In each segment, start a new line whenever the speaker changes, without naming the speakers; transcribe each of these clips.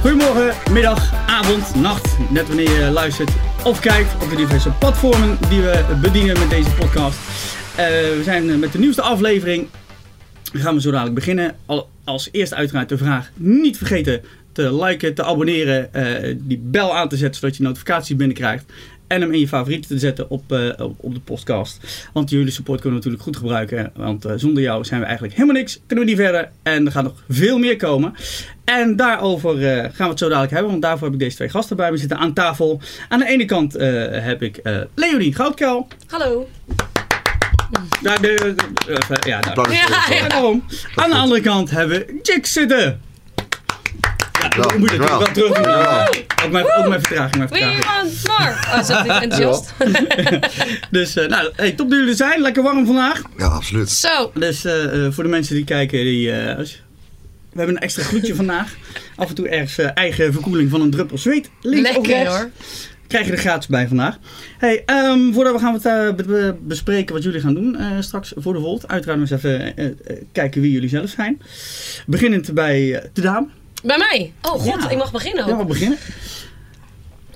Goedemorgen, middag, avond, nacht, net wanneer je luistert of kijkt op de diverse platformen die we bedienen met deze podcast. Eh, we zijn met de nieuwste aflevering. We gaan we zo dadelijk beginnen. Al- als eerst uiteraard de vraag: niet vergeten te liken, te abonneren, eh, die bel aan te zetten zodat je notificaties binnenkrijgt. En hem in je favorieten te zetten op, eh, op, op de podcast. Want jullie support kunnen we natuurlijk goed gebruiken. Want eh, zonder jou zijn we eigenlijk helemaal niks. Kunnen we niet verder. En er gaat nog veel meer komen. En daarover eh, gaan we het zo dadelijk hebben. Want daarvoor heb ik deze twee gasten bij me zitten aan tafel. Aan de ene kant eh, heb ik eh Leonie Goudkuil.
Hallo.
Ja, de, de- eh, ja, nou,
Applaus.
Ja,
ja,
ja.
daarom. Aan de andere kant hebben we Jack zitten. Ja,
Dankjewel,
ik moet het wel
dankjewel.
terug doen. Ook mijn, ook mijn vertraging, mijn
We
vertraging.
want more. Oh, zat ik enthousiast?
Dus eh, nou, hey, top dat jullie er zijn. Lekker warm vandaag.
Ja, absoluut.
Zo.
Dus eh, eh, voor de mensen die kijken, die, eh, als- we hebben een extra gloedje vandaag. Af en toe ergens eh, eigen verkoeling van een druppel zweet. Links of
Lekker
rechts.
hoor.
Krijg je er gratis bij vandaag. Hey, ehm, voordat we gaan wat, eh, be- be- bespreken wat jullie gaan doen eh, straks voor de Volt. Uiteraard nog eens even eh, eh, kijken wie jullie zelf zijn. Beginnend bij eh, de dame.
Bij mij. Oh god,
Ja.
ik mag beginnen.
Ja, we
ook.
beginnen.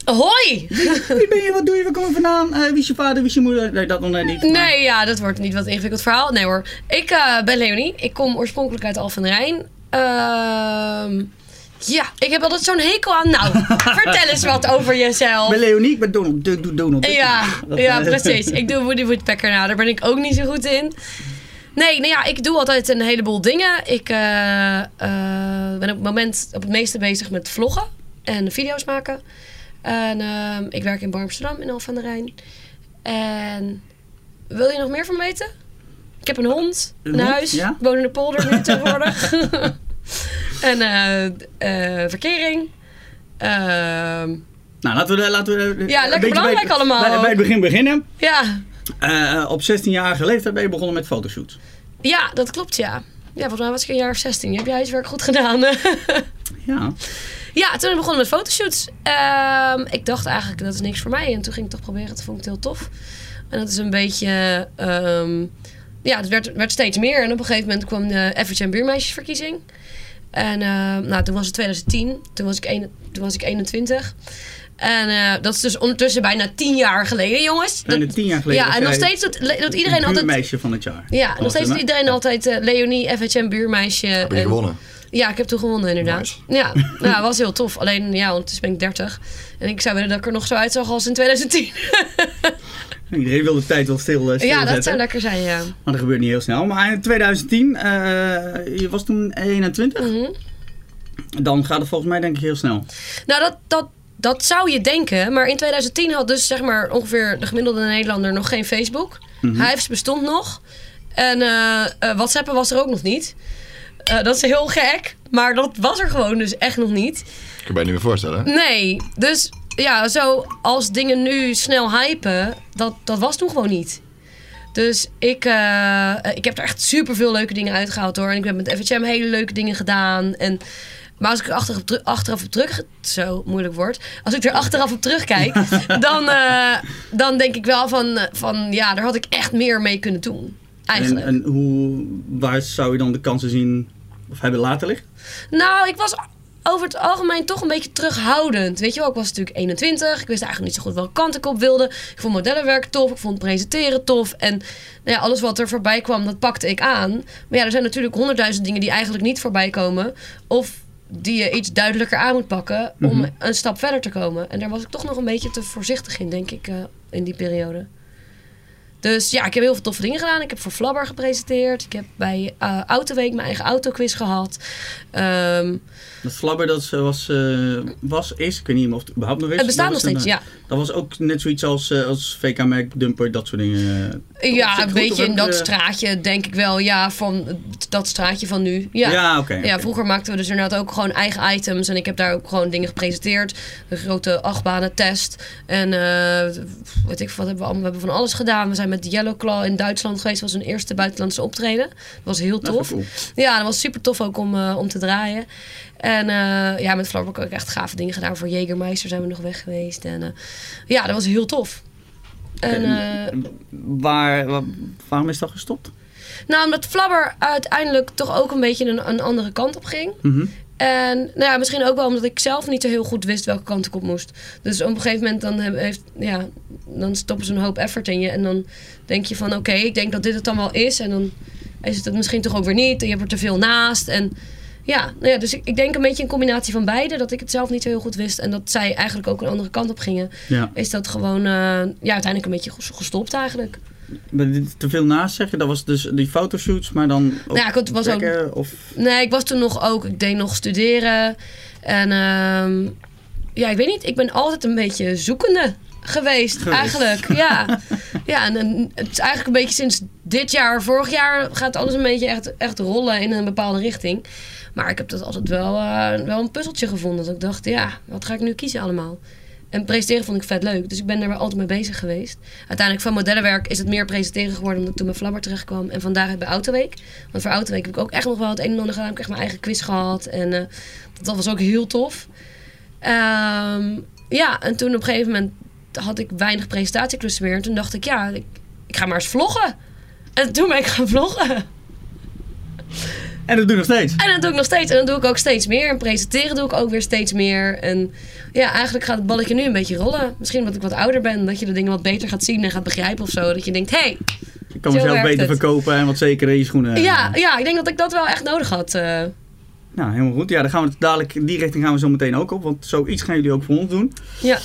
Hoi.
Wie ben je? Wat doe je? Waar kom je vandaan? Eh, wie is je vader? Wie is je moeder? Nee, dat nog net niet.
Nee, ja, dat wordt niet wat een ingewikkeld verhaal. Nee hoor. Ik eh, ben Leonie. Ik kom oorspronkelijk uit Alphen aan den Rijn. Ehm, ja, ik heb altijd zo'n hekel aan. Nou, vertel eens wat over
Ik
jezelf.
ben Leonie, ik ben Donald. Ik doe Donald.
Ja,
Dat,
ja
eh,
precies. Ik doe Woody Woodpecker na. Daar ben ik ook niet zo goed in. Nee, nou ja, ik doe altijd een heleboel dingen. Ik eh, eh, ben op het moment op het meeste bezig met vloggen en video's maken. En ehm, ik werk in Bar Amsterdam in Alphen aan de Rijn. En wil je nog meer van me weten? Ik heb een hond,
Een
een,
hond,
huis,
ja.
woon in de polder nu tegenwoordig. en eh, eh, verkering. Ehm,
Nou, laten we, laten we eh, een beetje bij-
belangrijk allemaal
Bij, bij het
ook.
begin beginnen.
ja,
Eh, op 16-jarige leeftijd ben je begonnen met fotoshoots.
Ja, dat klopt, ja. Ja, volgens mij was ik een jaar of 16. Heb jij huiswerk goed gedaan?
Ja.
ja, toen begonnen met fotoshoots. Ehm, ik dacht eigenlijk, dat is niks voor mij. En toen ging ik toch proberen. Dat vond ik heel tof. En dat is een beetje... ehm, ja, het werd, werd steeds meer. En op een gegeven moment kwam de Average en Buurmeisjesverkiezing. En eh, nou, toen was het 2010. Toen was ik, een, toen was ik 21. En eh, dat is dus ondertussen bijna 10 jaar geleden, jongens.
Bijna
Dat-
10 jaar geleden
Ja, en
zei
nog steeds dat, dat iedereen
Het
altijd...
meisje van het jaar.
Ja, nog
Was het,
steeds dat
hè?
iedereen altijd eh, Leonie, FHM, buurmeisje.
Heb je
en-
gewonnen?
Ja, ik heb toen gewonnen inderdaad. Ja, nou, was heel tof. Alleen, ja, ondertussen ben ik 30. En ik zou willen dat ik er nog zo uitzag als in 2010.
Iedereen wil de tijd wel stil, eh,
ja,
stilzetten.
dat zou lekker zijn, ja.
Maar dat gebeurt niet heel snel. Maar in 2010, eh, je was toen 21.
Mhm.
Dan gaat het volgens mij denk ik heel snel.
Nou, dat, dat, dat zou je denken. Maar in 2010 had dus zeg maar ongeveer de gemiddelde Nederlander nog geen Facebook.
Mhm.
Hives bestond nog. En eh eh, WhatsAppen was er ook nog niet. Eh, dat is heel gek. Maar dat was er gewoon dus echt nog niet.
Ik kan je niet meer voorstellen.
Nee, dus ja, zo als dingen nu snel hypen, dat, dat was toen gewoon niet. Dus ik, eh, ik heb er echt super veel leuke dingen uitgehaald hoor. En ik heb met FHM hele leuke dingen gedaan. En, maar als ik er achteraf op, teru- achteraf op terug... Zo, moeilijk woord. Als ik er achteraf op terugkijk, dan, eh, dan denk ik wel van, eh, van... Ja, daar had ik echt meer mee kunnen doen.
En,
Eigenlijk.
en hoe, waar zou je dan de kansen zien of hebben laten liggen?
Nou, ik was over het algemeen toch een beetje terughoudend. Weet je wel, ik was natuurlijk 21. Ik wist eigenlijk niet zo goed welke kant ik op wilde. Ik vond modellenwerk tof. Ik vond presenteren tof. En nou ja, alles wat er voorbij kwam, dat pakte ik aan. Maar ja, er zijn natuurlijk honderdduizend dingen die eigenlijk niet voorbij komen. Of die je iets duidelijker aan moet pakken om
Mhm.
een stap verder te komen. En daar was ik toch nog een beetje te voorzichtig in, denk ik, eh, in die periode. Dus ja, ik heb heel veel toffe dingen gedaan. Ik heb voor Flabber gepresenteerd. Ik heb bij eh, Autoweek mijn eigen autoquiz gehad. Ehm,
Dat flabber dat ze was, eh, was, is, ik weet niet meer of het überhaupt nog is.
het bestaat
Dat
nog
was
steeds,
een, eh,
ja.
Dat was ook net zoiets als, eh, als VK-merk, dumper, dat soort dingen. eh, op zich
Ja, een
goed, of
beetje
heb
in
je-
dat straatje, denk ik wel. Ja, van dat straatje van nu. Ja.
Ja,
ja.
oké. oké.
vroeger maakten we dus inderdaad ook gewoon eigen items. En ik heb daar ook gewoon dingen gepresenteerd. Een grote achtbanen test. En eh weet ik veel, wat hebben we allemaal. We hebben van alles gedaan. We zijn met Yellow Claw in Duitsland geweest. Dat was een eerste buitenlandse optreden. Dat was heel
Nou, Dat is
tof.
wel cool.
Ja, dat was super tof ook om, eh, om te draaien. En eh, ja, met Flapper heb ik ook echt gave dingen gedaan. Voor Jägermeister zijn we nog weg geweest. En eh, ja, dat was heel tof. En, eh,
Waar, wa- waarom is dat gestopt?
nou, omdat Flabber uiteindelijk toch ook een beetje een, een andere kant op ging.
Mhm.
En nou ja, misschien ook wel omdat ik zelf niet zo heel goed wist welke kant ik op moest. Dus op een gegeven moment dan, heb- heeft, ja, dan stoppen ze een hoop effort in je. En dan denk je van oké, ik denk dat dit het dan wel is. En dan is het het misschien toch ook weer niet. En je hebt er te veel naast. En ja, nou ja dus ik, ik denk een beetje een combinatie van beide. Dat ik het zelf niet zo heel goed wist. En dat zij eigenlijk ook een andere kant op gingen.
Ja.
Is dat gewoon eh, ja, uiteindelijk een beetje ges- gestopt eigenlijk.
Maar dit te veel naast zeggen, dat was dus die fotoshoots, maar dan ook
Nou ja, het was ook-
trekken of...
Nee, ik was toen nog ook. Ik deed nog studeren. En ehm, ja, ik weet niet. Ik ben altijd een beetje zoekende geweest,
Geweest.
eigenlijk. Ja, ja en, en het is eigenlijk een beetje sinds dit jaar, vorig jaar, gaat alles een beetje echt, echt rollen in een bepaalde richting. Maar ik heb dat altijd wel, eh, wel een puzzeltje gevonden. Dat ik dacht, ja, wat ga ik nu kiezen allemaal? En presenteren vond ik vet leuk. Dus ik ben daar wel altijd mee bezig geweest. Uiteindelijk van modellenwerk is het meer presenteren geworden. Omdat ik toen bij Flabber terecht kwam. En vandaar bij Autoweek. Want voor Autoweek heb ik ook echt nog wel het een en ander gedaan. Ik heb echt mijn eigen quiz gehad. En eh, dat, dat was ook heel tof. Ehm, ja, en toen op een gegeven moment had ik weinig presentatieklussen meer. En toen dacht ik, ja, ik, ik ga maar eens vloggen. En toen ben ik gaan vloggen.
En dat doe je nog steeds.
En dat doe ik nog steeds. En dat doe ik ook steeds meer. En presenteren doe ik ook weer steeds meer. En ja, eigenlijk gaat het balletje nu een beetje rollen. Misschien omdat ik wat ouder ben. Dat je de dingen wat beter gaat zien en gaat begrijpen of zo. Dat je denkt, hé. Hey,
Ik kan
Zo
mezelf
werkt
beter
het.
verkopen en wat zeker in je schoenen.
ja, ja, ik denk dat ik dat wel echt nodig had. eh.
Nou, helemaal goed. Ja, dan gaan we het dadelijk, in die richting gaan we zo meteen ook op, want zoiets gaan jullie ook voor ons doen.
ja.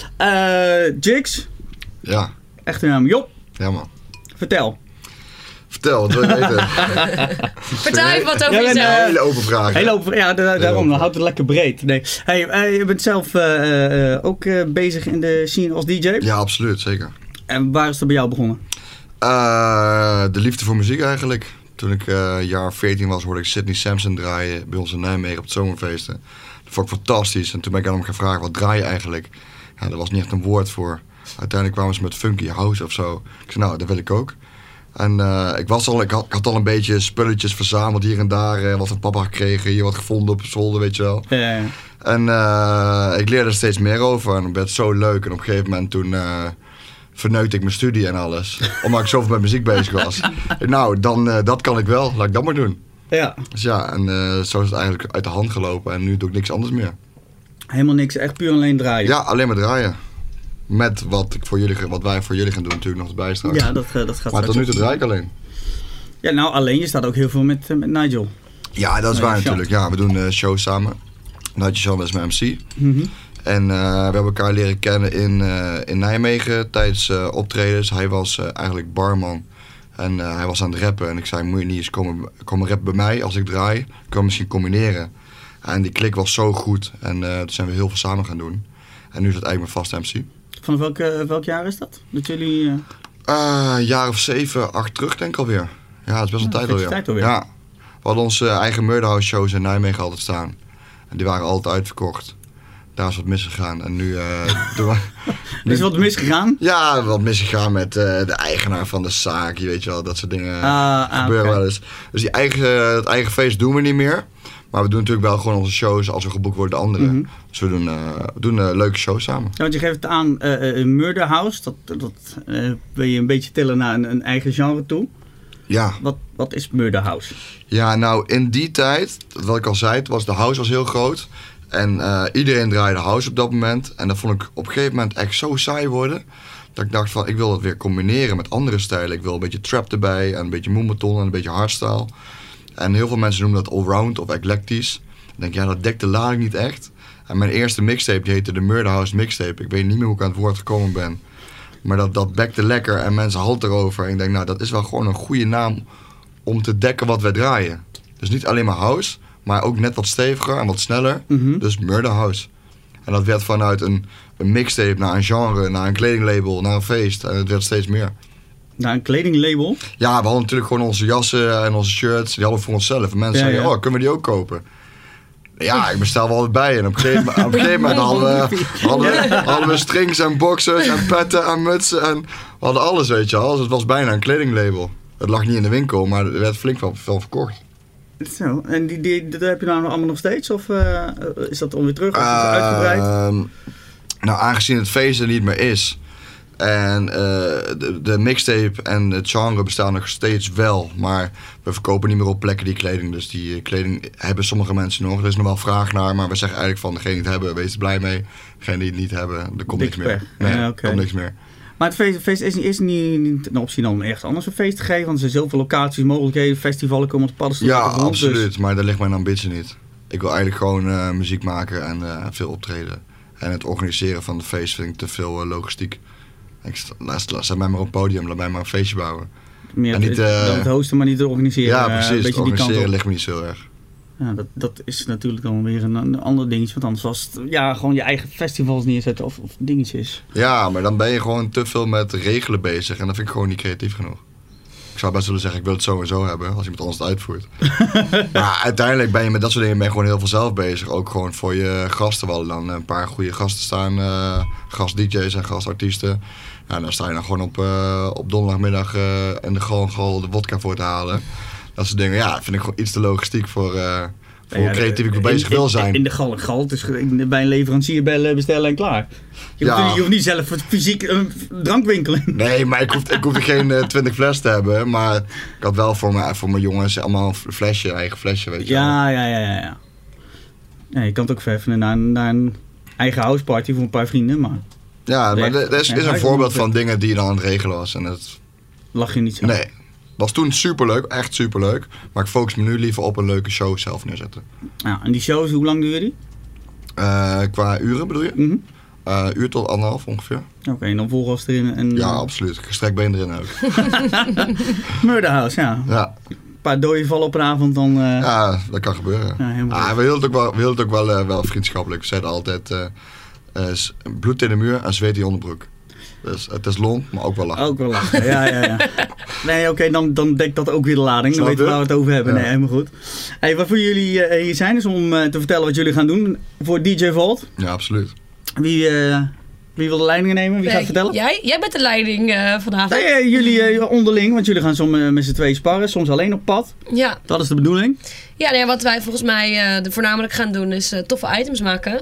Eh Jigs,
Ja,
echte naam Job,
ja man.
vertel.
Vertel, wat wil je weten?
Vertel even wat over
Ja, en,
jezelf.
eh,
Hele open vraag.
Heel open, ja, da- da- daarom,
open.
dan houdt het lekker breed. Nee. Hey, eh, je bent zelf eh, eh, eh, ook eh, bezig in de scene als DJ.
Ja, absoluut, zeker.
En waar is dat bij jou begonnen?
Eh, de liefde voor muziek eigenlijk. Toen ik eh, jaar 14 was, hoorde ik Sidney Sampson draaien bij ons in Nijmegen op het zomerfeesten. Dat vond ik fantastisch. En toen ben ik aan hem gaan vragen, wat draai je eigenlijk? Ja, daar was niet echt een woord voor. Uiteindelijk kwamen ze met funky house of zo. Ik zei, nou, dat wil ik ook. En eh, ik, was al, ik, had, ik had al een beetje spulletjes verzameld hier en daar. eh, wat van papa gekregen, hier wat gevonden op zolder, weet je wel.
Eh,
En eh, ik leerde er steeds meer over en het werd zo leuk. En op een gegeven moment toen eh verneukte ik mijn studie en alles. Omdat ik zoveel met muziek bezig was. nou, dan, eh, dat kan ik wel. Laat ik dat maar doen.
ja,
Dus ja, en eh, zo is het eigenlijk uit de hand gelopen. En nu doe ik niks anders meer.
helemaal niks. Echt puur alleen draaien.
Ja, alleen maar draaien. Met wat, ik voor jullie, ge- wat wij voor jullie gaan doen natuurlijk nog erbij straks.
Ja, dat, eh, dat gaat
maar tot
straks
nu
ook.
toe draai ik alleen.
Ja, nou alleen, je staat ook heel veel met, eh, met Nigel.
Ja, dat is
Nee,
waar
Jean.
natuurlijk. Ja, we doen eh, shows samen. Nadje Jean is mijn MC.
Mhm.
En eh, we hebben elkaar leren kennen in, eh, in Nijmegen tijdens eh, optredens. Hij was eh, eigenlijk barman. En eh, hij was aan het rappen. En ik zei, moet je niet eens komen, komen rappen bij mij als ik draai? Kunnen we misschien combineren. En die klik was zo goed. En eh, toen zijn we heel veel samen gaan doen. En nu is het eigenlijk mijn vaste MC.
Van welk, eh, welk jaar is dat? Dat jullie... eh,
Eh, een jaar of zeven, acht terug denk ik alweer. Ja, het is best een
Ja,
tijd
een
alweer.
beetje tijd alweer.
Ja. We hadden onze eh, eigen Murderhouse shows in Nijmegen altijd staan. En die waren altijd uitverkocht. Daar is wat misgegaan. En nu... eh, doen we-
er is wat misgegaan?
ja, wat misgegaan met eh, de eigenaar van de zaak. Je weet je wel, dat soort dingen
Ah, ah,
gebeuren
oké.
wel eens. Dus die eigen, het eigen feest doen we niet meer. Maar we doen natuurlijk wel gewoon onze shows als we geboekt worden door anderen.
Mhm.
Dus we doen, eh, we doen eh, leuke shows samen.
Ja, want je geeft het aan eh, eh, Murder House. Dat, dat eh, wil je een beetje tillen naar een, een eigen genre toe.
Ja,
Wat, wat is Murder House?
Ja, nou in die tijd, wat ik al zei, het was, de house was heel groot. En eh, iedereen draaide house op dat moment. En dat vond ik op een gegeven moment echt zo saai worden. Dat ik dacht van, ik wil dat weer combineren met andere stijlen. Ik wil een beetje trap erbij en een beetje moemeton en een beetje hardstyle. En heel veel mensen noemen dat allround of eclectisch. Ik denk, ja, dat dekt de lading niet echt. En mijn eerste mixtape, die heette de Murder House Mixtape. Ik weet niet meer hoe ik aan het woord gekomen ben. Maar dat, dat bekte lekker en mensen hadden erover. En ik denk, nou, dat is wel gewoon een goede naam om te dekken wat wij draaien. Dus niet alleen maar house, maar ook net wat steviger en wat sneller. Dus murder house. En dat werd vanuit een, een mixtape naar een genre, naar een kledinglabel, naar een feest. En het werd steeds meer.
Nou, een kledinglabel.
Ja, we hadden natuurlijk gewoon onze jassen en onze shirts. Die hadden we voor onszelf. En mensen
Ja,
zeiden,
ja.
oh, kunnen we die ook kopen? Ja, ik bestel wel wat bij. En op een gegeven, op een gegeven moment hadden we, hadden, we, hadden we strings en boxers en petten en mutsen. En we hadden alles, weet je wel. Dus het was bijna een kledinglabel. Het lag niet in de winkel, maar er werd flink van, van verkocht.
Zo, en die, die, dat heb je nou allemaal nog steeds? Of eh,
Ah.
is dat dan weer terug? Of is het uitgebreid?
Ehm, nou, aangezien het feest er niet meer is. En eh, de, de mixtape en het genre bestaan nog steeds wel. Maar we verkopen niet meer op plekken die kleding. Dus die eh, kleding hebben sommige mensen nog. Er is nog wel vraag naar. Maar we zeggen eigenlijk van degene die het hebben, wees er blij mee. Degene die het niet hebben, er komt
Dikke
niks meer.
pech.
Nee,
Ja,
er
oké.
komt niks meer.
Maar het feest, feest is, niet, is niet, niet nou, een optie om ergens anders een feest te geven. Want er zijn zoveel locaties, mogelijkheden, festivalen komen op de paddenstoel.
Ja,
uit de grond, dus-
absoluut. Maar daar ligt mijn ambitie niet. Ik wil eigenlijk gewoon eh, muziek maken en eh, veel optreden. En het organiseren van de feest vind ik te veel eh, logistiek. Ik sta- laat, laat, zet mij maar op het podium, laat mij maar een feestje bouwen.
meer
en
het-
niet,
het-
eh,
dan het hosten, maar niet het organiseren.
ja,
eh, Een
precies. Het
beetje die kant
organiseren
op.
ligt me niet zo heel erg.
Ja, dat, dat is natuurlijk dan weer een, een ander dingetje. Want anders was het ja, gewoon je eigen festivals neerzetten of, of dingetjes.
Ja, maar dan ben je gewoon te veel met regelen bezig. En dat vind ik gewoon niet creatief genoeg. Ik zou best willen zeggen, ik wil het zo en zo hebben, als iemand anders het uitvoert. maar uiteindelijk ben je met dat soort dingen ben je gewoon heel veel zelf bezig. Ook gewoon voor je gasten. We hadden dan een paar goede gasten staan. eh gast-dj's en gastartiesten. Ja, dan sta je dan gewoon op, eh, op donderdagmiddag eh, en de gewoon gewoon de vodka voor te halen. Dat soort dingen. Ja, dat vind ik gewoon iets te logistiek voor, eh, voor
Ja,
hoe creatief ik
in-
mee bezig
in-
wil zijn.
In de gal en gal. Dus bij een leverancier bellen, bestellen en klaar. Je,
Ja.
hoeft, je hoeft niet zelf voor fysiek eh, een drankwinkel in.
Nee, maar ik hoefde, ik hoefde geen eh, 20 fles te hebben. Maar ik had wel voor mijn, voor mijn jongens allemaal een flesje, eigen flesje, weet je wel.
Ja, ja, ja, ja. ja. Nee, je kan het ook verheffen naar, een- naar een eigen houseparty voor een paar vrienden. Maar
Ja, maar dat is,
Ja,
is een
huis-
voorbeeld van dingen die je dan aan het regelen was. En dat,
lach je niet zo.
nee, was toen superleuk, echt superleuk. Maar ik focus me nu liever op een leuke show zelf neerzetten.
Nou, en die shows, hoe lang duren die?
Eh, qua uren bedoel je?
Mhm.
Eh, uur tot anderhalf ongeveer.
Oké, en dan volgas erin. En,
Ja, absoluut. Gestrekt been erin ook.
Murder House, ja.
Ja,
Een paar doden vallen op een avond, dan... eh,
ja dat kan gebeuren.
ja, helemaal
Ah, we willen het ook wel, we willen het ook wel, eh, wel vriendschappelijk. We zeiden altijd eh, eh, s- bloed in de muur en zweet in je onderbroek. Dus het is long, maar ook wel lachen.
Ook wel lachen, ja, ja, ja. Nee, oké, dan, dan dekt dat ook weer de lading. Dan
Snap
weten we
je?
waar we het over hebben.
Ja.
Nee, helemaal goed. Hey, waarvoor jullie eh, hier zijn, is om eh, te vertellen wat jullie gaan doen voor DJ Vault.
Ja, absoluut.
Wie, eh, wie wil de leidingen nemen? Wie gaat
Eh,
vertellen?
Jij, jij bent de leiding eh, vanavond.
Nee, eh, jullie eh, onderling, want jullie gaan soms eh, met z'n tweeën sparren, soms alleen op pad.
Ja,
Dat is de bedoeling.
ja nee, wat wij volgens mij eh, de voornamelijk gaan doen is eh, toffe items maken.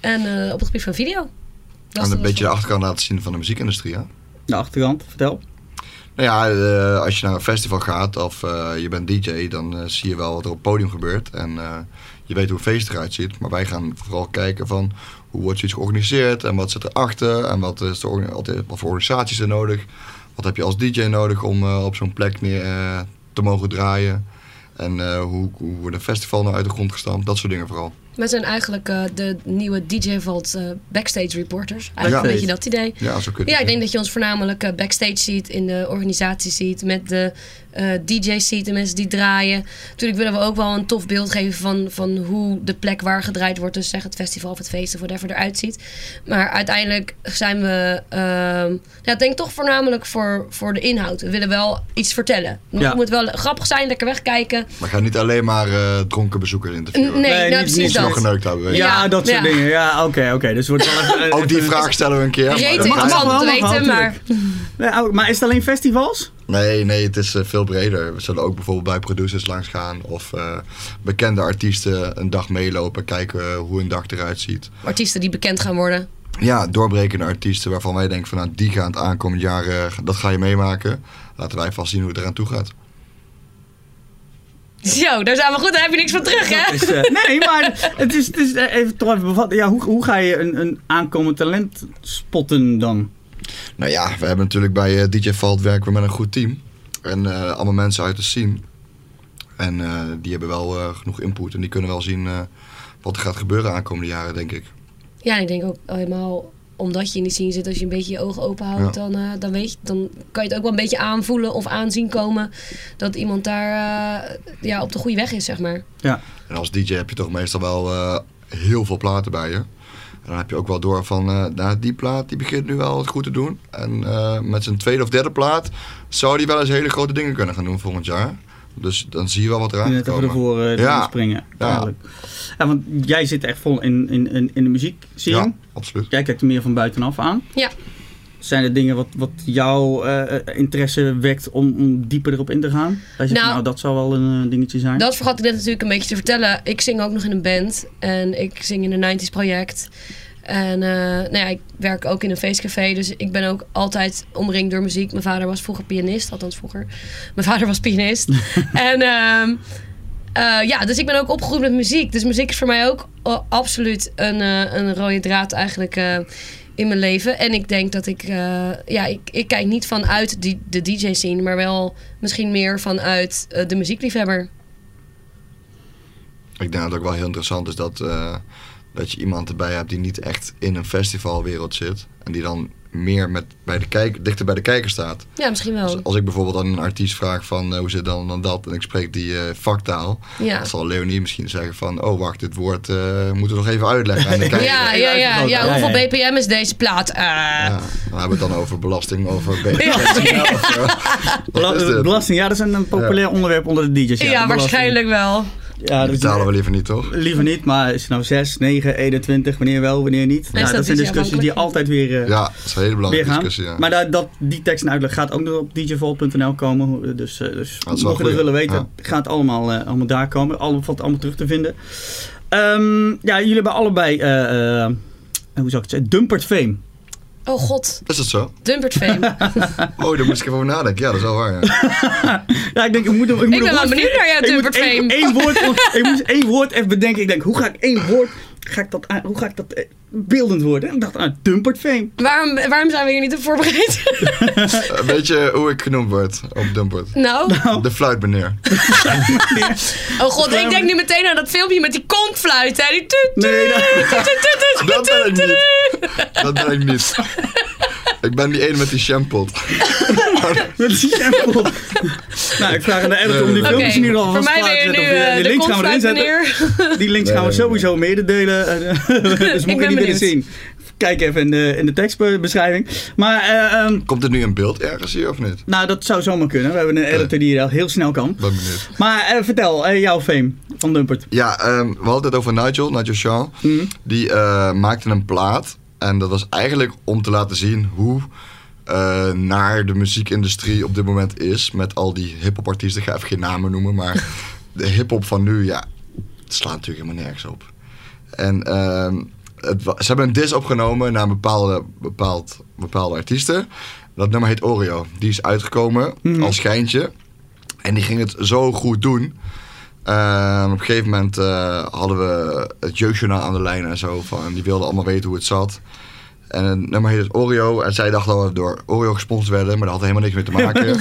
En eh, op het gebied van video. Dat
En
is dus
een
dat
beetje de
is-
achterkant laten zien van de muziekindustrie. Hè?
De achterkant, vertel.
Nou ja, eh, als je naar een festival gaat of eh, je bent DJ, dan eh, zie je wel wat er op het podium gebeurt. En eh, je weet hoe een feest eruit ziet. Maar wij gaan vooral kijken van hoe wordt zoiets georganiseerd en wat zit erachter. En wat, is de orga- wat is- wat voor organisaties er nodig. Wat heb je als DJ nodig om eh, op zo'n plek neer, eh, te mogen draaien. En eh, hoe, hoe wordt een festival nou uit de grond gestampt. Dat soort dingen vooral.
We zijn eigenlijk eh, de nieuwe DJ Vault eh, backstage reporters. Eigenlijk
Ja.
een beetje dat idee.
Ja, zo kun je
Ja, ik
het
denk dat je ons voornamelijk eh, backstage ziet, in de organisatie ziet, met de eh, DJ's ziet, de mensen die draaien. Natuurlijk willen we ook wel een tof beeld geven van, van hoe de plek waar gedraaid wordt, dus zeg het festival of het feest of whatever eruit ziet. Maar uiteindelijk zijn we, ehm, ja, ik denk toch voornamelijk voor, voor de inhoud. We willen wel iets vertellen.
Ja.
Het moet wel grappig zijn, lekker wegkijken.
doen. We gaan niet alleen maar eh, dronken bezoekers
N-
interviewen.
nee, nou,
niet-
precies
niet
Ze
dat.
nog geneukt hebben. weet je.
Ja,
Ja,
dat soort
ja.
dingen. Ja, oké, oké. Dus het wordt wel even- Eh,
Ook die
even-
vraag stellen we een keer. maar-
Reet
mag
interessant
wel,
te
mag wel,
weten, maar
Nee, oh, Maar is het alleen festivals?
Nee, nee, het is eh, veel breder. We zullen ook bijvoorbeeld bij producers langs gaan of eh, bekende artiesten een dag meelopen, kijken eh, hoe een dag eruit ziet.
artiesten die bekend gaan worden.
Ja, doorbrekende artiesten waarvan wij denken van nou, die gaan het aankomend jaar, eh, dat ga je meemaken. Laten wij vast zien hoe het eraan toe gaat.
Zo, daar zijn we goed, daar heb je niks van terug, hè?
Dus, eh, nee, maar het is, het is eh, even toch even bevatten. Ja, hoe, hoe ga je een, een aankomend talent spotten dan?
Nou ja, we hebben natuurlijk bij eh, DJ Valt werken we met een goed team. En eh, allemaal mensen uit de scene. En eh, die hebben wel eh, genoeg input en die kunnen wel zien eh, wat er gaat gebeuren aankomende jaren, denk ik.
Ja, ik denk ook helemaal omdat je in die scene zit, als je een beetje je ogen open houdt, dan, eh, dan, weet je, dan kan je het ook wel een beetje aanvoelen of aanzien komen dat iemand daar eh, ja, op de goede weg is, zeg maar.
En als DJ heb je toch meestal wel eh, heel veel platen bij je. En dan heb je ook wel door van, eh, nou, die plaat die begint nu wel het goed te doen. En eh, met zijn tweede of derde plaat zou die wel eens hele grote dingen kunnen gaan doen volgend jaar. Dus dan zie je wel wat eraan
Net
gaat
even
komen.
ervoor eh, te
Ja.
gaan springen.
Ja.
eigenlijk. Ja, want jij zit echt vol in, in, in, in de muziek zien.
Ja, absoluut.
Jij kijkt er meer van buitenaf aan.
Ja.
Zijn er dingen wat, wat jouw eh, interesse wekt om, om dieper erop in te gaan? Jij zegt, nou,
Nou,
dat zou wel een eh, dingetje zijn.
Dat vergat ik net natuurlijk een beetje te vertellen. Ik zing ook nog in een band en ik zing in een 90s project. En eh, nou ja, ik werk ook in een feestcafé, dus ik ben ook altijd omringd door muziek. Mijn vader was vroeger pianist, althans vroeger. Mijn vader was pianist. en ehm, eh, ja, dus ik ben ook opgegroeid met muziek. Dus muziek is voor mij ook eh, absoluut een, eh, een rode draad eigenlijk eh, in mijn leven. En ik denk dat ik, eh, ja, ik, ik kijk niet vanuit die, de DJ-scene, maar wel misschien meer vanuit eh, de muziekliefhebber.
Ik denk dat het ook wel heel interessant is dat, eh, dat je iemand erbij hebt die niet echt in een festivalwereld zit. En die dan meer met, bij de kijk, dichter bij de kijker staat.
Ja, misschien wel.
Als,
Oh.
als ik bijvoorbeeld aan een artiest vraag van eh, hoe zit dan dan dat en ik spreek die eh, vaktaal.
Ja.
Dan zal Leonie misschien zeggen van oh wacht dit woord eh, moeten we nog even uitleggen aan de kijker.
Ja, ja, ja,
uitvergroot.
ja.
Ja,
Hoeveel
ja,
BPM is deze plaat? Eh,
Ja, we hebben het dan over belasting, over BTW. Wat is
Bela-
dit?
Belasting, ja, dat is een, een populair onderwerp onder de DJ's.
ja,
belasting.
waarschijnlijk wel.
Ja,
Die
dat
betalen we liever niet, toch?
Liever niet, maar is het nou 6, 9, 21, wanneer wel, wanneer niet? Nou, dat zijn
statistisch
discussies die altijd
afhankelijk.
weer, eh,
Ja, dat is een hele
weer
belangrijke
gaan.
discussie. Ja.
Maar dat, dat, die tekst en uitleg gaat ook nog op djvolt.nl komen. Dus, eh, dus
wel
mocht je dat
goed,
willen weten,
ja.
gaat allemaal, eh, allemaal daar komen. Al, valt allemaal terug te vinden. Ehm, ja, jullie hebben allebei, eh, eh, hoe zou ik het zeggen, dumpert fame.
Oh god,
Is dat zo?
Dumpert Fame.
Oh, daar moest ik even over nadenken. Ja, dat is wel waar. Ja.
Ja, ik denk, ik moet hem- Ik, moet
ben
een
wel
woord-
benieuwd naar jouw
ik moet
Dumpert
één-
Fame.
één woord, ik moest één woord even bedenken. Ik denk, hoe ga ik één woord, ga ik dat, aan- hoe ga ik dat eh, beeldend worden? En ik dacht, ah, dumpert fame.
waarom, waarom zijn we hier niet op voorbereid?
Eh, Weet je hoe ik genoemd word op Dumpert?
nou,
De fluitmeneer.
oh god, ik denk nu meteen aan dat filmpje met die konkfluit. Hè? Die tut, tut,
Nee, dat-
tut, tut, tut, tut,
Dat
eh,
ben ik
tut,
niet.
tut.
Dat ben ik niet. Ik ben die ene met die shampot.
Dat is simpel. nou, ik vraag aan de editor om die
Oké,
filmpjes in ieder geval
voor mij
vast
ben je
klaar te
nu
zetten. Of, eh,
eh,
die
de
links gaan we erin
konkfluit
zetten.
meneer.
Die links
Nee,
gaan we
nee,
sowieso mededelen. eh, dus
ben
mocht je die willen
benieuwd.
zien, kijk even in de, in de tekstbeschrijving. Maar eh, ehm,
Komt het nu in beeld ergens hier of niet?
nou, dat zou zomaar kunnen. We hebben een editor die dat heel snel kan.
Ben benieuwd.
Maar eh, vertel, eh, jouw fame van Dumpert.
Ja, ehm, we hadden het over Nigel, Nigel Shaw. Die eh, maakte een plaat. En dat was eigenlijk om te laten zien hoe eh, naar de muziekindustrie op dit moment is. Met al die hip-hop artiesten. Ik ga even geen namen noemen. Maar de hip-hop van nu, ja, het slaat natuurlijk helemaal nergens op. En ehm, het wa- ze hebben een dis opgenomen naar een bepaalde, bepaald, bepaalde artiesten. Dat nummer heet Oreo. Die is uitgekomen als schijntje. En die ging het zo goed doen. Ehm, op een gegeven moment eh, hadden we het jeugdjournaal aan de lijn en zo. Van, die wilden allemaal weten hoe het zat. En het nummer heet het Oreo. En zij dachten dat we door Oreo gesponsord werden. Maar dat had helemaal niks mee te maken.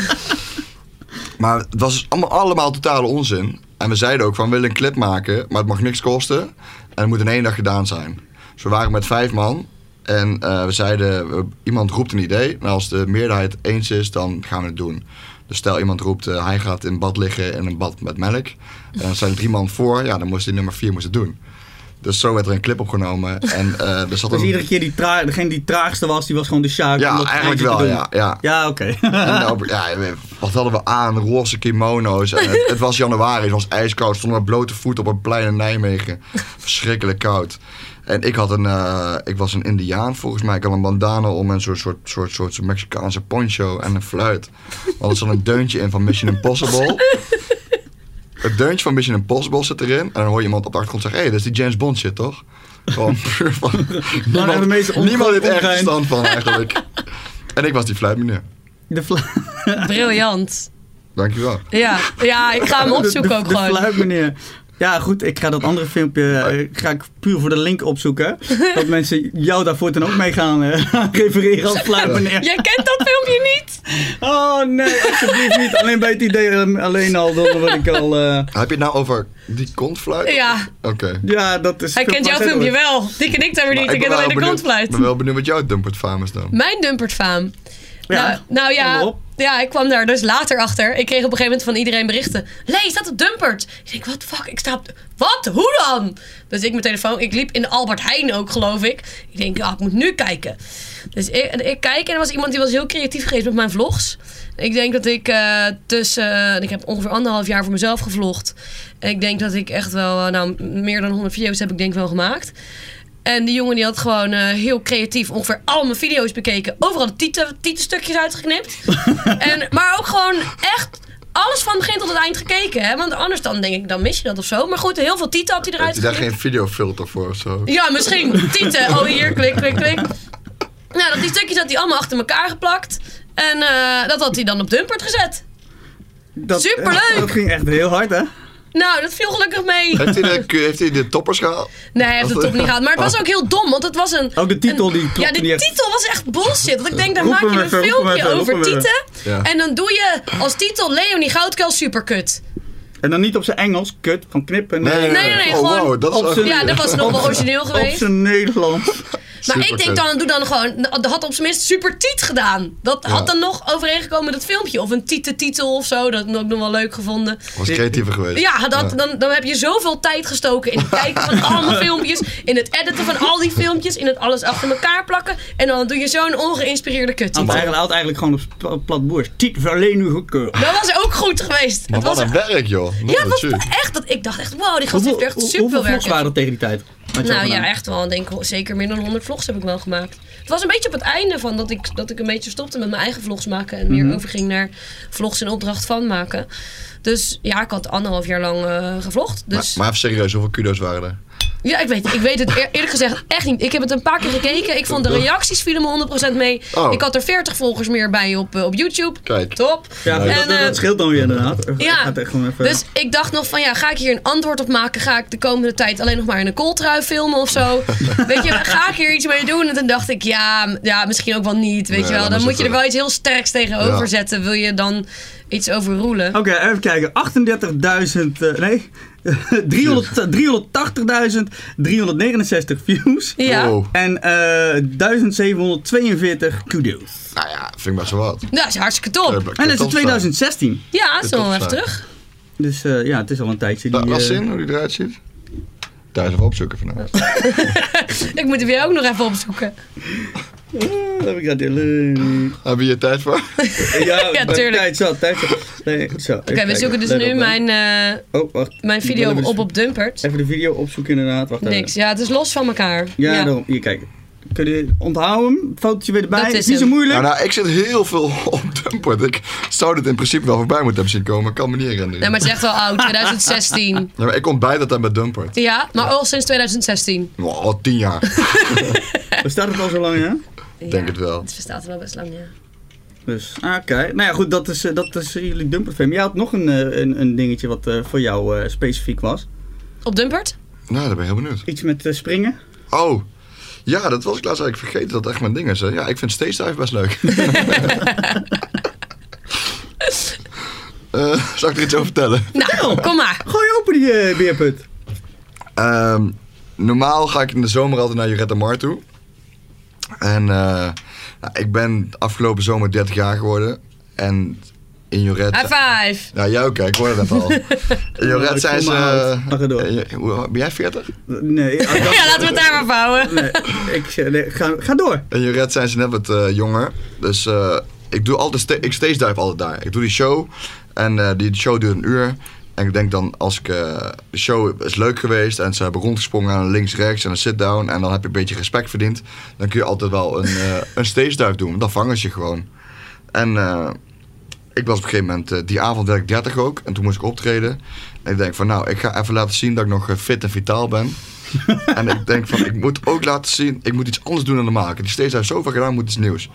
maar het was dus allemaal, allemaal totale onzin. En we zeiden ook van, we willen een clip maken. Maar het mag niks kosten. En het moet in één dag gedaan zijn. Dus we waren met vijf man. En eh, we zeiden, we- iemand roept een idee. En als de meerderheid eens is, dan gaan we het doen. Dus stel iemand roept, eh, hij gaat in bad liggen in een bad met melk. En dan zijn er drie man voor. Ja, dan moest die nummer vier moest het doen. Dus zo werd er een clip opgenomen. En eh, er zat
Dus
een...
iedere keer die traag, degene die het traagste was, die was gewoon de Sjaak. om
Ja,
dat
eigenlijk
geintje te
wel,
doen.
ja. ja.
Ja, oké.
En nou, ja, wat hadden we aan? Roze kimono's. En het, het was januari, het was ijskoud. Stonden we blote voet op een plein in Nijmegen. Verschrikkelijk koud. En ik, had een, eh, ik was een indiaan volgens mij. Ik had een bandana om en zo'n soort, soort, soort, soort Mexicaanse poncho en een fluit. Want er zat een deuntje in van Mission Impossible. Het deuntje van Mission Impossible zit erin. En dan hoor je iemand op de achtergrond zeggen... Hé, hey, dat is die James Bond shit, toch? Gewoon puur van...
waren de meeste onge-
niemand heeft ergens
ongein.
verstand van eigenlijk. En ik was die fluit, meneer.
De fla-
Briljant.
Dankjewel.
Ja, ja, ik ga hem opzoeken
de,
ook
de
gewoon.
fluit, meneer. Ja, goed, ik ga dat andere filmpje eh, ga ik puur voor de link opzoeken. Dat mensen jou daarvoor dan ook mee gaan eh, refereren als fluit, meneer.
Jij kent dat filmpje niet?
Oh nee, alsjeblieft niet. Alleen bij het idee, eh, alleen al, dan word ik al... eh,
Heb je het nou over die kontfluit?
Ja,
Oké.
ja, dat is...
hij kent jouw filmpje wel. Die ken ik dan weer
Maar
niet. Ik
ben
ken
wel
alleen de
benieuwd-
kontfluit.
Ik ben wel benieuwd wat jouw dumpert faam is dan.
Mijn dumpertfaam.
Ja,
Nou, nou
kom
ja,
op.
ja, ik kwam daar dus later achter. Ik kreeg op een gegeven moment van iedereen berichten. Lees dat op Dumpert. Ik denk, wat fuck, ik sta op... Wat? Hoe dan? Dus ik mijn telefoon... Ik liep in de Albert Heijn ook, geloof ik. Ik denk, ah, ik moet nu kijken. Dus ik, en ik kijk en er was iemand die was heel creatief geweest met mijn vlogs. Ik denk dat ik eh, tussen... eh, ik heb ongeveer anderhalf jaar voor mezelf gevlogd. En ik denk dat ik echt wel... eh, nou, m- meer dan 100 video's heb ik denk ik wel gemaakt. En die jongen die had gewoon eh, heel creatief ongeveer al mijn video's bekeken. Overal de titel- titelstukjes uitgeknipt. en, maar ook gewoon echt alles van begin tot het eind gekeken. Hè? Want anders dan denk ik, dan mis je dat of zo. Maar goed, heel veel tieten had hij
Heeft
eruit
hij daar
geknipt.
geen videofilter voor of zo?
Ja, misschien. Tieten. Oh, hier, klik, klik, klik. Nou, dat, die stukjes had hij allemaal achter elkaar geplakt. En eh, dat had hij dan op Dumpert gezet.
Dat,
Superleuk!
Dat ging echt heel hard, hè?
Nou, dat viel gelukkig mee.
Heeft hij de, heeft hij de toppers gehaald?
Nee, hij heeft het top niet gehad. Maar het was ook heel dom, want het was een...
Ook de titel
een-
die klopt
Ja, de
niet echt.
titel was echt bullshit. Want ik denk, daar
Roep
maak je
hem
een
even, roep hem
filmpje
even, roep
over
hem even.
tieten.
Ja.
En dan doe je als titel Leonie Goudkuil superkut.
En dan niet op zijn Engels, kut, van knippen.
nee, nee,
Oh,
gewoon-
wow, dat
Op
is
zijn-
Ja, dat was nog wel origineel
Op
geweest.
zijn Nederlands.
Maar ik denk
Superkut.
dan, doe dan gewoon... Dat had op zijn minst supertiet gedaan. Dat had dan nog overeengekomen met het filmpje. Of een tietentitel of zo. Dat had ik ook nog wel leuk gevonden.
was creatiever geweest.
Ja, dat, Dan, dan heb je zoveel tijd gestoken in het kijken van allemaal filmpjes. In het editen van al die filmpjes. In het alles achter elkaar plakken. En dan doe je zo'n ongeïnspireerde kut.
Ah,
Hij had eigenlijk gewoon op plat- plat boers. Tiet verleen nu goedkeur.
Dat was ook goed geweest.
Maar
Het was
wat een werk, joh.
ja, wat,
natuurlijk.
echt. Dat, ik dacht echt, wow, die gast
Oh, Hoeveel,
heeft echt
hoe-
super
hoeveel
veel
vlogs
werk.
waren er tegen die tijd? Had je al
Nou ja,
gedaan?
echt wel. Ik Denk, wel, zeker meer dan 100 vlogs heb ik wel gemaakt. Het was een beetje op het einde van dat ik, dat ik een beetje stopte met mijn eigen vlogs maken. En
Mhm.
meer overging naar vlogs in opdracht van maken. Dus ja, ik had anderhalf jaar lang eh gevlogd.
Maar,
Dus
maar even serieus, hoeveel kudo's waren er?
ja, ik weet, ik weet het eer- eerlijk gezegd echt niet. Ik heb het een paar keer gekeken. Ik vond de reacties vielen me 100% mee.
Oh.
Ik had er 40 volgers meer bij op, eh, op YouTube.
Kijk.
Top.
Ja,
En,
dat, dat-
eh,
dat scheelt dan weer inderdaad.
ja.
Gaat echt gewoon even...
Dus ik dacht nog van ja, ga ik hier een antwoord op maken? Ga ik de komende tijd alleen nog maar in een kooltrui filmen of zo? weet je, ga ik hier iets mee doen? En toen dacht ik ja, m- ja misschien ook wel niet. Weet
Nee,
je wel,
dan
dan
is
moet
het
je er
wel-
wel iets heel sterks tegenover
Ja. Oh.
zetten. Wil je dan iets over roelen?
Oké, even kijken. 38.000, eh, nee, 300 380.369 views.
Ja. Nou,
Wow.
En eh 1742 kudos.
Nou ja, vind ik best wel wat.
Nou, dat is hartstikke top.
En dat is in 2016.
Ja, dat is
top
wel even
zijn.
terug.
Dus eh, ja, het is al een tijdje. Die,
Dat was
eh,
zin, Nou, hoe die eruit ziet? Thuis even opzoeken vanavond.
Ik moet er weer ook nog even opzoeken.
eh, heb ik dat heel- Eh,
Heb je hier tijd voor?
Ja,
Ja,
bij-
tuurlijk.
Tijd zat, tijd zat. Nee, zo.
Oké, we zoeken dus nu mijn, eh,
Oh, wacht.
mijn video
dus
Ik wil even-
op op Dumpert.
Even de video opzoeken inderdaad.
eh,
Wacht even.
Niks. Ja, het is los van elkaar.
Ja, daarom. Hier, kijk. Kun je onthouden hem? Fotootje weer erbij.
Dat is
niet zo
hem.
moeilijk.
Nou, nou, ik zit heel veel op Dumpert. Ik zou dit in principe wel voorbij moeten hebben zien komen, maar ik kan me niet herinneren.
Nee, maar het is echt wel oud, 2016.
Ja, maar ik ontbijt dat dan bij Dumpert.
Ja, maar al sinds 2016.
Nou, al tien jaar, nou.
Bestaat het al zo lang, hè?
denk het wel.
Het bestaat er al best lang, ja.
Dus, ah, oké. Nou ja, goed, dat is, eh, dat is eh, jullie dumperfilm. Jij had nog een, eh, een, een dingetje wat eh, voor jou eh, specifiek was.
Op Dumpert?
Nou, daar ben ik heel benieuwd.
Iets met eh, springen.
Oh, ja, dat was ik laatst eigenlijk vergeten dat het echt mijn ding is. Hè. Ja, ik vind stage dive best leuk. Eh zal ik er iets over vertellen?
Nou, kom maar.
Gooi open die eh, beerput.
Ehm, normaal ga ik in de zomer altijd naar Jurette Mar toe. En eh, nou, ik ben afgelopen zomer 30 jaar geworden. En in Jurette...
High five.
Nou, jou ook, hè, ik hoorde dat al. In
ik
Jurette zijn
voel
ze...
me oud. Mag het door.
eh, je- hoe- ben jij 40?
Nee, ah, dat-
Ja, laten we het daar maar vouwen.
nee, ik, zeg- nee, ga, ga door.
In Jurette zijn ze net wat eh, jonger. Dus eh, ik doe altijd, sta- ik stage dive altijd daar. Ik doe die show en eh, die show duurt een uur. En ik denk dan, als ik, eh, de show is leuk geweest en ze hebben rondgesprongen aan links, rechts en een sit-down. En dan heb je een beetje respect verdiend. Dan kun je altijd wel een, eh, een stage dive doen. Dan vangen ze je gewoon. En eh, ik was op een gegeven moment, eh, die avond werd ik 30 ook. En toen moest ik optreden. En ik denk van, nou, ik ga even laten zien dat ik nog eh, fit en vitaal ben. En ik denk van, ik moet ook laten zien, ik moet iets anders doen dan normaal. Ik heb die steeds uit zoveel gedaan, ik moet iets nieuws.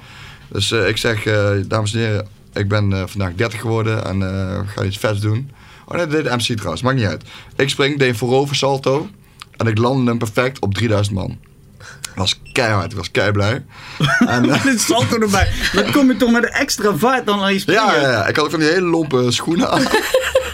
Dus eh, ik zeg, eh, dames en heren, ik ben eh, vandaag 30 geworden en eh, ik ga iets vets doen. Oh nee, dat deed de MC trouwens, maakt niet uit. Ik spring, deed een voorover salto en ik landde hem perfect op 3000 man. Dat was keihard, ik was keiblij. en, eh,
Dit salto erbij. Dan kom je toch met een extra vaart dan aan je springen.
ja, ja, ja, ik had ook van die hele lompe schoenen aan.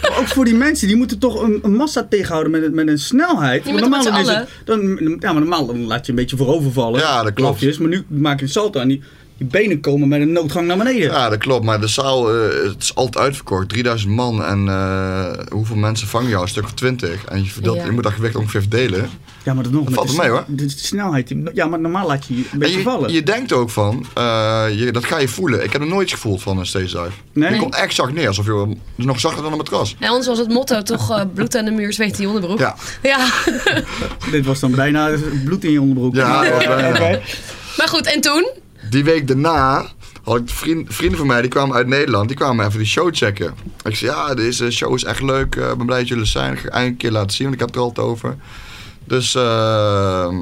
Maar Ook voor die mensen, die moeten toch een, een massa tegenhouden met, een- met een snelheid.
Je
Want
moet toch
normaal
met z'n
dan is het- dan, ja, maar normaal dan laat je een beetje voorovervallen.
Ja, dat klopt.
Klapjes, maar nu maak je een salto en die, die benen komen met een noodgang naar beneden.
Ja, dat klopt. Maar de zaal eh, het is altijd uitverkocht. 3000 man. En eh, hoeveel mensen vangen jou? Een stuk of 20. En je, verdeelt,
Ja.
je moet dat gewicht ongeveer verdelen.
Ja, maar dat nog met
valt
de,
wel mee, hoor.
De, de snelheid. die- Ja, maar normaal laat je je een
En
beetje
je,
vallen.
je denkt ook van, eh, je, dat ga je voelen. Ik heb nog nooit iets gevoeld van een stage dive.
Nee?
Je komt echt zacht neer, alsof je nog zachter dan een matras.
En ons was het motto toch eh, bloed aan de muur, zweet in je onderbroek.
Ja.
Ja.
Dit was dan bijna bloed in je onderbroek.
Ja,
Oké.
dat was bijna.
Oké.
Maar goed, en toen?
Die week daarna had ik vriend, vrienden van mij, die kwamen uit Nederland, die kwamen even die show checken. Ik zei, ja, deze show is echt leuk. eh, Ik ben blij dat jullie er zijn. Ik ga het eindelijk een keer laten zien, want ik had het er altijd over. Dus eh,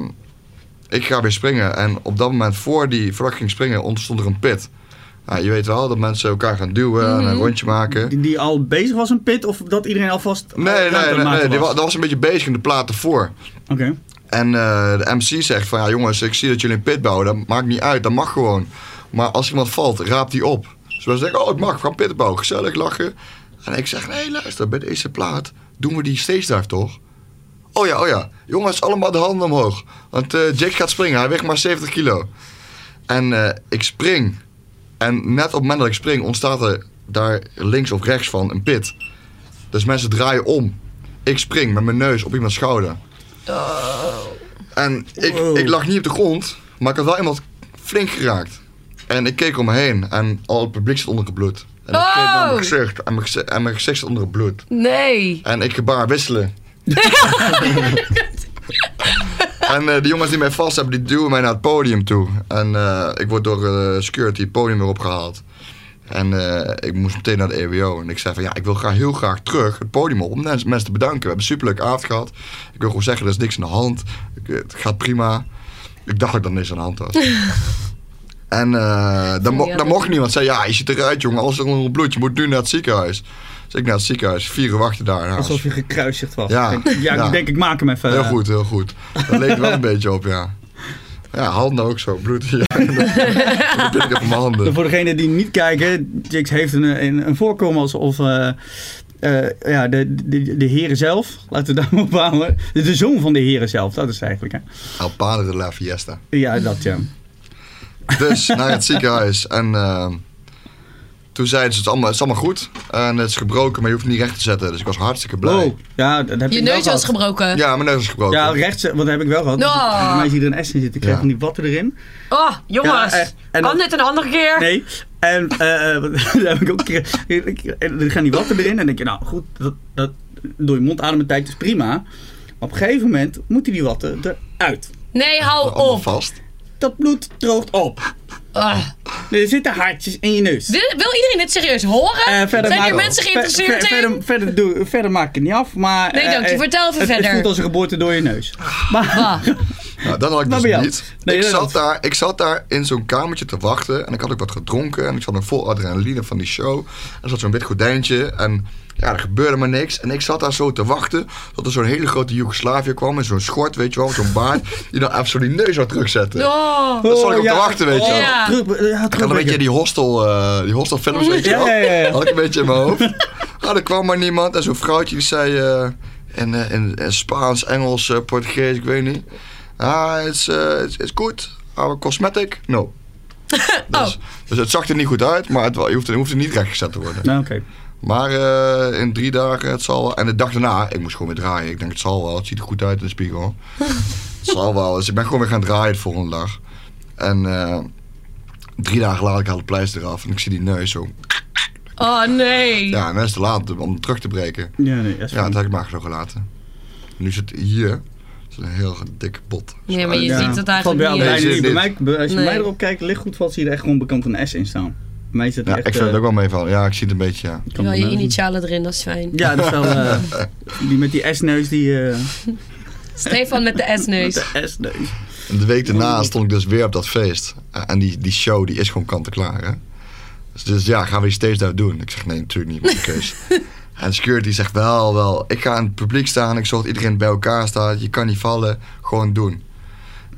ik ga weer springen. En op dat moment, voor die, voordat ik ging springen, ontstond er een pit. Nou, je weet wel dat mensen elkaar gaan duwen en een rondje maken.
Mhm. Die, die al bezig was een pit of dat iedereen alvast al
Nee,
ruimte aan
nee,
het
nee,
maken
nee. Die wa-
was?
dat was een beetje bezig in de plaat ervoor.
Oké.
En eh, de MC zegt van ja jongens, ik zie dat jullie een pit bouwen. Dat maakt niet uit, dat mag gewoon. Maar als iemand valt, raap die op. Dus wij zeggen, oh het mag, we gaan pit bouwen. Gezellig lachen. En ik zeg, nee luister, bij deze plaat doen we die stage dive toch? Oh ja, oh ja. Jongens, allemaal de handen omhoog. Want eh, Jake gaat springen, hij weegt maar 70 kilo. En eh, ik spring. En net op het moment dat ik spring, ontstaat er daar links of rechts van een pit. Dus mensen draaien om. Ik spring met mijn neus op iemands schouder. En ik,
Wow.
ik lag niet op de grond, maar ik had wel iemand flink geraakt. En ik keek om me heen en al het publiek zat onder het bloed. En ik keek naar
Oh.
mijn gezicht en mijn, gezi- en mijn gezicht zat onder het bloed.
Nee.
En ik gebaar wisselen. en eh, de jongens die mij vast hebben, die duwen mij naar het podium toe. En eh, ik word door eh, security het podium weer opgehaald. En eh, ik moest meteen naar de EWO. En ik zei van ja, ik wil graag heel graag terug het podium op om mensen mensen te bedanken. We hebben een superleuke avond gehad. Ik wil gewoon zeggen, er is niks aan de hand. Ik- eh, het gaat prima. Ik dacht dat er niks aan de hand was. en eh dan, mo-
Ja,
dan
dat-
mocht niemand zei ja, je ziet eruit jongen, alles is onder het bloed. Je moet nu naar het ziekenhuis. Dus ik naar het ziekenhuis, vier uur wachten daar. Nou,
Alsof je gekruisigd was.
Ja.
Ik denk, ja,
Ja.
ik denk ik maak hem even.
Heel
eh,
goed, heel goed. Dat leek er wel een beetje op, ja. Ja, handen ook zo, bloed. Ja, dat dat deed ik op mijn handen.
Voor degenen die niet kijken, Jix heeft een, een, een voorkomen alsof eh, eh, ja, de, de, de heren zelf, laten we daar maar op houden. De, de zoon van de heren zelf, dat is het eigenlijk. Hè?
El padre de la fiesta.
Ja, dat ja.
Dus naar het ziekenhuis. En eh, toen zeiden ze, het is allemaal, het is allemaal goed. En het is gebroken, maar je hoeft het niet recht te zetten. Dus ik was hartstikke blij.
Wow. Ja, dat heb
Je
ik wel
neus was
gehad.
gebroken.
Ja, mijn neus is gebroken.
Oh. Ja, rechts, eh, want dat heb ik wel gehad.
Nou.
Dus Bij mij zit er een S in zitten. Ik krijg
Ja.
van die watten erin.
Oh, jongens.
Ja, echt. En
kan
dat-
dit een andere keer?
Nee. En eh, eh, daar heb ik ook een keer- en Dan gaan die watten erin. En dan denk je, nou goed, dat, dat, door je mond ademen tijd is prima. Maar op een gegeven moment moeten die watten eruit.
Nee, hou
allemaal
op.
vast.
Dat bloed droogt op.
Ah.
Er zitten haartjes in je neus.
Wil, wil iedereen dit serieus horen?
Eh, verder
Zijn hier
maak-
mensen
ver-
geïnteresseerd
ver-
in?
Verder, verder, doe, verder maak ik het niet af, maar...
Nee,
eh,
dank je.
eh,
Vertel even
het,
verder.
Het voelt als een geboorte door je neus. Maar,
Ah.
Nou, dat had ik
Waar
dus
ben je?
niet.
Nee,
ik,
dat
zat
niet.
daar, ik zat daar in zo'n kamertje te wachten. En ik had ook wat gedronken. En ik zat nog vol adrenaline van die show. En er zat zo'n wit gordijntje. En ja, er gebeurde maar niks. En ik zat daar zo te wachten. Tot er zo'n hele grote Joegoslavië kwam. En zo'n schort, weet je wel. Met zo'n baard. die dan even zo die neus zou terugzetten.
Oh.
Dat zat ik op te wachten, weet je wel.
Oh,
Ja.
Terug, ja,
Ik had een beetje
terug-
die hostel, eh, die hostelfilms, weet je
Ja,
wel.
ja, ja, ja.
Had ik een beetje in mijn hoofd. Ah, er kwam maar niemand. En zo'n vrouwtje die zei eh, in, eh, in, in Spaans, Engels, eh, Portugees, ik weet niet. Ah, het is eh, it's- it's good. Our cosmetic? No.
Oh.
Dus, dus het zag er niet goed uit, maar het, wa- je hoeft er, hoeft er niet rechtgezet te worden.
Nou, oké.
Maar eh, in drie dagen, het zal wel. En de dag daarna, ik moest gewoon weer draaien. Ik denk, het zal wel. Het ziet er goed uit in de spiegel. het zal wel. Dus ik ben gewoon weer gaan draaien de volgende dag. En eh, drie dagen later, ik haal de pleister eraf. En ik zie die neus zo.
Oh, nee.
Ja, en dat is te laat om hem terug te breken.
Ja, nee, dat is
Ja,
fijn.
dat heb ik maar zo gelaten. Nu zit hier dat is een heel dikke bot.
Nee, maar je
Ja.
ziet dat eigenlijk
Valt
niet.
bij
Nee,
alle
uit.
zie
lijnen
je
niet. Bij
dit.
mij- Als je
Nee.
mij erop kijkt, licht goed valt, zie je er echt gewoon bekant een S in staan. Bij mij zit er
Ja,
echt...
ik vind het
eh,
ook wel meevallen. Ja, ik zie het een beetje, ja.
kan
Wel
wel
je
mee.
initialen erin, dat is fijn.
Ja, dat is wel... eh, die met die S-neus, die... eh,
Stefan met de
met
S-neus.
de S-neus.
En de week daarna stond ik dus weer op dat feest. En die, die show die is gewoon kant-en-klaar. Hè? Dus, dus ja, gaan we die steeds daar doen? Ik zeg nee, natuurlijk niet. Mijn keus. en security zegt wel, wel. Ik ga in het publiek staan. Ik zorg dat iedereen bij elkaar staat. Je kan niet vallen. Gewoon doen.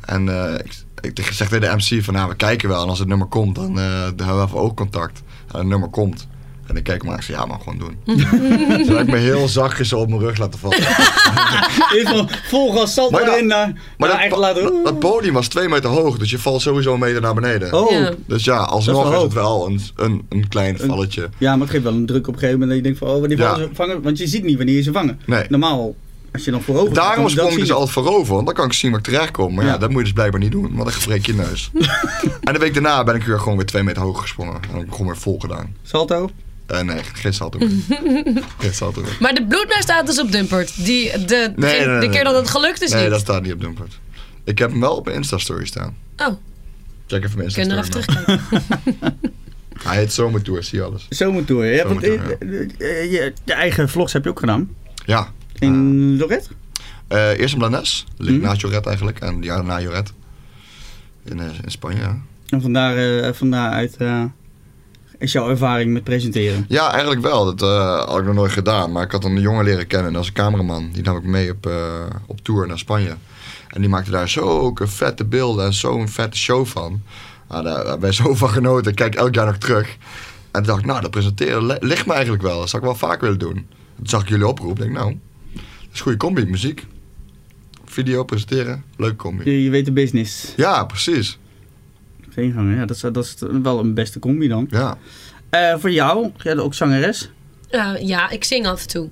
En eh, ik, ik zeg tegen de MC van nou, we kijken wel. En als het nummer komt, dan, eh, dan hebben we even oogcontact. En het nummer komt. En ik kijk maar en ik zeg ja, maar gewoon doen. Toen heb ik me heel zachtjes op mijn rug laten vallen.
Is van, vol gas salto
Maar ja,
erin naar...
Maar
Maar
dat,
eh, echt
po-
laten...
dat podium was twee meter hoog, dus je valt sowieso een meter naar beneden.
Oh.
Ja.
Dus ja,
Dat
alsnog
is
is,
wel
het wel een, een, een klein
Een-
valletje.
Ja, maar het geeft wel een druk op een gegeven moment. Dat je denkt van, oh, wanneer
Ja.
vallen ze vangen? Want je ziet niet wanneer je ze vangen.
Nee.
Normaal, als je dan voorover gaat,
Daarom
dan- dan
sprong ik
zie
dus
je-
altijd voorover, want dan kan ik zien waar ik terecht kom. Maar ja,
Ja.
dat moet je dus blijkbaar niet doen, want dan gebreek je neus. en de week daarna ben ik weer gewoon weer twee meter hoog gesprongen. En heb ik gewoon weer vol gedaan.
Salto?
Eh, nee, geen salto Geen salto
Maar de bloedneus staat dus op Dumpert. Die, de, de,
Nee, nee,
de
nee,
keer
nee.
dat het gelukt is
Nee,
niet.
dat staat niet op Dumpert. Ik heb hem wel op mijn Insta-story staan.
Oh.
Check even mijn
Kunnen
Instagram.
we even terugkijken.
Hij heet Zomertour, zie je alles.
Zomertour. Ja, want,
Zomertour,
eh, eh, je, je eigen vlogs heb je ook gedaan.
Ja.
In
Ah.
Lorette?
Eh, eerst in Blanes, ligt
Mhm.
naast Joret eigenlijk, en ja, na Joret. In, eh, in Spanje, ja.
En vandaar, eh, van daaruit eh, is jouw ervaring met presenteren.
Ja, eigenlijk wel. Dat eh, had ik nog nooit gedaan. Maar ik had een jongen leren kennen als een cameraman. Die nam ik mee op, eh, op tour naar Spanje. En die maakte daar zulke vette beelden en zo'n vette show van. Nou, daar daar ben ik zo van genoten. Ik kijk elk jaar nog terug. En toen dacht ik, nou, dat presenteren li- ligt me eigenlijk wel. Dat zou ik wel vaak willen doen. Toen zag ik jullie oproep. denk ik, nou, dat is een goede combi. Muziek, video, presenteren. Leuke combi.
Je, je weet de business.
Ja, precies.
Geen gang, ja, dat, is, dat is wel een beste combi dan.
Ja.
Eh, voor jou, jij bent ook zangeres.
Ja, Eh, ja, ik zing af en toe.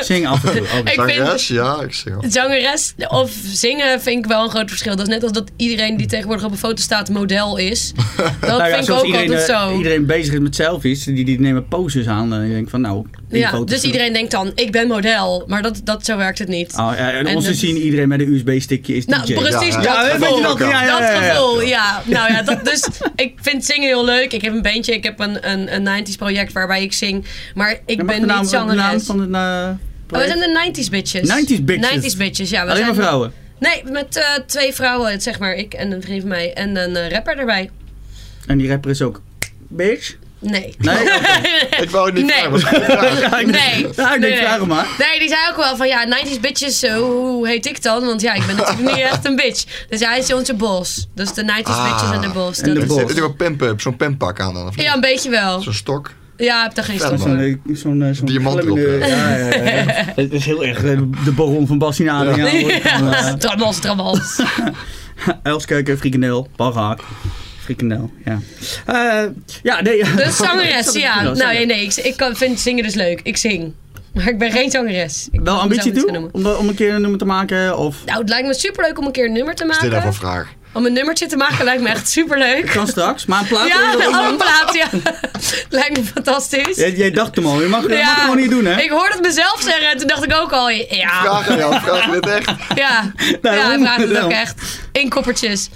Zing af en toe. Oh,
Ik
Zangeres, ja, ik zeg al.
Zangeres of zingen vind ik wel een groot verschil. Dat is net als dat iedereen die tegenwoordig op een foto staat model is. Dat
Nou ja,
vind ik
zoals
ook
iedereen,
altijd
eh,
zo.
iedereen bezig is met selfies, die, die nemen poses aan. En ik denk van nou, die
ja,
foto's-
dus iedereen denkt dan, ik ben model. Maar dat, dat, zo werkt het niet.
Oh, ja, en,
En
ons te
dat-
zien iedereen met een USB-stickje is
Nou,
DJ.
precies
Ja,
dat
Ja, weet
gevoel.
je wel, ja, ja, ja,
Dat
ja.
gevoel, ja. Nou ja, dat, dus ik vind zingen heel leuk. Ik heb een bandje, ik heb een, een, een 90s project waarbij ik zing. Maar ik
Ja, mag
ben
de naam,
niet
de naam
zangeres.
van het eh,
Oh, we
project?
zijn de 90s bitches.
90s bitches.
90s bitches, ja. we
Alleen maar
zijn-
vrouwen.
Nee, met eh, twee vrouwen, zeg maar. Ik en een vriend van mij en een eh, rapper erbij.
En die rapper is ook bitch.
Nee.
Nee?
Ik wou het niet
Nee.
vragen, maar het is een vraag.
Ja, ik-
Nee.
Ja, ik denk,
Nee.
vraag hem maar.
Nee, die zei ook wel van ja, 90s bitches, eh, hoe heet ik dan? Want ja, ik ben natuurlijk niet echt een bitch. Dus hij is onze bos. Dus de 90s
Ah,
bitches en de bos.
en de
Dat-
bos.
Heb je ook een pimp, eh, zo'n pimppak aan dan? Of niet?
Ja, een beetje wel.
Zo'n stok.
Ja, ik heb daar geen
Verder.
stand
Zo'n
voor.
eh, zo'n, eh, zo'n
Diamant
glimmende-
erop, ja.
Ja, ja, ja, ja. Het is heel erg eh, de baron van Bassinade. Ja.
Ja, Trammels, trammels.
Eh, Elskeuken, frikandel, balhaak. Frikandel, ja. Eh, ja, nee.
Dus zangeres, ja. Nou nee,
nee.
nee ik, ik kan, vind zingen dus leuk. Ik zing. Maar ik ben geen zangeres. Ik
Wel
kan
ambitie
mezelf niet zo
toe?
noemen.
Om, om een keer een nummer te maken? Of
Nou, het lijkt me superleuk om een keer een nummer te
Wat is dit nou
maken.
voor vraag?
Om een nummertje te maken lijkt me echt superleuk.
kan straks, maar een plaat wil
Ja,
je dat ook
alle
doen?
plaat, ja. Lijkt me fantastisch.
Jij, jij dacht hem al, je mag, je mag het gewoon niet doen, hè?
Ik hoorde het mezelf zeggen en toen dacht ik ook al, ja,
Vraag aan jou, vraag dit echt.
ja, ja,
Daarom,
hij vraagt het ook
daarom.
echt. In koppertjes.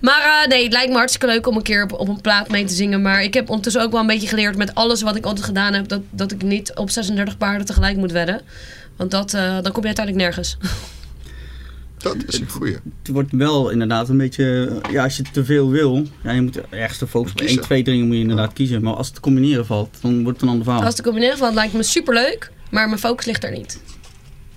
Maar eh, nee, het lijkt me hartstikke leuk om een keer op, op een plaat mee te zingen. Maar ik heb ondertussen ook wel een beetje geleerd met alles wat ik altijd gedaan heb, dat, dat ik niet op 36 paarden tegelijk moet wedden. Want dat, eh, dan kom je uiteindelijk nergens.
Dat is een goeie.
Het wordt wel inderdaad een beetje, ja, als je te veel wil, ja, je moet ergens te focussen. Op één,
Kiezen.
twee dingen moet je inderdaad kiezen. Maar als het combineren valt, dan wordt het een ander verhaal.
Als het combineren valt, lijkt me superleuk, maar mijn focus ligt daar niet.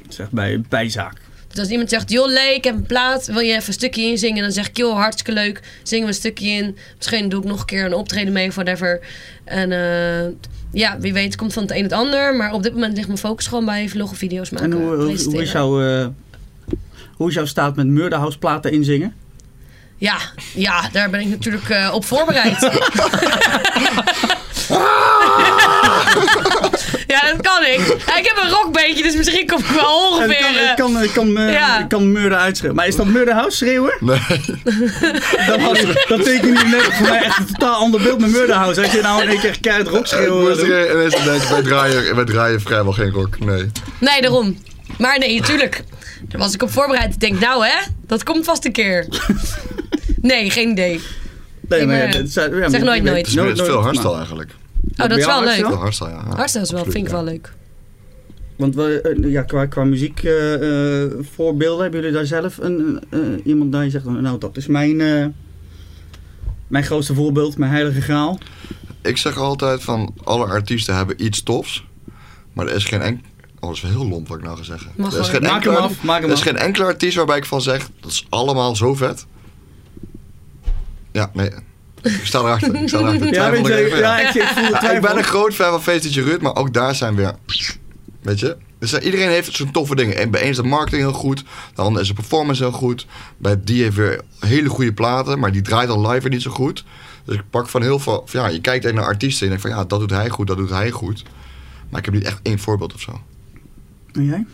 Zeg bij bijzaak.
Dus als iemand zegt, joh Lee, ik heb een plaat, wil je even een stukje inzingen? Dan zeg ik, joh, hartstikke leuk, zingen we een stukje in. Misschien doe ik nog een keer een optreden mee of whatever. En eh, ja, wie weet komt van het een het ander. Maar op dit moment ligt mijn focus gewoon bij vloggen, video's maken,
En hoe, hoe, hoe,
presenteren.
is jouw, eh, hoe is jouw staat met Murderhouse platen inzingen?
Ja, ja, daar ben ik natuurlijk eh, op voorbereid. ja, dat kan ik. En Ik heb een rockbeentje, dus misschien kom ik wel
En
ongeveer...
kan,
eh,
ik kan, ik kan, eh,
Ja.
ik kan Murder uitschreeuwen. Maar is dat Murderhouse schreeuwen?
Nee.
Dat, had, dat tekent niet net voor mij echt een totaal ander beeld met Murderhouse. Als je nou in één keer keihard rock
Eh, Ik
schreeuwen
moest
doet.
er ineens aan denken, wij draaien, wij draaien vrijwel geen rock. Nee.
Nee, daarom. Maar nee, tuurlijk. Daar was ik op voorbereid. Ik denk, nou hè, dat komt vast een keer. Nee, geen idee.
Nee, maar ja,
maar-
dat zou- ja, maar
Zeg
je
nooit
weet-
nooit.
Het is, het is veel
maar-
hardstyle eigenlijk.
Oh, dat is wel
hardstyle?
leuk.
Veel hardstyle, ja.
Hardstyle is wel, vind ik wel leuk.
Want we, eh, ja, qua, qua muziek eh, eh, voorbeelden, hebben jullie daar zelf een, eh, eh, iemand daar die zegt, van, nou dat is mijn, eh, mijn grootste voorbeeld, mijn heilige graal.
Ik zeg altijd van, alle artiesten hebben iets tofs. Maar er is geen enkel... Oh, dat is wel heel lomp wat ik nou ga zeggen.
Mag
er is
hoor.
geen
Maak
enkele,
hem af, maak hem
Er is
af.
geen enkele artiest waarbij ik van zeg, dat is allemaal zo vet. Ja, nee. Ik sta erachter. Ik sta erachter.
Ja,
Twijfel
weet
ik
je,
even, ja.
ja, ik, ik voel de
Ja, ik
twijfel.
ben een groot fan van Feestje Ruud, maar ook daar zijn weer. Weet je? Dus eh, iedereen heeft zo'n toffe dingen. En bij één is de marketing heel goed, de ander is de performance heel goed. Bij die heeft weer hele goede platen, maar die draait dan live weer niet zo goed. Dus ik pak van heel veel. van, Ja, je kijkt echt naar artiesten en je denkt van ja, dat doet hij goed, dat doet hij goed. Maar ik heb niet echt één voorbeeld of zo.
En jij?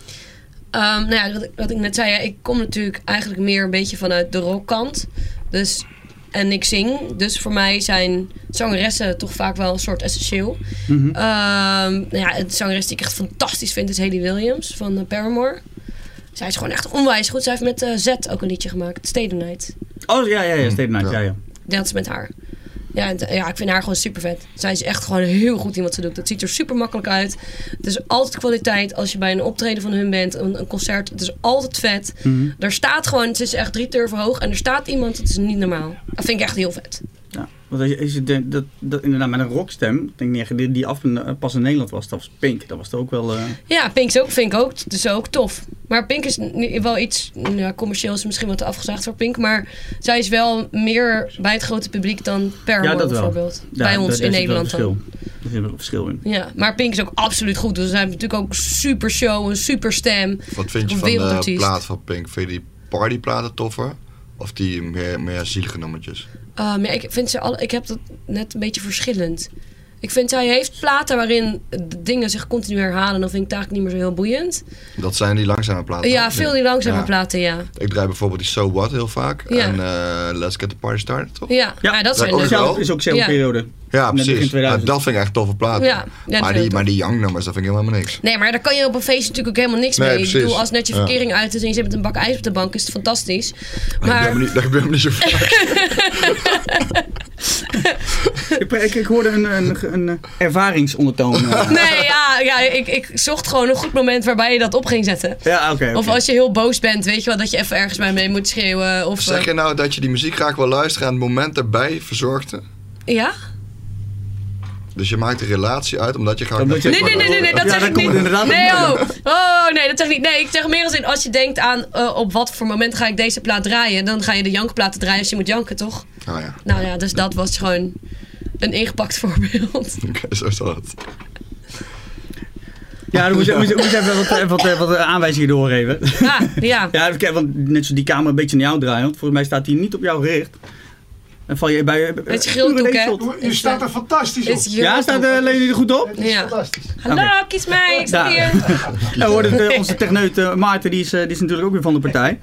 Ehm, nou ja, wat, ik- wat ik net zei, ja, ik kom natuurlijk eigenlijk meer een beetje vanuit de rockkant. Dus, en ik zing. Dus voor mij zijn zangeressen toch vaak wel een soort essentieel.
Mhm.
Ehm, nou ja, een zangeres die ik echt fantastisch vind is Haley Williams van eh, Paramore. Zij is gewoon echt onwijs goed. Zij heeft met eh, Z ook een liedje gemaakt, Stay the Night.
Oh, ja, ja, ja, Steven Knight,
Ja.
ja, ja.
Net als met haar. Ja, en, eh, ja, ik vind haar gewoon super vet. Zij is echt gewoon heel goed in wat ze doet. Dat ziet er super makkelijk uit. Het is altijd kwaliteit als je bij een optreden van hun bent, een, een concert. Het is altijd vet.
Mhm.
Er staat gewoon, het is echt drie turven hoog. En er staat iemand, het is niet normaal. Dat vind ik echt heel vet.
Ja, want als je, als je denkt dat, dat inderdaad met een rockstem, ik denk niet echt die, die af en, pas in Nederland was, dat was Pink, dat was toch ook wel. eh,
Ja, Pink is ook, vind ik ook, dat is ook tof. Maar Pink is ni- wel iets, nou, ja, commercieel is misschien wat afgezaagd voor Pink. Maar zij is wel meer bij het grote publiek dan Paramore
ja, dat wel.
bijvoorbeeld.
Ja,
bij
daar-
ons in
daar zit wel een
Nederland dan.
verschil. Daar zit wel een verschil in.
Ja, maar Pink is ook absoluut goed. Dus ze hebben natuurlijk ook een super show, een super stem.
Wat vind je
Een
van de
wereldartiest.
plaat van Pink? Vind je die partyplaten toffer? Of die meer, meer zielige nummertjes?
Ah, maar ik, vind ze alle, ik heb dat net een beetje verschillend. Ik vind, zij heeft platen waarin de dingen zich continu herhalen. Dan vind ik het eigenlijk niet meer zo heel boeiend.
Dat zijn die langzame platen.
ja, veel die langzame
Ja.
platen, ja.
Ik draai bijvoorbeeld die So What heel vaak.
Ja.
En eh, Let's Get The Party Started, toch?
Ja,
Ja,
ja, dat zijn dus-
ook
leuke.
wel.
Zelf is ook zo'n
Ja.
periode.
Ja,
Net begin
precies.
2000.
Ja, dat vind ik echt toffe platen.
Ja, ja, dat
maar,
vind ik
die,
ook.
maar die Young nummers, dat vind ik helemaal niks.
Nee, maar daar kan je op een feestje natuurlijk ook helemaal niks
Nee,
mee. Ik bedoel,
precies.
als net je
Ja.
verkering uit is en je zit met een bak ijs op de bank, is het fantastisch.
Dat gebeurt me
Maar
niet- dat gebeurt me niet zo vaak.
Ik, ik, ik hoorde een, een, een ervaringsondertoon. eh.
nee, ja, ja ik, ik zocht gewoon een goed moment waarbij je dat op ging zetten.
Ja, oké. oké.
Of als je heel boos bent, weet je wel, dat je even ergens bij mee moet schreeuwen. Of, eh,
zeg je nou dat je die muziek graag wil luisteren en het moment erbij verzorgde?
eh, ja?
Dus je maakt een relatie uit omdat je graag...
Omdat
naar
je-
Nee,
Pink
nee, nee, nee, nee,
Ja,
dat
wil.
zeg
daar komt
ik niet.
het inderdaad
nee,
op
oh, oh, nee, dat zeg ik niet. Nee, ik zeg meer als in, als je denkt aan eh, op wat voor moment ga ik deze plaat draaien, dan ga je de jankplaten draaien als je moet janken, toch?
Oh ja,
Nou ja, dus dat was gewoon een ingepakt voorbeeld.
oké, zo is dat.
Ja, dan moet je, moet je, moet je even wat, even wat, eh, wat eh, aanwijzingen doorgeven.
Ja, ja.
Ja, even kijken, want net zo die camera een beetje naar jou draaien, want volgens mij staat die niet op jou gericht. En val je bij... eh,
Met je grilldoek,
uren
hè? eh,
tot.
Je staat er fantastisch op.
Is hier
Ja,
ook
staat
nog-
eh Leni er goed op?
Het is
Ja.
fantastisch.
Hallo, kies mij, ik sta
Ja.
hier.
Ja, we hoorden het, eh, onze techneut eh, Maarten, die is, eh, die is natuurlijk ook weer van de partij.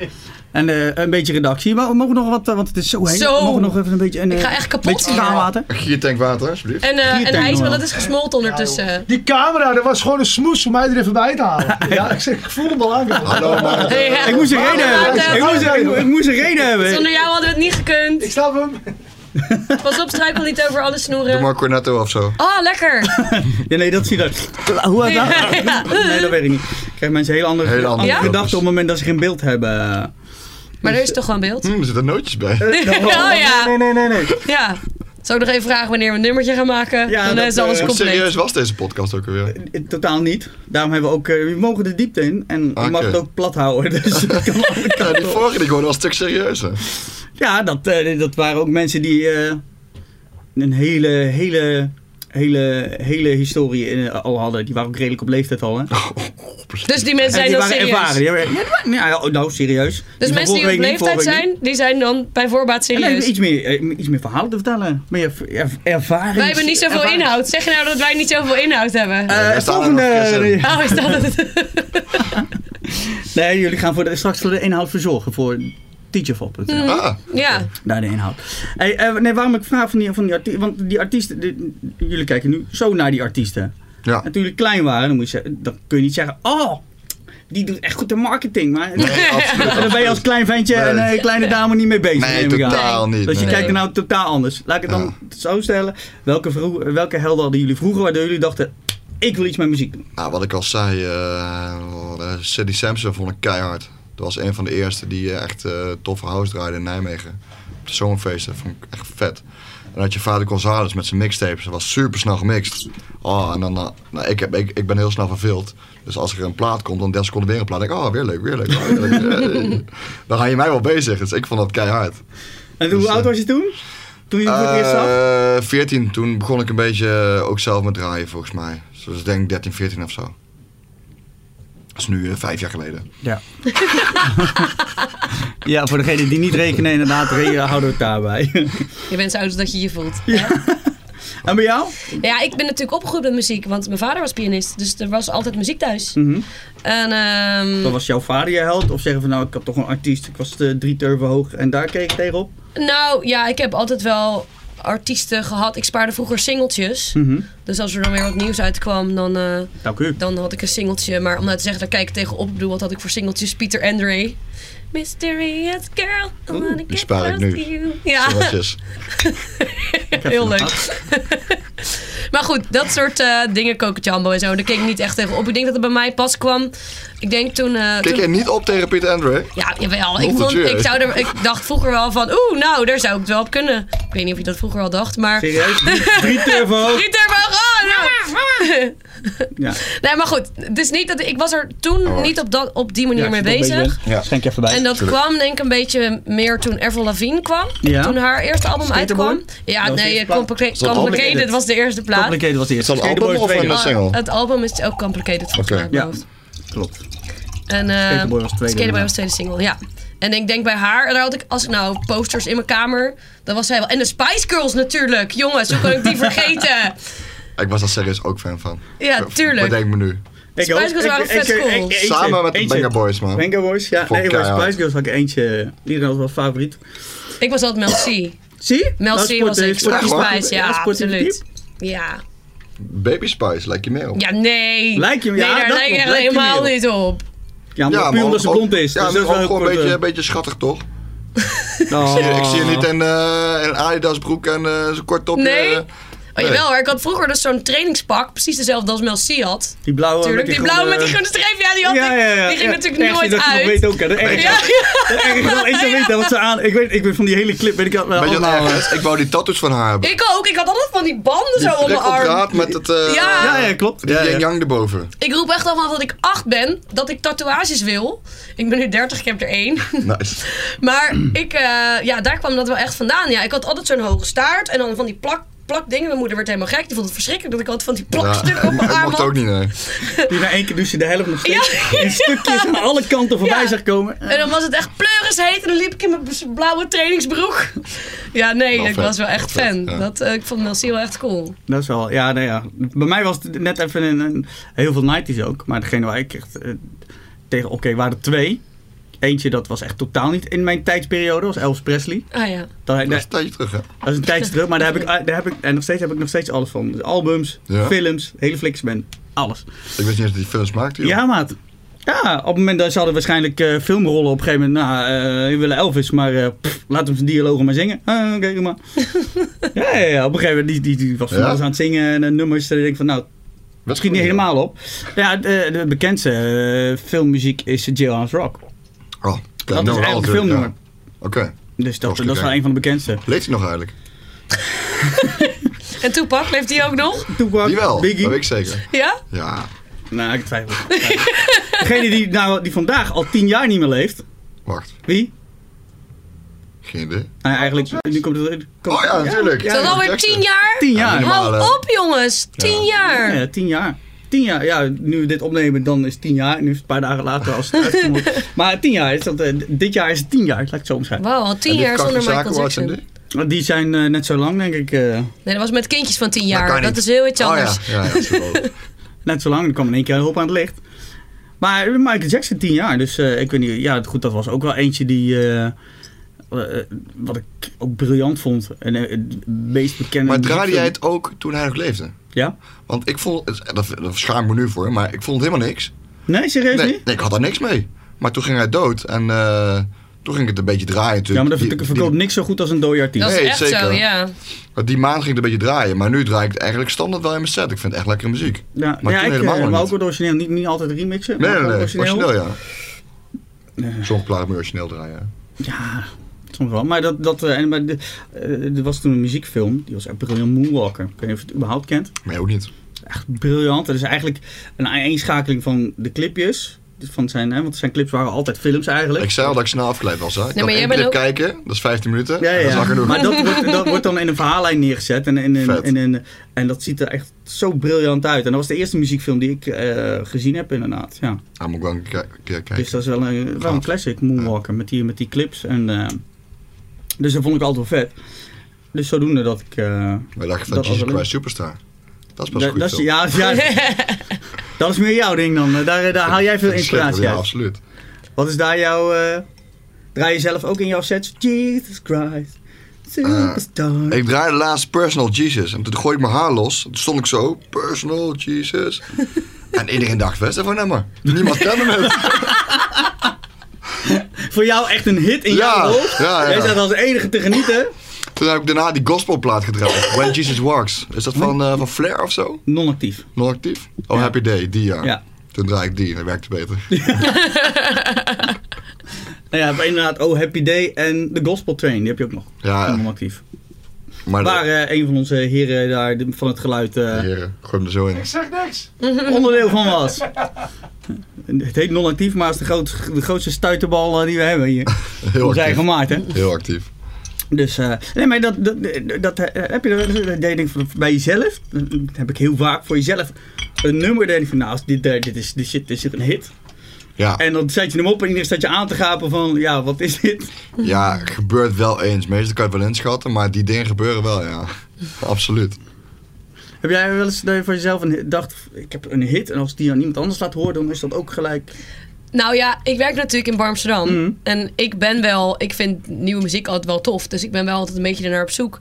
En eh, een beetje redactie. Maar we mogen nog wat, eh, want het is zo heet.
Zo.
We mogen nog even een beetje een
Ik ga
eh,
echt kapot
beetje
hier.
kraanwater.
Giertank water, alsjeblieft.
En,
Hier
eh en
denk ik
ijs,
nog
maar
wel.
dat is gesmolten ondertussen.
Die camera, dat was gewoon een smoes om mij er even bij te halen. Ja, ik, zeg, ik voel hem al aankomen.
Hallo
eh,
Maarten.
Ja.
Ik moest een reden
Maarten.
hebben. Ik moest, ik, mo- ik moest een reden hebben.
Zonder jou hadden we het niet
Ik
gekund.
snap hem.
Pas op, struikel niet over alle
Doe maar
snoeren.
een cornetto of zo.
Oh, lekker.
Ja, nee, dat zie je dat. Hoe had dat? Nee, dat weet ik niet. Ik krijg mensen hele andere,
Hele andere
andere
focus.
gedachten op het moment dat ze geen beeld hebben.
Maar er is toch gewoon beeld?
Hm, er zitten nootjes bij.
Oh ja,
Nee, nee, nee, nee.
ja. Zou ik nog even vragen wanneer we een nummertje gaan maken?
Ja,
dan
dat,
is alles
eh,
Hoe serieus
compleet.
was deze podcast ook alweer?
Eh, Totaal niet. Daarom hebben we ook. eh, we mogen de diepte in. En je
Oké.
mag het ook plat houden. Dus dat kan alle kanten
Ja,
op.
die vorige die ik hoorde was een stuk serieuzer.
Ja, dat, eh, dat waren ook mensen die eh, een hele, hele, hele, hele historie eh, al hadden. Die waren ook redelijk op leeftijd al. Hè?
Dus die mensen
En
zijn
die
dan
waren
serieus.
ervaren. Die waren- ja, die waren- nou, nou, serieus.
Dus
van
mensen die
vorige
op
week niet,
leeftijd
vorige week niet.
zijn, die zijn dan bij voorbaat
En dan hebben we
serieus.
iets meer, eh, iets meer verhalen te vertellen. Meer er- er- ervaring.
Wij hebben niet zoveel inhoud. Zeg je nou dat wij niet zoveel inhoud hebben?
Eh,
Wij staan er
volgende-
nog fris in.
Oh, is dat het?
Nee, jullie gaan voor de, straks voor de inhoud verzorgen. Voor teacherfop.nl.
Ah,
Ja.
Daar de inhoud. Hey, eh, nee, waarom ik vraag van die, van die artiesten. Want die artiesten. die- jullie kijken nu zo naar die artiesten.
ja.
En toen jullie klein waren, dan, moet je, zeggen- dan kun je niet zeggen: Oh, die doet echt goed de marketing. Maar
Absoluut.
daar ben je als klein ventje en
Nee.
eh, kleine dame niet mee bezig.
Nee,
neem ik aan.
totaal niet.
Dus je
nee.
kijkt er nou totaal anders. Laat ik het dan zo stellen: welke, vroeg, welke helden hadden jullie vroeger waardoor jullie dachten: Ik wil iets met muziek doen?
Nou, wat ik al zei, eh Sidney Sampson vond ik keihard. Dat was een van de eerste die eh, echt eh, toffe house draaide in Nijmegen. Op de zomerfeesten vond ik echt vet. En dan had je Vader González met zijn mixtapes. Dat was super snel gemixt. Oh, en dan, eh, nou, ik, heb, ik, ik ben heel snel verveeld. Dus als er een plaat komt, dan 30 seconden weer een plaat. Dan denk ik, oh, weer leuk, weer leuk. oh, weer leuk. Eh, dan ga je mij wel bezig. Dus ik vond dat keihard.
En hoe oud was je toen? Toen je het voor het eerst zag?
Eh, 14, toen begon ik een beetje eh, ook zelf met draaien volgens mij. Dus ik denk 13, 14 of zo. Dat is nu eh, vijf jaar geleden.
Ja. ja, voor degenen die niet rekenen, inderdaad, re- houden we het daarbij.
Je bent zo oud als dat je je voelt.
en bij jou?
Ja, ik ben natuurlijk opgegroeid met muziek, want mijn vader was pianist. Dus er was altijd muziek thuis. En ehm,
Mhm. Dat was jouw vader je held? Of zeggen van nou, ik had toch een artiest, ik was eh, drie turven hoog en daar keek ik tegenop?
nou ja, ik heb altijd wel artiesten gehad. Ik spaarde vroeger singeltjes.
Mhm. Nou,
Dus als er dan weer wat nieuws uitkwam, dan, eh,
Dank u.
dan had ik een singeltje. Maar om nou te zeggen, daar kijk ik tegenop. Ik bedoel, wat had ik voor singeltjes? Pieter Andre. Mysterious girl, I wanna get
spaar ik
close
nu.
to you. Ja,
Singeltjes.
heel leuk. maar goed, dat soort eh dingen, Coco Jumbo en zo, daar keek ik niet echt tegenop. Ik denk dat het bij mij pas kwam. Ik denk toen... eh,
Kijk
toen-
je niet op tegen Piet Andre?
Ja, jawel. Ik,
Not
vond,
natuurlijk.
ik, zou er, ik dacht vroeger wel van, oeh, nou, daar zou ik het wel op kunnen. Ik weet niet of je dat vroeger al dacht, maar...
Serieus? Drie- Drie turbo.
Niet er maar gewoon!
Ja.
Nee, maar goed. Dus niet dat, ik was er toen
Oh.
niet op, dat, op die manier mee bezig.
Ja.
Ja.
Schenk je even bij.
En dat
Tuurlijk.
kwam denk ik een beetje meer toen Avril Lavigne kwam.
Ja.
Toen haar eerste album
Skaterboy?
uitkwam. Ja,
Dat was de
nee,
eerste plaat.
Complica-
dat
Complicated
Complicated?
was de eerste plaat.
Complicated was de eerste.
Is dat een
Skaterboy
album
is
of
tweede.
een-
Ah,
single.
het album is ook Complicated volgens
Oké.
mij.
Ja,
Ja.
klopt.
En eh,
Skaterboy was tweede,
Skaterboy
ja.
was tweede single, ja. En ik denk bij haar, daar had ik, als ik nou posters in mijn kamer, dan was zij wel. En de Spice Girls natuurlijk, jongens, hoe kan ik die vergeten?
Ik was daar serieus ook fan van.
Ja, tuurlijk.
Bedenk me nu.
Ik
Girls waren vet cool.
Samen met de Banger Boys, man.
Banger Boys, ja.
Vond
Nee,
ik
bij
keihard.
Spice Girls had ik eentje. Iedereen was wel favoriet.
Ik was altijd Mel C.
Zie? Nou,
Mel C was ik,
sportief,
Sporty
sportief.
Spice, ja,
sportief.
absoluut. Ja.
Baby Spice, lijkt je meer op.
Ja, nee.
Lijkt je-
nee,
ja,
daar
dat
lijkt
klopt.
echt
Lijkt je
helemaal
meer
niet op.
Ja, maar puur
maar
omdat ze
ook-
blond is.
Ja,
dus dat is
maar ook
wel
gewoon een
kort,
beetje,
eh,
een beetje schattig, toch?
oh.
Ik zie je- Ik zie je niet in, eh in Adidas broek en eh zo'n kort topje.
Nee.
eh.
Oh, jawel, hoor. ik had vroeger dus zo'n trainingspak, precies dezelfde als Mel C had.
Die blauwe
Tuurlijk,
Oh, met
die
die
blauwe met die
groene-
groene streep, ja, die had ik. Die ging
Ja,
natuurlijk
echt,
nooit
dat je
uit.
Dat weet ook, hè. Dat erg-
ja, ja.
dat erg is wel eens te
Ja.
weten wat ze aan... Ik weet, ik weet van die hele clip, weet ik al wel
Weet je wat
allemaal,
erg
hè.
is? Ik wou die tattoos van haar hebben.
Ik ook, ik had altijd van die banden zo om
Prik
mijn
op
arm.
draad met het... eh
Ja.
Ja, ja, klopt.
Die
Ja, ja.
yin-yang erboven.
Ik roep echt al vanaf dat ik acht ben, dat ik tatoeages wil. Ik ben nu 30, ik heb er één.
Nice.
Maar ik, eh, ja, daar kwam dat wel echt vandaan. Ja, ik had altijd zo'n hoge staart en dan van die plak, plakdingen. Mijn moeder werd helemaal gek, die vond het verschrikkelijk dat ik altijd van die plakstukken op
ik
mijn arm
mocht
had.
ook niet, nee.
Die na één keer douche de helft nog steeds in stukjes aan alle kanten voorbij
Ja.
zag komen.
En dan was het echt pleuris heet en dan liep ik in mijn bes- blauwe trainingsbroek. Ja, nee,
Wel
ik
vet.
was wel echt
Wel vet,
fan.
ja.
Dat, eh, ik vond Mel C wel echt cool.
Dat is wel, ja, nou ja. Bij mij was het net even een, een- heel veel 90s ook. Maar degene waar ik echt eh, tegen, oké, waren er twee. Eentje, dat was echt totaal niet in mijn tijdsperiode, was Elvis Presley.
Ah ja.
Dat,
Dat is
dat,
een tijdje terug, hè.
dat is een tijdje terug, maar daar heb ik, daar heb ik en nog steeds heb ik nog steeds alles van. Dus albums,
Ja.
films, hele flikkersman, alles.
Ik wist niet eens dat die films maakte, joh.
Ja, maat. Ja, op het moment dat ze hadden waarschijnlijk eh, filmrollen op een gegeven moment. Nou, eh, we willen Elvis, maar eh, pff, laat hem zijn dialogen maar zingen. Ah, oké, doe maar. ja, ja, ja, op een gegeven moment die, die, die was van
Ja?
alles aan het zingen en eh, nummers. En ik denk van, nou,
Wat
schiet niet helemaal op. Ja, de, de bekendste eh, filmmuziek is Jailhouse Rock. Dus
Oh,
Dat is eigenlijk een filmnummer.
Oké.
Dus dat, dat
Hartstikke
is wel
leuk.
een van de bekendste.
Leeft hij nog eigenlijk?
En Toepak, leeft die ook nog?
Tupac,
Die wel,
Biggie.
dat weet ik zeker.
Ja?
Ja.
Nou, ik twijfel. Degene die, nou, die vandaag al tien jaar niet meer leeft.
Wacht,
Wie?
geen idee.
Nou, eigenlijk, nu komt het... komt-
Oh ja, natuurlijk.
Is dat alweer
Jackson.
tien jaar?
Tien jaar.
Ja, Normaal, hè?
Hou op jongens, tien jaar.
Ja, tien jaar. Tien jaar, ja, nu we dit opnemen, dan is het tien jaar. Nu is het een paar dagen later als het uitkomt. maar tien jaar, is dat, eh, dit jaar is het tien jaar, laat ik het zo omschrijven.
Wauw, al tien
En dit
jaar
kan
zonder
geen
Michael
zaken, wat
Jackson.
zijn
Nee,
dit?
Want Die zijn eh, net zo lang, denk ik. eh,
dat was met kindjes van tien
Maar
jaar.
kan
Dat
niet.
is heel iets
Oh
anders.
ja, ja, ja, dat is wel-
net zo lang, er kwam in één keer een hoop aan het licht. Maar Michael Jackson tien jaar, dus eh, ik weet niet, ja goed, dat was ook wel eentje die... eh, eh, wat ik ook briljant vond. En eh, het meest bekende...
Maar draaide jij
muziekfilm.
het ook toen hij nog leefde?
Ja?
Want ik vond, het- dat, dat schaam ik me nu voor, maar ik vond het helemaal niks.
Nee, serieus
Nee,
niet?
nee, ik had daar niks mee. Maar toen ging hij dood en eh, toen ging ik het een beetje draaien
Ja,
natuurlijk.
maar dat
Die-
verko- verkoopt niks zo goed als een dode artiest.
Dat is
Nee,
echt
zeker.
zo, ja.
die, die maand ging het een beetje draaien, maar nu draai ik het eigenlijk standaard wel in mijn set. Ik vind het echt lekkere muziek.
Ja,
Maar
ja
toen
ik, eh,
helemaal
maar
niet.
ook wel origineel. Niet, niet altijd remixen,
Nee,
maar
nee,
ook
nee.
origineel.
Origineel, ja.
Ja.
Sommige platen moet je origineel draaien. hè.
Ja, soms wel. Maar, dat, dat, eh, en, maar de, eh, er was toen een muziekfilm, die was echt briljant, Moonwalker. Ik weet niet of je het überhaupt kent.
Maar ook niet.
Echt briljant. Dat is eigenlijk een aaneenschakeling van de clipjes. Dus Van zijn, hè, want zijn clips waren altijd films eigenlijk.
Ik zei al dat ik snel afgeleid was. Hè. Ik
Nee,
kan
maar jij
één
bent
clip
ook-
kijken, dat is 15 minuten.
Ja,
en Dat is
ja.
lang genoeg.
Maar dat wordt, dat wordt dan in een verhaallijn neergezet. En, in een
Vet.
in een en dat ziet er echt zo briljant uit. En dat was de eerste muziekfilm die ik eh, gezien heb, inderdaad. Ja.
Ah, moet ik wel een keer een keer kijken.
Dus dat is wel een, wel een classic, Moonwalker, met, die, met die clips. En, eh, dus dat vond ik altijd wel vet. Dus zodoende dat ik... eh,
Wij dachten
dat
van Jesus
was wel
Christ Superstar. Dat is pas
Da-
goed.
dat, is,
film.
ja, ja, dat is meer jouw ding dan. eh, Daar, daar haal jij veel
Dat is
inspiratie
lekker, Ja,
uit.
absoluut.
Wat is daar jouw... eh, draai je zelf ook in jouw sets? Jesus Christ. Superstar.
Ik draaide laatst Personal Jesus. En toen gooi ik mijn haar los. Toen stond ik zo, Personal Jesus. en iedereen dacht, wat is dat voor nummer? Niemand kende het.
Voor jou echt een hit in
Ja,
jouw hoofd.
ja, ja.
Jij zat als enige te genieten.
Toen heb ik daarna die gospelplaat gedraaid. When Jesus Walks. Is dat van, eh van Flair of zo?
Non-actief.
Nog actief? Oh, Happy Day, die ja.
Ja.
Toen draai ik die en dat werkte beter.
Nou ja, maar inderdaad Oh Happy Day en de Gospel Train. Die heb je ook nog.
Ja, ja.
Non-actief.
Maar
Waar
de,
eh, een van onze heren daar de- van het geluid eh,
heren, gooi hem er zo in.
Ik zeg niks.
onderdeel van was. Het heet non-actief, maar het is de, groot, de grootste stuiterbal eh, die we hebben hier.
Heel
Dat zijn
actief.
gemaakt, hè?
Heel actief.
Dus, eh, nee, maar dat, dat, dat eh, heb je dat- dat deed ik van- bij jezelf. Dat heb ik heel vaak voor jezelf. Een nummer deed ik van, nou, dit, eh, dit, is, dit, shit, dit is een hit.
Ja,
En dan zet je hem op en iedereen staat je aan te gapen van, ja, wat is dit?
ja, gebeurt wel eens. Meestal kan je het wel inschatten, maar die dingen gebeuren wel, ja. Absoluut.
Heb jij wel eens dat je voor jezelf een hit- dacht, ik heb een hit en als die aan iemand anders laat horen, dan is dat ook gelijk.
Nou ja, ik werk natuurlijk in Amsterdam.
Mhm.
En ik ben wel, ik vind nieuwe muziek altijd wel tof. Dus ik ben wel altijd een beetje ernaar op zoek.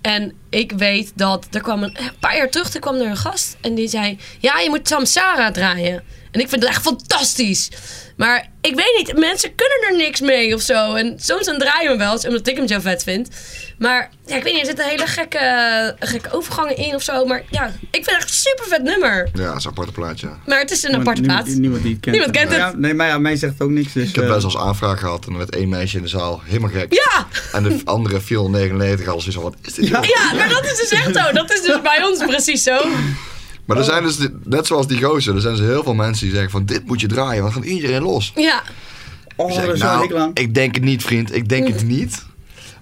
En ik weet dat, er kwam een, een paar jaar terug, er kwam er een gast. En die zei, ja, je moet Samsara draaien. En ik vind het echt fantastisch. Maar ik weet niet, mensen kunnen er niks mee of zo. En soms dan draaien we wel eens, omdat ik hem zo vet vind. Maar ja, ik weet niet, er zitten hele gekke, gekke overgangen in of zo. Maar ja, ik vind het echt een super vet nummer.
Ja, dat is een aparte plaatje.
Maar het is een aparte
niemand,
plaats.
Niemand die het kent.
Niemand kent het.
Ja, nee, maar ja, mij zegt het ook niks. Dus,
Ik heb
eh,
best wel eens aanvraag gehad en er werd één meisje in de zaal helemaal gek.
Ja!
En de andere 499 alles is al, wat is dit? joh?
Ja, maar dat is dus echt zo. Dat is dus bij ons precies zo.
Maar er zijn dus, die- net zoals die gozer, er zijn dus heel veel mensen die zeggen van dit moet je draaien, want dan gaat iedereen los.
Ja,
oh,
Ik zeg,
dat is wel
nou,
hekel aan.
ik denk het niet vriend, ik denk
Mm.
het niet.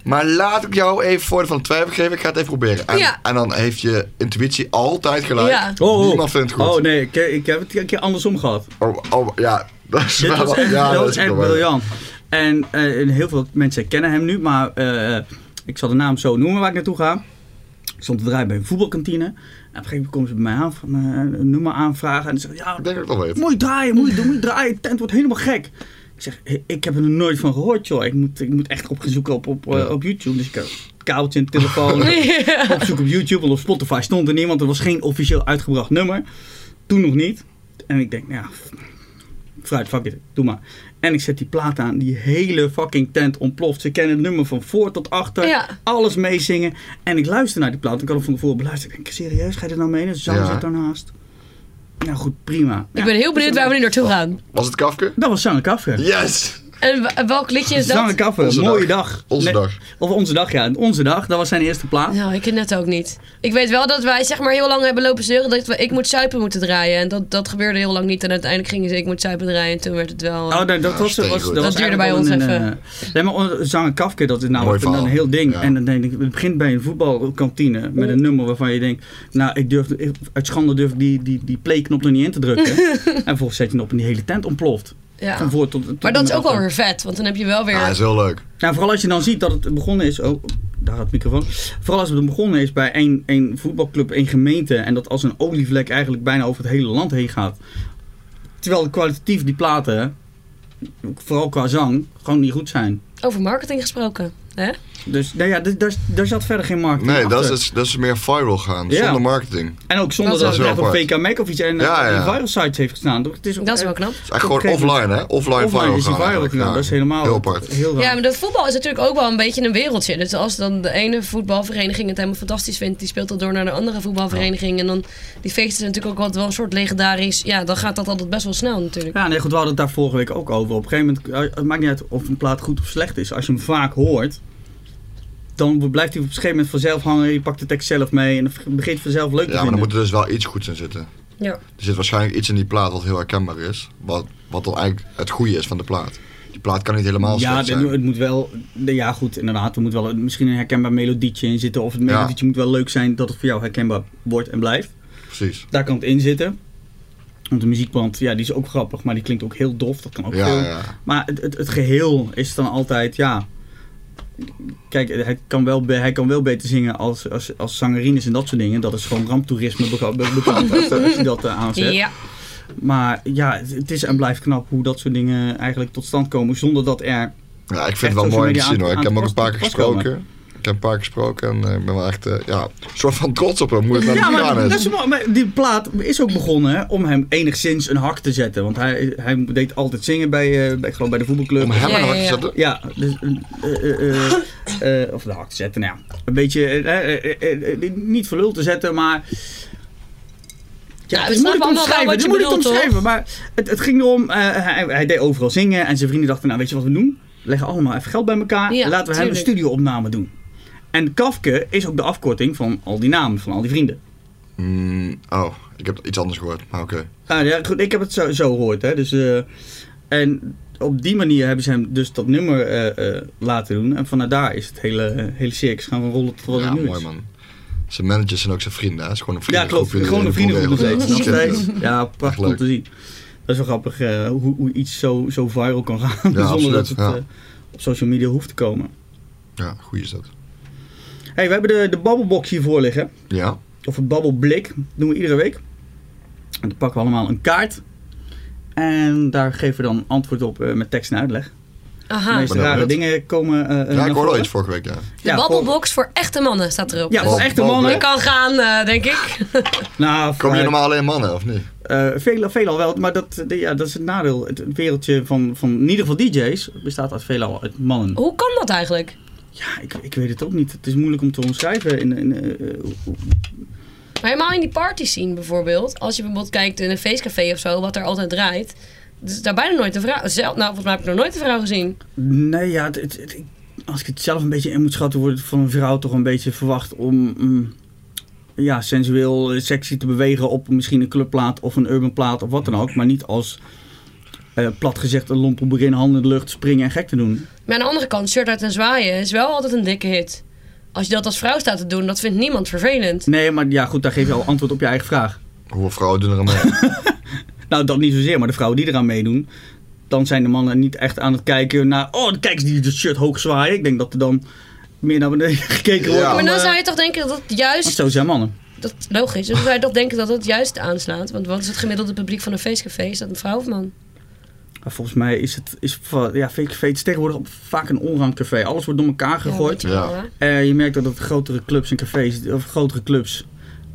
Maar laat ik jou even voor van de twijfel geven, ik ga het even proberen. En,
Ja.
en dan heeft je intuïtie altijd gelijk.
Ja.
Oh, oh.
Niemand vindt het goed.
Oh nee, ik, ik heb het een keer andersom gehad.
Oh, oh, ja, dat is
Dit was
wel...
echt,
ja,
dat was
is
echt
ook wel-
briljant. En, eh, en heel veel mensen kennen hem nu, maar eh, ik zal de naam zo noemen waar ik naartoe ga. Ik stond te draaien bij een voetbalkantine. En op een gegeven moment komen ze bij mij aan, van, eh, een nummer aanvragen. En ze zeggen, ja,
Ik denk dat ik het wel weet.
moet je draaien, moet je doen, moet je draaien. De tent wordt helemaal gek. Ik zeg, "Hé, ik heb er nog nooit van gehoord, joh. Ik moet, ik moet echt op gaan zoeken op, op, eh, op YouTube. Dus ik heb kabeltje in de telefoon. opzoek op YouTube, want op Spotify stond er niemand. Er was geen officieel uitgebracht nummer. Toen nog niet. En ik denk, nou ja, fruit, fuck it, doe maar. En ik zet die plaat aan, die hele fucking tent ontploft. Ze kennen het nummer van voor tot achter,
Ja.
alles meezingen. En ik luister naar die plaat, ik had hem van tevoren beluisterd. Ik denk, serieus, ga je er nou mee? En Sam
Ja.
zit daarnaast. Nou goed, prima.
ik ben heel benieuwd waar we nu naartoe gaan.
Was het Kafka?
Dat was Sanne Kaffer.
Yes!
En w- welk liedje is
Sanne
dat?
Kaffer,
Onze
mooie
dag.
dag.
Onze
Nee,
dag.
Of onze dag, ja. Onze dag, dat was zijn eerste plaat.
Nou, ik ken het ook niet. Ik weet wel dat wij zeg maar heel lang hebben lopen zeuren dat we ik moet zuipen moeten draaien. En dat, dat gebeurde heel lang niet. En uiteindelijk gingen ze ik moet zuipen draaien. En toen werd het wel... eh,
Oh, nee, dat
Ja,
was, was,
steen
dat
goed.
was
Dat duurde bij
eigenlijk
ons
wel
even.
eh, nee, maar on- Zanger Kafke, dat is namelijk
Mooi
een, een
verhaal.
heel ding.
Ja.
En dan denk ik, het begint bij een voetbalkantine met een nummer waarvan je denkt, nou, ik durf, ik- uit schande durf ik die, die, die playknop nog niet in te drukken. en vervolgens zet je hem op en die hele tent ontploft.
ja.
Van voor tot, tot
Maar dat
en
is
met
ook wel
achter.
weer vet. Want dan heb je wel weer...
Ja, dat Ah, is heel leuk.
Nou, vooral als je dan ziet dat het begonnen is. Oh, daar had het microfoon. Vooral als het begonnen is bij één, één voetbalclub, één gemeente. En dat als een olievlek eigenlijk bijna over het hele land heen gaat. Terwijl kwalitatief die platen, vooral qua zang, gewoon niet goed zijn.
Over marketing gesproken. Hè?
Dus nou ja, d- daar, daar zat verder geen marketing
Nee, dat
achter.
is, dus- dat is meer viral gaan,
Ja.
zonder marketing.
En ook zonder
Dat
dat,
is
het
wel
echt op
apart.
VK Mac of iets en
Ja, ja.
en viral sites heeft gestaan. toch? Het is, ook-
Dat is wel
eh,
knap.
Het is eigenlijk
Op een
gewoon
gegeven
offline, hè? Offline,
Offline
viral
is die
gaan.
viral
eigenlijk,
gedaan.
ja.
Dat is helemaal
Heel apart.
Heel
Ja,
raar.
maar dat voetbal is natuurlijk ook wel een beetje een wereldje. Dus als dan de ene voetbalvereniging het helemaal fantastisch vindt, die speelt dat door naar de andere voetbalvereniging. En dan die feesten zijn natuurlijk ook altijd wel een soort legendarisch. Ja, dan gaat dat altijd best wel snel natuurlijk.
Ja, nee, goed, we hadden het daar vorige week ook over. Op een gegeven moment, eh, het maakt niet uit of een plaat goed of slecht is. Als je hem vaak hoort, dan blijft hij op een gegeven moment vanzelf hangen. Je pakt de tekst zelf mee en dan begint je vanzelf leuk te
Ja, maar
vinden.
dan moet er dus wel iets goeds in zitten.
Ja.
Er zit waarschijnlijk iets in die plaat wat heel herkenbaar is. Wat, wat dan eigenlijk het goede is van de plaat. Die plaat kan niet helemaal
ja,
slecht
het,
zijn.
het moet wel, ja goed, inderdaad, er moet wel een- misschien een herkenbaar melodietje in zitten. Of het
Ja.
melodietje moet wel leuk zijn dat het voor jou herkenbaar wordt en blijft.
Precies.
Daar kan het in zitten. Want de muziekband, ja, die is ook grappig, maar die klinkt ook heel dof. Dat kan ook
Ja,
veel.
ja.
Maar het, het, het geheel is dan altijd, ja. Kijk, hij kan wel, be- hij kan wel beter zingen als, als, als zangerines en dat soort dingen. Dat is gewoon ramptoerisme bega- be- bepaald als als je dat eh, aanzet.
Ja.
Maar ja, het, het is en blijft knap hoe dat soort dingen eigenlijk tot stand komen. Zonder dat er.
ja, ik
Echt
vind het wel
social
mooi om
media
te zien
aan-
hoor. Ik
aan
heb hem ook
te
een paar keer
pas- te pas komen.
gesproken. Ik heb een paar keer gesproken en eh, ik ben wel echt eh, ja, een soort van trots op hem. Hoe het met
Ja,
hem
maar,
gegaan
dat
is.
is, wel- maar die plaat is ook begonnen hè, om hem enigszins een hak te zetten. Want hij, hij deed altijd zingen bij, eh bij, ik geloof bij de voetbalclub.
Om hem
Ja,
aan de hak
ja,
te
ja.
zetten.
Ja, dus, eh, eh, eh, eh, of de hak te zetten, nou ja. Een beetje, eh, eh, eh, eh, niet voor lul te zetten, maar... Ja,
we
het is
snappen
moeilijk
allemaal
omschrijven,
wel wat
het is
je
moeilijk
bedoelt,
omschrijven. Maar het, het ging erom, eh, hij, hij deed overal zingen en zijn vrienden dachten, nou weet je wat we doen? We leggen allemaal even geld bij elkaar,
Ja,
laten we hem een
tuurlijk.
studioopname doen. En Kafke is ook de afkorting van al die namen, van al die vrienden.
Mm, oh, ik heb iets anders gehoord, maar oké.
Nou ja, goed, ik heb het zo, zo gehoord. Hè. Dus, eh, en op die manier hebben ze hem dus dat nummer eh, eh, laten doen. En vanuit daar is het hele, hele circus gaan rollen tot wat
Ja,
het nu
mooi
is.
man. Zijn managers zijn ook zijn vrienden, hè? Het is gewoon een
Ja, klopt.
vriendengroep.
Gewoon een vriendengroep nog steeds. Nog steeds. Ja,
Echt
prachtig
leuk.
om te zien. Dat is wel grappig eh, hoe, hoe iets zo, zo viral kan gaan.
Ja,
zonder dat het
absoluut, ja.
eh, op social media hoeft te komen.
Ja, goed is dat.
hey, we hebben de, de babbelbox hier voor liggen.
Ja,
Of het babbelblik. Dat doen we iedere week. En dan pakken we allemaal een kaart. En daar geven we dan antwoord op eh, met tekst en uitleg. De
Aha.
meest
ben
rare
benieuwd.
dingen komen. eh, eh,
ja
naar
ik hoorde al
voren.
iets vorige week, ja.
De
Ja,
babbelbox voor echte mannen staat erop.
Ja, voor
Bal-
echte
balblik.
mannen.
Je kan gaan, eh, denk ik.
Nou,
Komen
voor-
hier normaal alleen mannen, of niet?
eh, veelal, veelal wel, maar dat, eh, ja, dat is het nadeel. Het wereldje van, van in ieder geval DJ's bestaat uit veelal uit mannen.
Hoe kan dat eigenlijk?
Ja, ik, ik weet het ook niet. Het is moeilijk om te omschrijven. In, in, eh, eh, hoe-
Maar helemaal in die party scene bijvoorbeeld. Als je bijvoorbeeld kijkt in een feestcafé of zo, wat er altijd draait. Dus daar bijna nooit een vrouw. Zelf, nou, volgens mij heb ik nog nooit een vrouw gezien.
nee, ja, het, het- het- ik- als ik het zelf een beetje in moet schatten, wordt het van een vrouw toch een beetje verwacht om mm, ja, sensueel, eh, sexy te bewegen op misschien een clubplaat of een urban plaat of wat dan ook. Maar niet als eh, plat gezegd een lompel begin, handen in de lucht, springen en gek te doen.
Maar aan de andere kant, shirt uit en zwaaien is wel altijd een dikke hit. Als je dat als vrouw staat te doen, dat vindt niemand vervelend.
Nee, maar ja, goed, daar geef je al antwoord op je eigen vraag.
Hoeveel vrouwen doen er aan mee?
Nou, dat niet zozeer, maar de vrouwen die eraan meedoen, dan zijn de mannen niet echt aan het kijken naar. Oh, kijk eens die de shirt hoog zwaaien. Ik denk dat er dan meer naar beneden gekeken wordt.
Ja.
dan,
Maar nou dan
eh,
zou je toch denken dat het
want
juist...
zo zijn mannen.
Dat, logisch, dan zou je toch denken dat het juist aanslaat. Want wat is het gemiddelde publiek van een feestcafé? Is dat een vrouw of man?
Maar volgens mij is het. Is, va- ja, fake fake is tegenwoordig op- vaak een onruim café. Alles wordt door elkaar gegooid.
Ja, moet je wel,
Ja.
hè?
Eh, je merkt ook dat grotere clubs en cafés, of grotere clubs,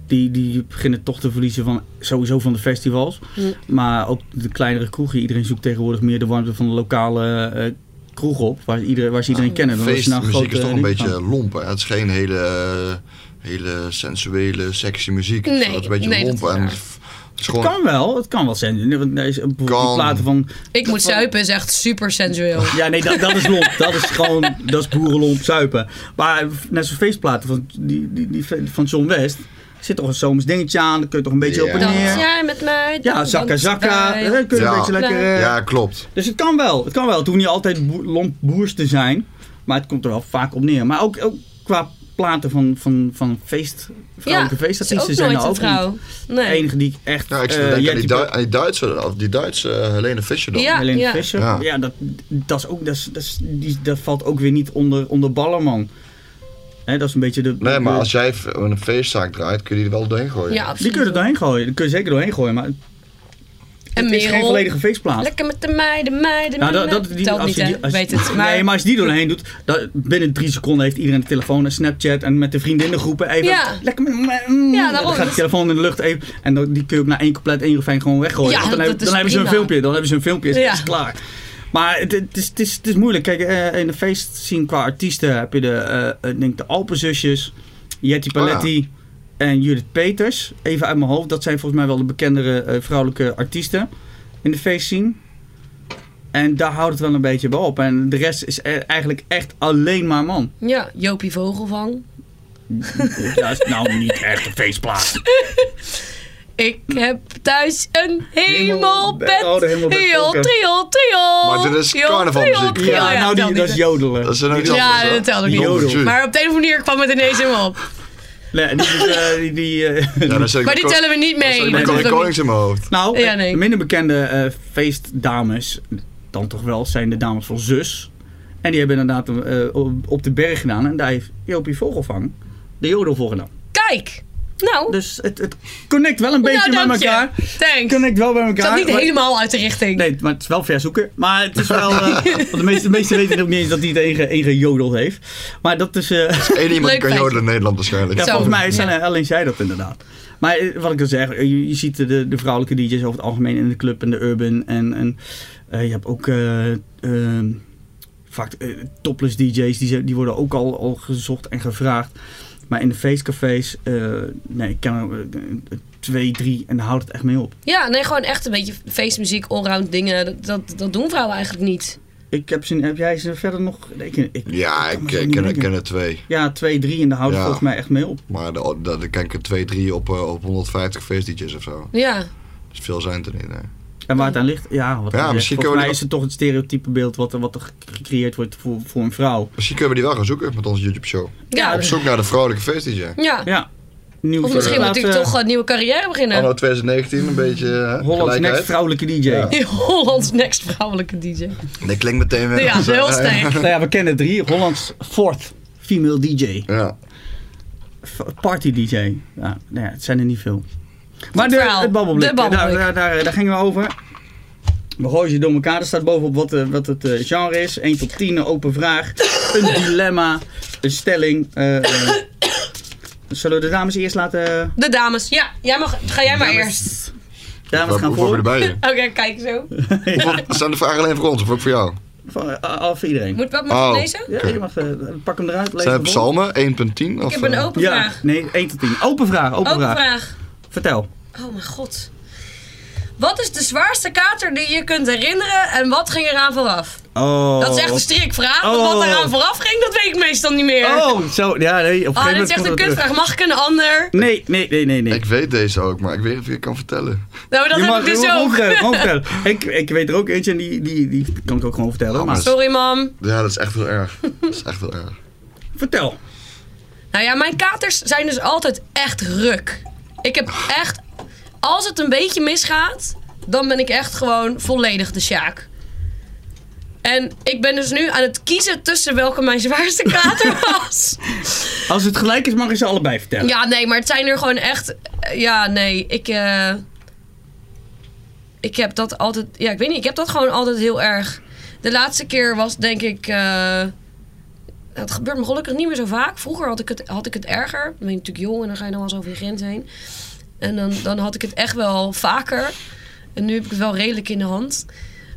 die, die beginnen toch te verliezen van sowieso van de festivals.
Ja.
Maar ook de kleinere kroegen. Iedereen zoekt tegenwoordig meer de warmte van de lokale eh, kroeg op. Waar, iedereen, waar ze iedereen kennen. Dan als je naar
Feestmuziek is
grote
toch een
dingen gaat.
beetje lompen. hè? Het is geen hele, eh, hele sensuele, sexy muziek. Het is
Nee,
altijd een beetje
nee, dat is
lompen. en
waar.
het is- het is
Het
gewoon,
kan wel, het kan wel zijn. Nee, want er is bijvoorbeeld
eh, Kan.
die platen van.
Ik moet
van-
zuipen is echt super sensueel.
Ja, nee, dat, dat is lomp. Dat is gewoon. Dat is boerenlomp zuipen. Maar net zo'n feestplaten van, die, die, die, van John West. Zit toch een zomers dingetje aan. Dan kun je toch een beetje
Ja.
op en
Dan
neer.
jij met mij.
Ja, zakka zakka.
bij.
Dan kun je een
Ja.
beetje lekker. eh,
ja, klopt.
Dus het kan wel. Het kan wel. Het hoeft niet altijd boer- lomp boers te zijn. Maar het komt er wel vaak op neer. Maar ook, ook qua platen van, van, van feest. Vrouwelijke
Ja, is
feestartiesten
ook
zijn
nooit
er
een
ook niet.
vrouw.
De
Nee.
enige die ik echt.
Ja, ik zit te
eh,
denken aan
Jetty Bro-
die, Duitse, aan die Duitse, of die Duitse eh, Helene Fischer dan.
Ja.
Helene Fischer. Ja,
Ja.
dat, dat, is ook, dat, is, dat, is- die, dat valt ook weer niet onder, onder Ballerman. Hè, dat is een beetje de...
Nee, maar
de-
als jij v- een feestzaak draait, kun je die er wel doorheen gooien.
Ja,
Die
absoluut.
kun je er doorheen gooien. Die kun je zeker doorheen gooien, maar het
En
is geen
Merel.
volledige feestplaat.
Lekker met de meiden, meiden,
Nou, dat,
meiden.
dat, die,
Telt niet,
je
hè?
die- als-
Weet het. Maar,
Nee, maar als je die doorheen doet, dat, binnen drie seconden heeft iedereen de telefoon en Snapchat en met de vrienden in de groepen even...
Ja.
Lekker met... mm,
Ja,
dan
daarom.
gaat de telefoon in de lucht even en dan, die kun je ook na één compleet één refijn gewoon weggooien.
Ja,
Want dan
dat
heb-
is
dan hebben ze een
prima.
filmpje, dan hebben ze een filmpje, is,
Ja.
is klaar. Maar het, het, is, het, is, het is moeilijk. Kijk, eh, in de feest zien qua artiesten heb je de, eh, ik denk de Alpenzusjes,
Oh
Jetty Paletti en Judith Peters. Even uit mijn hoofd, dat zijn volgens mij wel de bekendere eh, vrouwelijke artiesten in de feestscene. En daar houdt het wel een beetje bij op. En de rest is e- eigenlijk echt alleen maar man.
ja, Jopie Vogelvang.
Dat is nou niet echt een feestplaats.
Ik heb thuis een hemelbed.
Oh, de hemelbed,
Triol,
oké.
triol, triol.
Maar dit is
Triol,
carnavalmuziek.
triol, triol.
Ja, nou
telt
die,
niet,
dat is
hè?
jodelen.
Dat is een iets
Ja,
anders, hè?
dat telde ik niet.
Jodel.
Maar op de een of andere manier kwam het ineens in me op.
Nee, die, is, eh, die, die, eh,
Ja, dan zet
Maar
ik mijn
die
ko-
tellen we niet
dan zet
mee.
ik mijn
Dat is
koning-
ook
konings in mijn hoofd.
Nou,
Ja,
eh,
nee.
minder bekende eh, feestdames, dan toch wel, zijn de dames van Zus. En die hebben inderdaad eh, op- op de berg gedaan. En daar heeft Jopie Vogelvang de jodel voor gedaan.
Kijk, Nou,
Dus het, het connect wel een beetje met
nou, dank je.
elkaar.
Thanks.
Connect wel bij
Ik
elkaar.
zat niet
Maar-
helemaal uit de richting.
Nee, maar het is wel verzoeken. Maar het is wel. eh, want de meesten meeste weten ook niet eens dat hij het enige, enige jodel heeft. Maar dat is. eh,
Eén iemand
Leuk
kan
feitje.
joden in Nederland waarschijnlijk.
ja,
Zo.
volgens mij zijn
Ja.
er alleen zij dat inderdaad. Maar eh, wat ik wil zeggen, eh, je, je ziet de, de vrouwelijke DJ's over het algemeen in de club en de urban. En, en eh, je hebt ook. eh, ehm, vaak eh, topless DJ's, die, zijn- die worden ook al, al gezocht en gevraagd. Maar in de feestcafés, eh, nee, ik ken er eh, twee, drie en daar houdt het echt mee op.
Ja, nee, gewoon echt een beetje feestmuziek, allround dingen. Dat, dat, dat doen vrouwen eigenlijk niet.
Ik heb, ze, heb jij ze verder nog? nee, Ik, ik,
Ja,
kan
ik
me zo
eh,
niet
ken,
merken.
ken er twee.
Ja, 2, 3 en daar houdt het
Ja.
volgens mij echt mee op.
Maar daar de, de, ken ik er twee, drie op, eh, op 150 feestdjes of zo.
Ja,
Dus veel zijn het er niet. nee.
En waar het aan ligt, ja, wat
Ja,
ik zeg,
misschien
volgens
kunnen we
mij
die-
is het toch het stereotype beeld wat, er- wat er gecreëerd wordt voor, voor een vrouw.
Misschien kunnen we die wel gaan zoeken met onze YouTube show.
Ja,
ja.
Op zoek naar de vrouwelijke feestdj.
dus- ja.
Ja. Nieuw
Of misschien moet
formaat,
natuurlijk
eh,
toch eh, een nieuwe carrière
Anno
Oh,
beginnen.
2019, een beetje hè,
Hollands next
gelijkheid.
vrouwelijke DJ.
Ja.
Hollands next vrouwelijke DJ.
Dat klinkt meteen weer.
Ja,
als, eh,
heel sterk.
Nou ja, we kennen drie. Hollands fourth female DJ.
Ja.
F- Party DJ. Ja, nou ja, het zijn er niet veel. Maar
Goed
de,
verhaal.
het babbelblik,
De babbelblik.
Daar, daar, daar, daar gingen we over. We gooien ze door elkaar. Er staat bovenop wat, eh, wat het eh, genre is. 1 tot 10, een open vraag. Een dilemma. Een stelling. eh, eh. zullen we de dames eerst laten... eh,
De dames. Ja, jij mag, ga jij maar eerst.
Dames
Hoe-
gaan
Hoeveel
voor.
hebben we erbij?
Oké, kijk zo.
Hoeveel- Zijn de vragen alleen voor ons of ook voor jou?
Van, eh, al voor iedereen.
Moet, wat moet ik
Oh.
lezen?
Ja, je mag, eh, pak hem eruit. lees
Zijn
hem
het
voor.
psalmen 1.10?
Ik heb een open
Ja,
vraag.
nee, 1 tot 10. Open vraag, open,
Open
vraag.
vraag.
Vertel.
Oh mijn god. Wat is de zwaarste kater die je kunt herinneren en wat ging eraan vooraf?
Oh.
Dat is echt een strikvraag, want
Oh.
wat eraan vooraf ging, dat weet ik meestal niet meer.
Oh, zo. Ja, nee. Op een
Ah,
gegeven moment
dit is echt
komt
een
het terug.
kutvraag. Mag ik een ander?
Nee, nee, nee, nee, nee.
Ik weet deze ook, maar ik weet niet of ik het kan vertellen.
Nou, dat
je
heb
mag
ik dus
je mag
ook.
vertellen, gewoon vertellen. Ik, ik weet er ook eentje en die, die, die kan ik ook gewoon vertellen.
Oh,
maar
maar-
Sorry, mam.
Ja, dat is echt heel erg. Dat is echt heel erg.
vertel.
Nou ja, mijn katers zijn dus altijd echt ruk. Ik heb echt... Als het een beetje misgaat, dan ben ik echt gewoon volledig de Sjaak. En ik ben dus nu aan het kiezen tussen welke mijn zwaarste kater was.
Als het gelijk is, mag je ze allebei vertellen.
Ja, nee, maar het zijn er gewoon echt... Ja, nee, ik... eh, ik heb dat altijd... Ja, ik weet niet, ik heb dat gewoon altijd heel erg... De laatste keer was denk ik... eh, het gebeurt me gelukkig niet meer zo vaak. Vroeger had ik het, had ik het erger. Dan ben je natuurlijk jong en dan ga je nog wel eens over je grens heen. En dan, dan had ik het echt wel vaker. En nu heb ik het wel redelijk in de hand.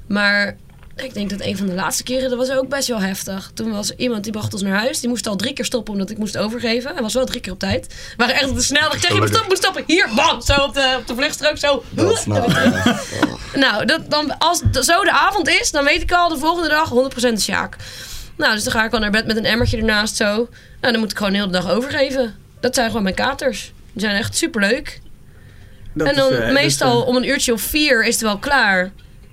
Maar ik denk dat een van de laatste keren, dat was ook best wel heftig. Toen was iemand, die bracht ons naar huis. Die moest al drie keer stoppen omdat ik moest overgeven. Hij was wel drie keer op tijd. We waren echt op de snelweg. Ik zeg, je moet
Gelukkig.
stoppen, moet stoppen. Hier, bam! Zo op de, op de vluchtstrook, zo.
Dat is nou echt.
Nou, dat, dan, als het zo de avond is, dan weet ik al de volgende dag 100% Sjaak. Nou, dus dan ga ik wel naar bed met een emmertje ernaast zo. Nou, dan moet ik gewoon heel de dag overgeven. Dat zijn gewoon mijn katers. Die zijn echt superleuk.
Dat
en
is,
dan
eh, dat is,
meestal
eh,
om een uurtje of vier is het wel klaar.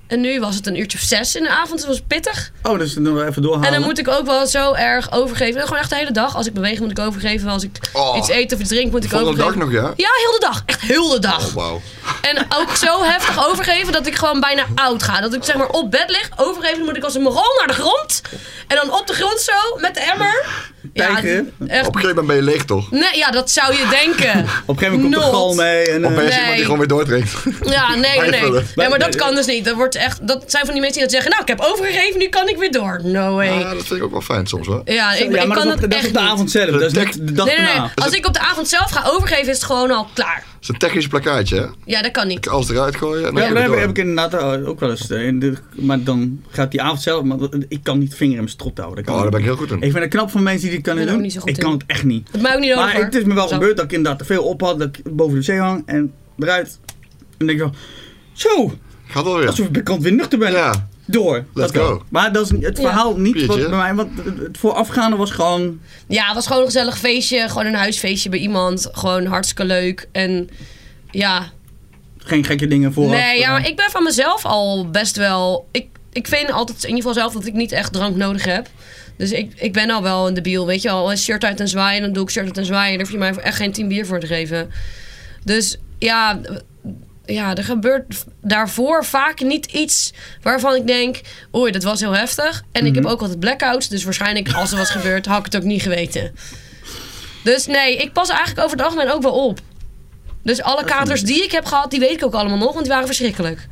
En nu was het een uurtje of zes in de avond. Dus het was pittig.
oh, dus dan doen we even doorhalen.
En dan moet ik ook wel zo erg overgeven. Gewoon echt de hele dag. Als ik beweeg moet ik overgeven. Als ik
Oh.
iets eet of iets drink moet ik
Volgende
overgeven.
dag nog, ja?
Ja, heel de dag. Echt heel de dag.
Oh, wauw.
En ook zo heftig overgeven dat ik gewoon bijna oud ga. Dat ik zeg maar op bed lig, overgeven, dan moet ik als een moron naar de grond. En dan op de grond zo, met de emmer.
Kijken.
Ja, echt.
Op een gegeven moment ben je leeg, toch? Op
Nee, ja, dat zou je denken.
Op een gegeven moment komt de
Not.
gal mee. En, eh,
een gegeven moment
Nee.
die gewoon weer doordringt.
Ja, nee, nee, nee.
Bijvullen.
Nee, maar dat kan dus niet. Dat, wordt echt, dat zijn van die mensen die dat zeggen, nou, ik heb overgegeven, nu kan ik weer door. No
Ja,
way.
Ah, dat vind ik ook wel fijn soms, hoor.
Ja, ik,
ja,
ik
maar
kan
dat, is
dat,
op- dat is
echt
op de
niet.
avond zelf. Dat is niet de dag
Nee, nee,
daarna.
nee. Als ik op de avond zelf ga overgeven, is het gewoon al klaar.
Het is een technisch plakkaatje, hè?
Ja, dat kan niet.
Als eruit gooien en dan
Ja,
weer
maar dat
door.
heb, heb ik inderdaad eh, ook wel eens. eh, in de- maar dan gaat die avond zelf. Maar ik kan niet vinger in mijn strot houden. Dat
Oh,
kan
daar ben ik
niet.
heel goed in.
ik vind het knap van mensen die dit kunnen
Ik ben
doen.
ook niet zo goed
ik
in.
kan het echt niet.
Dat mij ook niet nodig
Maar
hoor.
het is me wel
Zo.
gebeurd dat ik inderdaad te veel op had. Dat ik boven de zee hang en eruit. En denk ik wel. Zo,
Gaat wel weer.
alsof ik bekant weer nuchter ben.
Ja.
Door. Dat
go.
wel. Maar dat is het
Ja.
verhaal niet wat
Biertje.
bij mij. Want het- het voorafgaande was gewoon.
Ja, het was gewoon een gezellig feestje. Gewoon een huisfeestje bij iemand. Gewoon hartstikke leuk. En ja,
Geen gekke dingen vooraf. eh.
nee, ja, maar ik ben van mezelf al best wel... Ik, ik vind altijd in ieder geval zelf dat ik niet echt drank nodig heb. Dus ik, ik ben al wel een debiel, weet je al. Shirt uit en zwaaien, dan doe ik shirt uit en zwaaien. Daar hoef je mij echt geen tien bier voor te geven. Dus ja, ja, er gebeurt daarvoor vaak niet iets waarvan ik denk... Oei, dat was heel heftig. En ik heb ook altijd blackouts. Dus waarschijnlijk als er was gebeurd, had ik het ook niet geweten. Dus nee, ik pas eigenlijk over het algemeen ook wel op. Dus alle katers die ik heb gehad, die weet ik ook allemaal nog, want die waren verschrikkelijk.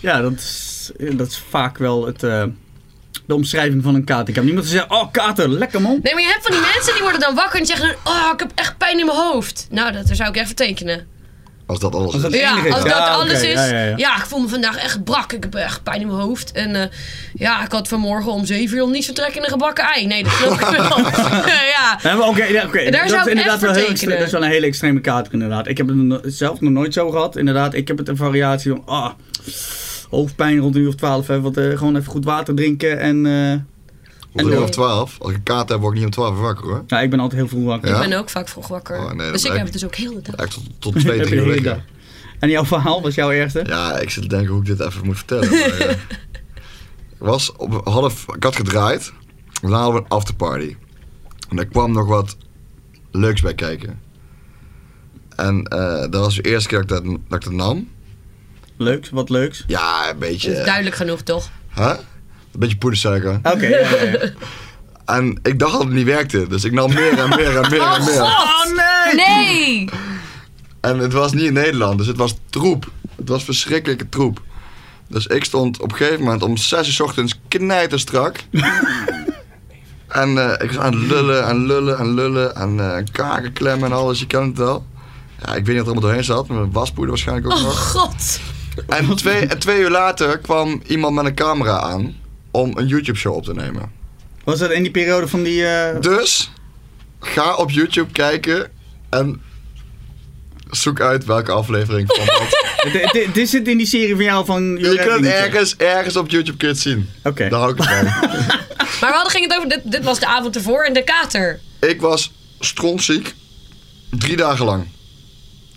Ja, dat is, eh, dat is vaak wel het, eh, de omschrijving van een kater. Ik heb niemand gezegd, oh kater, lekker man.
Nee, maar je hebt van die mensen die worden dan wakker en die zeggen: dan, Oh, ik heb echt pijn in mijn hoofd. Nou, dat daar zou ik echt voor tekenen.
Als dat alles
Als dat-
is.
het
Ja,
enige is.
als dat
Ja, oké,
alles is.
ja,
Ja,
ja, ja.
ik voel me vandaag echt brak. Ik heb echt pijn in mijn hoofd. En eh, ja, ik had vanmorgen om 7 uur al niet zo trek in een gebakken ei. Nee, dat snap ik wel. ja.
Ja, maar oké, ja, oké.
Daar zou
dat is inderdaad
ik echt
wel
voor
heel
tekenen.
extreem. Dat is wel een hele extreme kater, inderdaad. Ik heb het no- zelf nog nooit zo gehad. Inderdaad, ik heb het een variatie van ah, hoofdpijn rond een uur of twaalf. Hè, wat, eh, gewoon even goed water drinken. En eh,
Om
En
uur
dan-
of twaalf. Als ik een kaart heb, word ik niet om twaalf wakker hoor.
nou, ik ben altijd heel vroeg wakker.
Ja?
Ik ben ook vaak vroeg wakker.
Oh, nee, dat
dus ik
lijkt-
heb het dus ook heel de dag.
Echt tot, tot
Heb
twee,
je
drie
de
uur
hele
liggen.
dag. En jouw verhaal was jouw eerste?
Ja, ik zit te denken hoe ik dit even moet vertellen. Maar, eh, was op half, ik had gedraaid. Daarna hadden we een afterparty. En daar kwam nog wat leuks bij kijken. En eh, dat was de eerste keer dat ik dat, dat ik dat nam.
Leuks, wat leuks.
Ja, een
Dat is
beetje...
duidelijk genoeg, toch?
Hè? Een beetje poedersuiker.
Oké, ja, ja, ja.
En ik dacht dat het niet werkte. Dus ik nam meer en meer en meer en meer.
Oh nee!
Nee!
En het was niet in Nederland, dus het was troep. Het was verschrikkelijke troep. Dus ik stond op een gegeven moment om 6 uur 's ochtends knijterstrak. en eh, ik was aan het lullen en lullen en lullen en eh kaken klemmen en alles, je kent het wel. Ja, ik weet niet wat er allemaal doorheen zat, maar waspoeder waarschijnlijk ook
Oh,
nog.
god.
En twee, en twee uur later kwam iemand met een camera aan om een YouTube-show op te nemen.
Was dat in die periode van die... eh,
Dus ga op YouTube kijken en zoek uit welke aflevering van wat.
dit- dit- Dit zit in die serie van jou van...
Je kunt het
niet.
ergens, ergens op YouTube kunt zien.
Oké.
Daar hou ik het van.
Maar we hadden ging het over, dit, dit was de avond ervoor en de kater.
ik was strontziek. Drie dagen lang.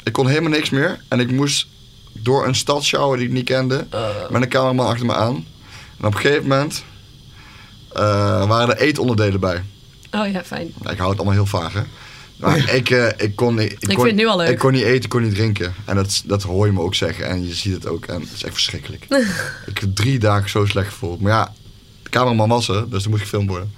Ik kon helemaal niks meer. En ik moest door een stadsjouwer die ik niet kende. Met een cameraman achter me aan. En op een gegeven moment eh, waren er eetonderdelen bij.
Oh ja, fijn.
Ja, ik hou het allemaal heel vaag, hè. Maar ik, eh, ik, kon, niet- ik, kon,
vind het nu al leuk.
Ik kon niet eten, ik kon niet drinken. En dat, dat hoor je me ook zeggen. En je ziet het ook. En het is echt verschrikkelijk. ik heb drie dagen zo slecht gevoeld. Maar ja, de cameraman was er, dus toen moest gefilmd worden.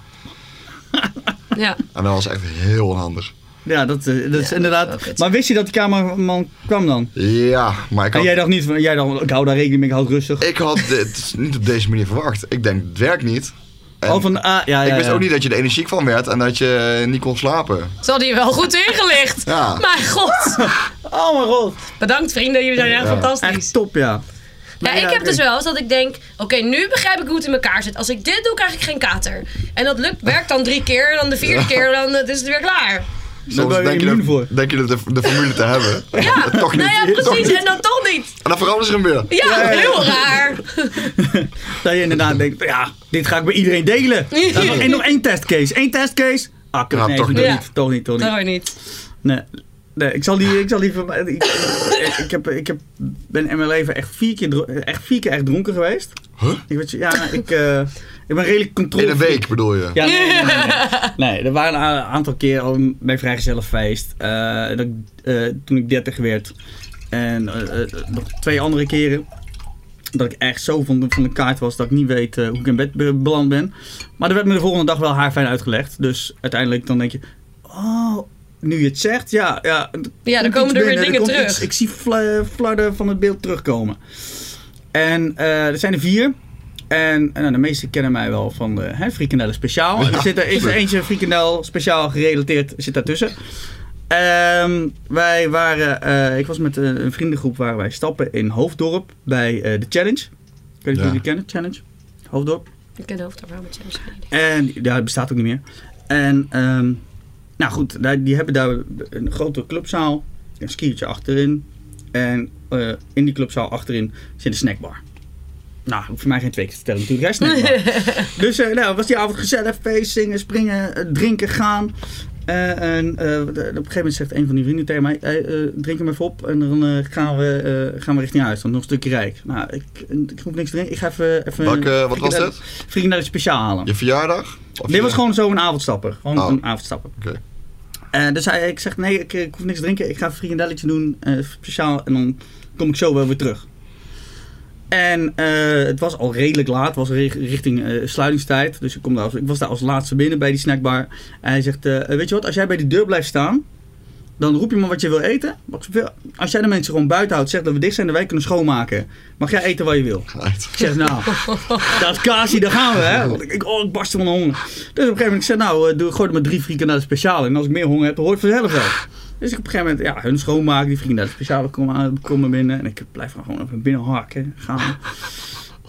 Ja.
En dat was echt heel onhandig.
Ja, dat, eh, dat is
Ja, wel
inderdaad...
kut.
Maar wist je dat die cameraman kwam dan?
Ja, maar ik
En
had,
jij dacht niet van... Jij dacht, ik hou daar rekening mee, ik hou het rustig.
ik had dit niet op deze manier verwacht. Ik denk, het werkt niet. En
oh, van... Ah, ja, ja,
ik wist
ja.
ook niet dat je er energiek van werd en dat je niet kon slapen.
Ze hadden je wel goed ingelicht.
Ja.
Mijn god.
Oh mijn god.
Bedankt vrienden, jullie zijn echt
Ja.
fantastisch.
Echt top, ja.
Ja,
Nee,
ik
ja, eh,
heb
oké.
dus wel eens dat ik denk, oké, nu begrijp ik hoe het in elkaar zit. Als ik dit doe, krijg ik geen kater. En dat lukt, werkt dan drie keer, dan de vierde keer, dan eh, is het weer klaar.
Soms
ben je
denk,
immuun
dat,
voor.
denk je dat de, de formule te hebben.
Ja,
toch niet.
nou ja,
Toch
precies,
niet.
en dan toch niet.
En dan veranderen ze hem weer.
Ja,
Ja, ja, ja.
heel raar.
Dat je inderdaad denkt, ja, dit ga ik bij iedereen delen. Dan nog- en nog één testcase. Eén testcase. Ah, kut,
Ja,
nee,
Nou, toch
toch,
niet.
niet.
Ja.
toch niet. Toch niet,
Dat hoor je niet.
Nee. Nee, ik zal die, ik zal die, ver- ik, ik heb, ik heb, ben in mijn leven echt vier keer, dro- echt vier keer echt dronken geweest.
Huh?
Ik weet, je- ja, ik, eh, ik ben redelijk controle.
In een week bedoel je?
Ja, nee, nee, nee, nee. Nee, er waren een a- aantal keer al bij vrijgezellenfeest. eh, dat, ik, eh, toen ik 30 werd. En eh, eh, nog twee andere keren. Dat ik echt zo van de, van de kaart was dat ik niet weet eh, hoe ik in bed be- beland ben. Maar dat werd me de volgende dag wel haarfijn uitgelegd. Dus uiteindelijk dan denk je... Oh, nu je het zegt, ja. Ja,
Ja, dan
komt
komen
iets
er weer
binnen,
dingen
komt
terug.
iets- ik zie fla- flarden van het beeld terugkomen. En eh, er zijn er vier. En eh, nou, de meesten kennen mij wel van de hè, frikandellen speciaal. Er zit er, is er eentje frikandel speciaal gerelateerd, zit daartussen. Ehm, wij waren, eh, ik was met een, een vriendengroep waar wij stappen in Hoofddorp bij eh, de Challenge. Ik weet niet
Ja.
of jullie kennen, Challenge. Hoofddorp.
Ik ken de hoofdverhaal met James Kennedy.
En ja, het bestaat ook niet meer. En ehm, nou goed, daar- die hebben daar een grote clubzaal, een skiertje achterin. En eh, in die clubzaal achterin zit een snackbar. Nou, hoeft voor mij geen twee keer te vertellen natuurlijk, hè, snackbar. dus eh, nou, was die avond gezellig, feest, zingen, springen, eh, drinken, gaan. Eh, en eh, op een gegeven moment zegt een van die vrienden tegen mij, hey, eh, drink hem even op en dan eh, gaan, we, eh, gaan we richting huis. Dan nog een stukje rijk. Nou, ik, ik hoef niks te drinken, ik ga even... even
Welke, eh, wat was
frikandellen-
dit?
Frikandellen speciaal halen.
Je verjaardag? Of
Dit
je-
was gewoon zo'n avondstapper. Gewoon
Oh.
een avondstapper.
Oké.
Eh, dus hij, ik zeg, nee, ik, ik hoef niks te drinken. Ik ga een frikandelletje doen, eh, speciaal. En dan kom ik zo wel weer terug. En eh, het was al redelijk laat. Het was ri- richting eh, sluitingstijd. Dus ik, kom daar eh, als, ik was daar als laatste binnen bij die snackbar. En hij zegt, eh, weet je wat, als jij bij de deur blijft staan... Dan roep je maar wat je wil eten. Wat zoveel- Als jij de mensen gewoon buiten houdt, zegt dat we dicht zijn en wij kunnen schoonmaken. Mag jij eten wat je wil?
Right.
Ik zeg, nou, dat Kasi, daar gaan we, hè. Want ik, ik- oh, ik barst van de honger. Dus op een gegeven moment, ik zeg, nou, eh, doe, gooi er maar drie frieken naar de speciale. En als ik meer honger heb, dan hoor ik vanzelf wel. Dus ik op een gegeven moment, ja, hun schoonmaken, die frieken naar de speciale komen, aan- komen binnen. En ik blijf maar gewoon even binnen harken, gaan.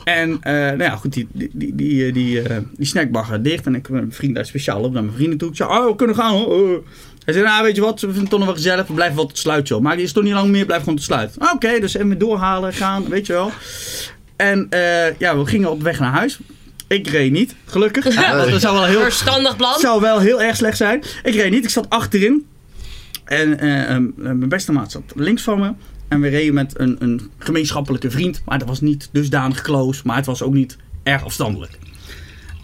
En, eh, nou ja, goed, die, die, die, die, eh, die, eh, die snackbar gaat dicht. En ik met mijn vriend daar speciaal op naar mijn vrienden toe. Ik zei, oh, we kunnen gaan, hoor. Eh. Hij zei, nou, weet je wat, we vinden het toch nog wel gezellig. We blijven wel tot sluit, joh. Maar die is toch niet lang meer, blijf gewoon tot sluit. Oké, dus even doorhalen, gaan, weet je wel. En eh, ja, we gingen op weg naar huis. Ik reed niet, gelukkig. Want dat zou wel heel,
Verstandig plan.
zou wel heel erg slecht zijn. Ik reed niet, ik zat achterin. En eh, eh, mijn beste maat zat links van me. En we reden met een, een gemeenschappelijke vriend. Maar dat was niet dusdanig close. Maar het was ook niet erg afstandelijk.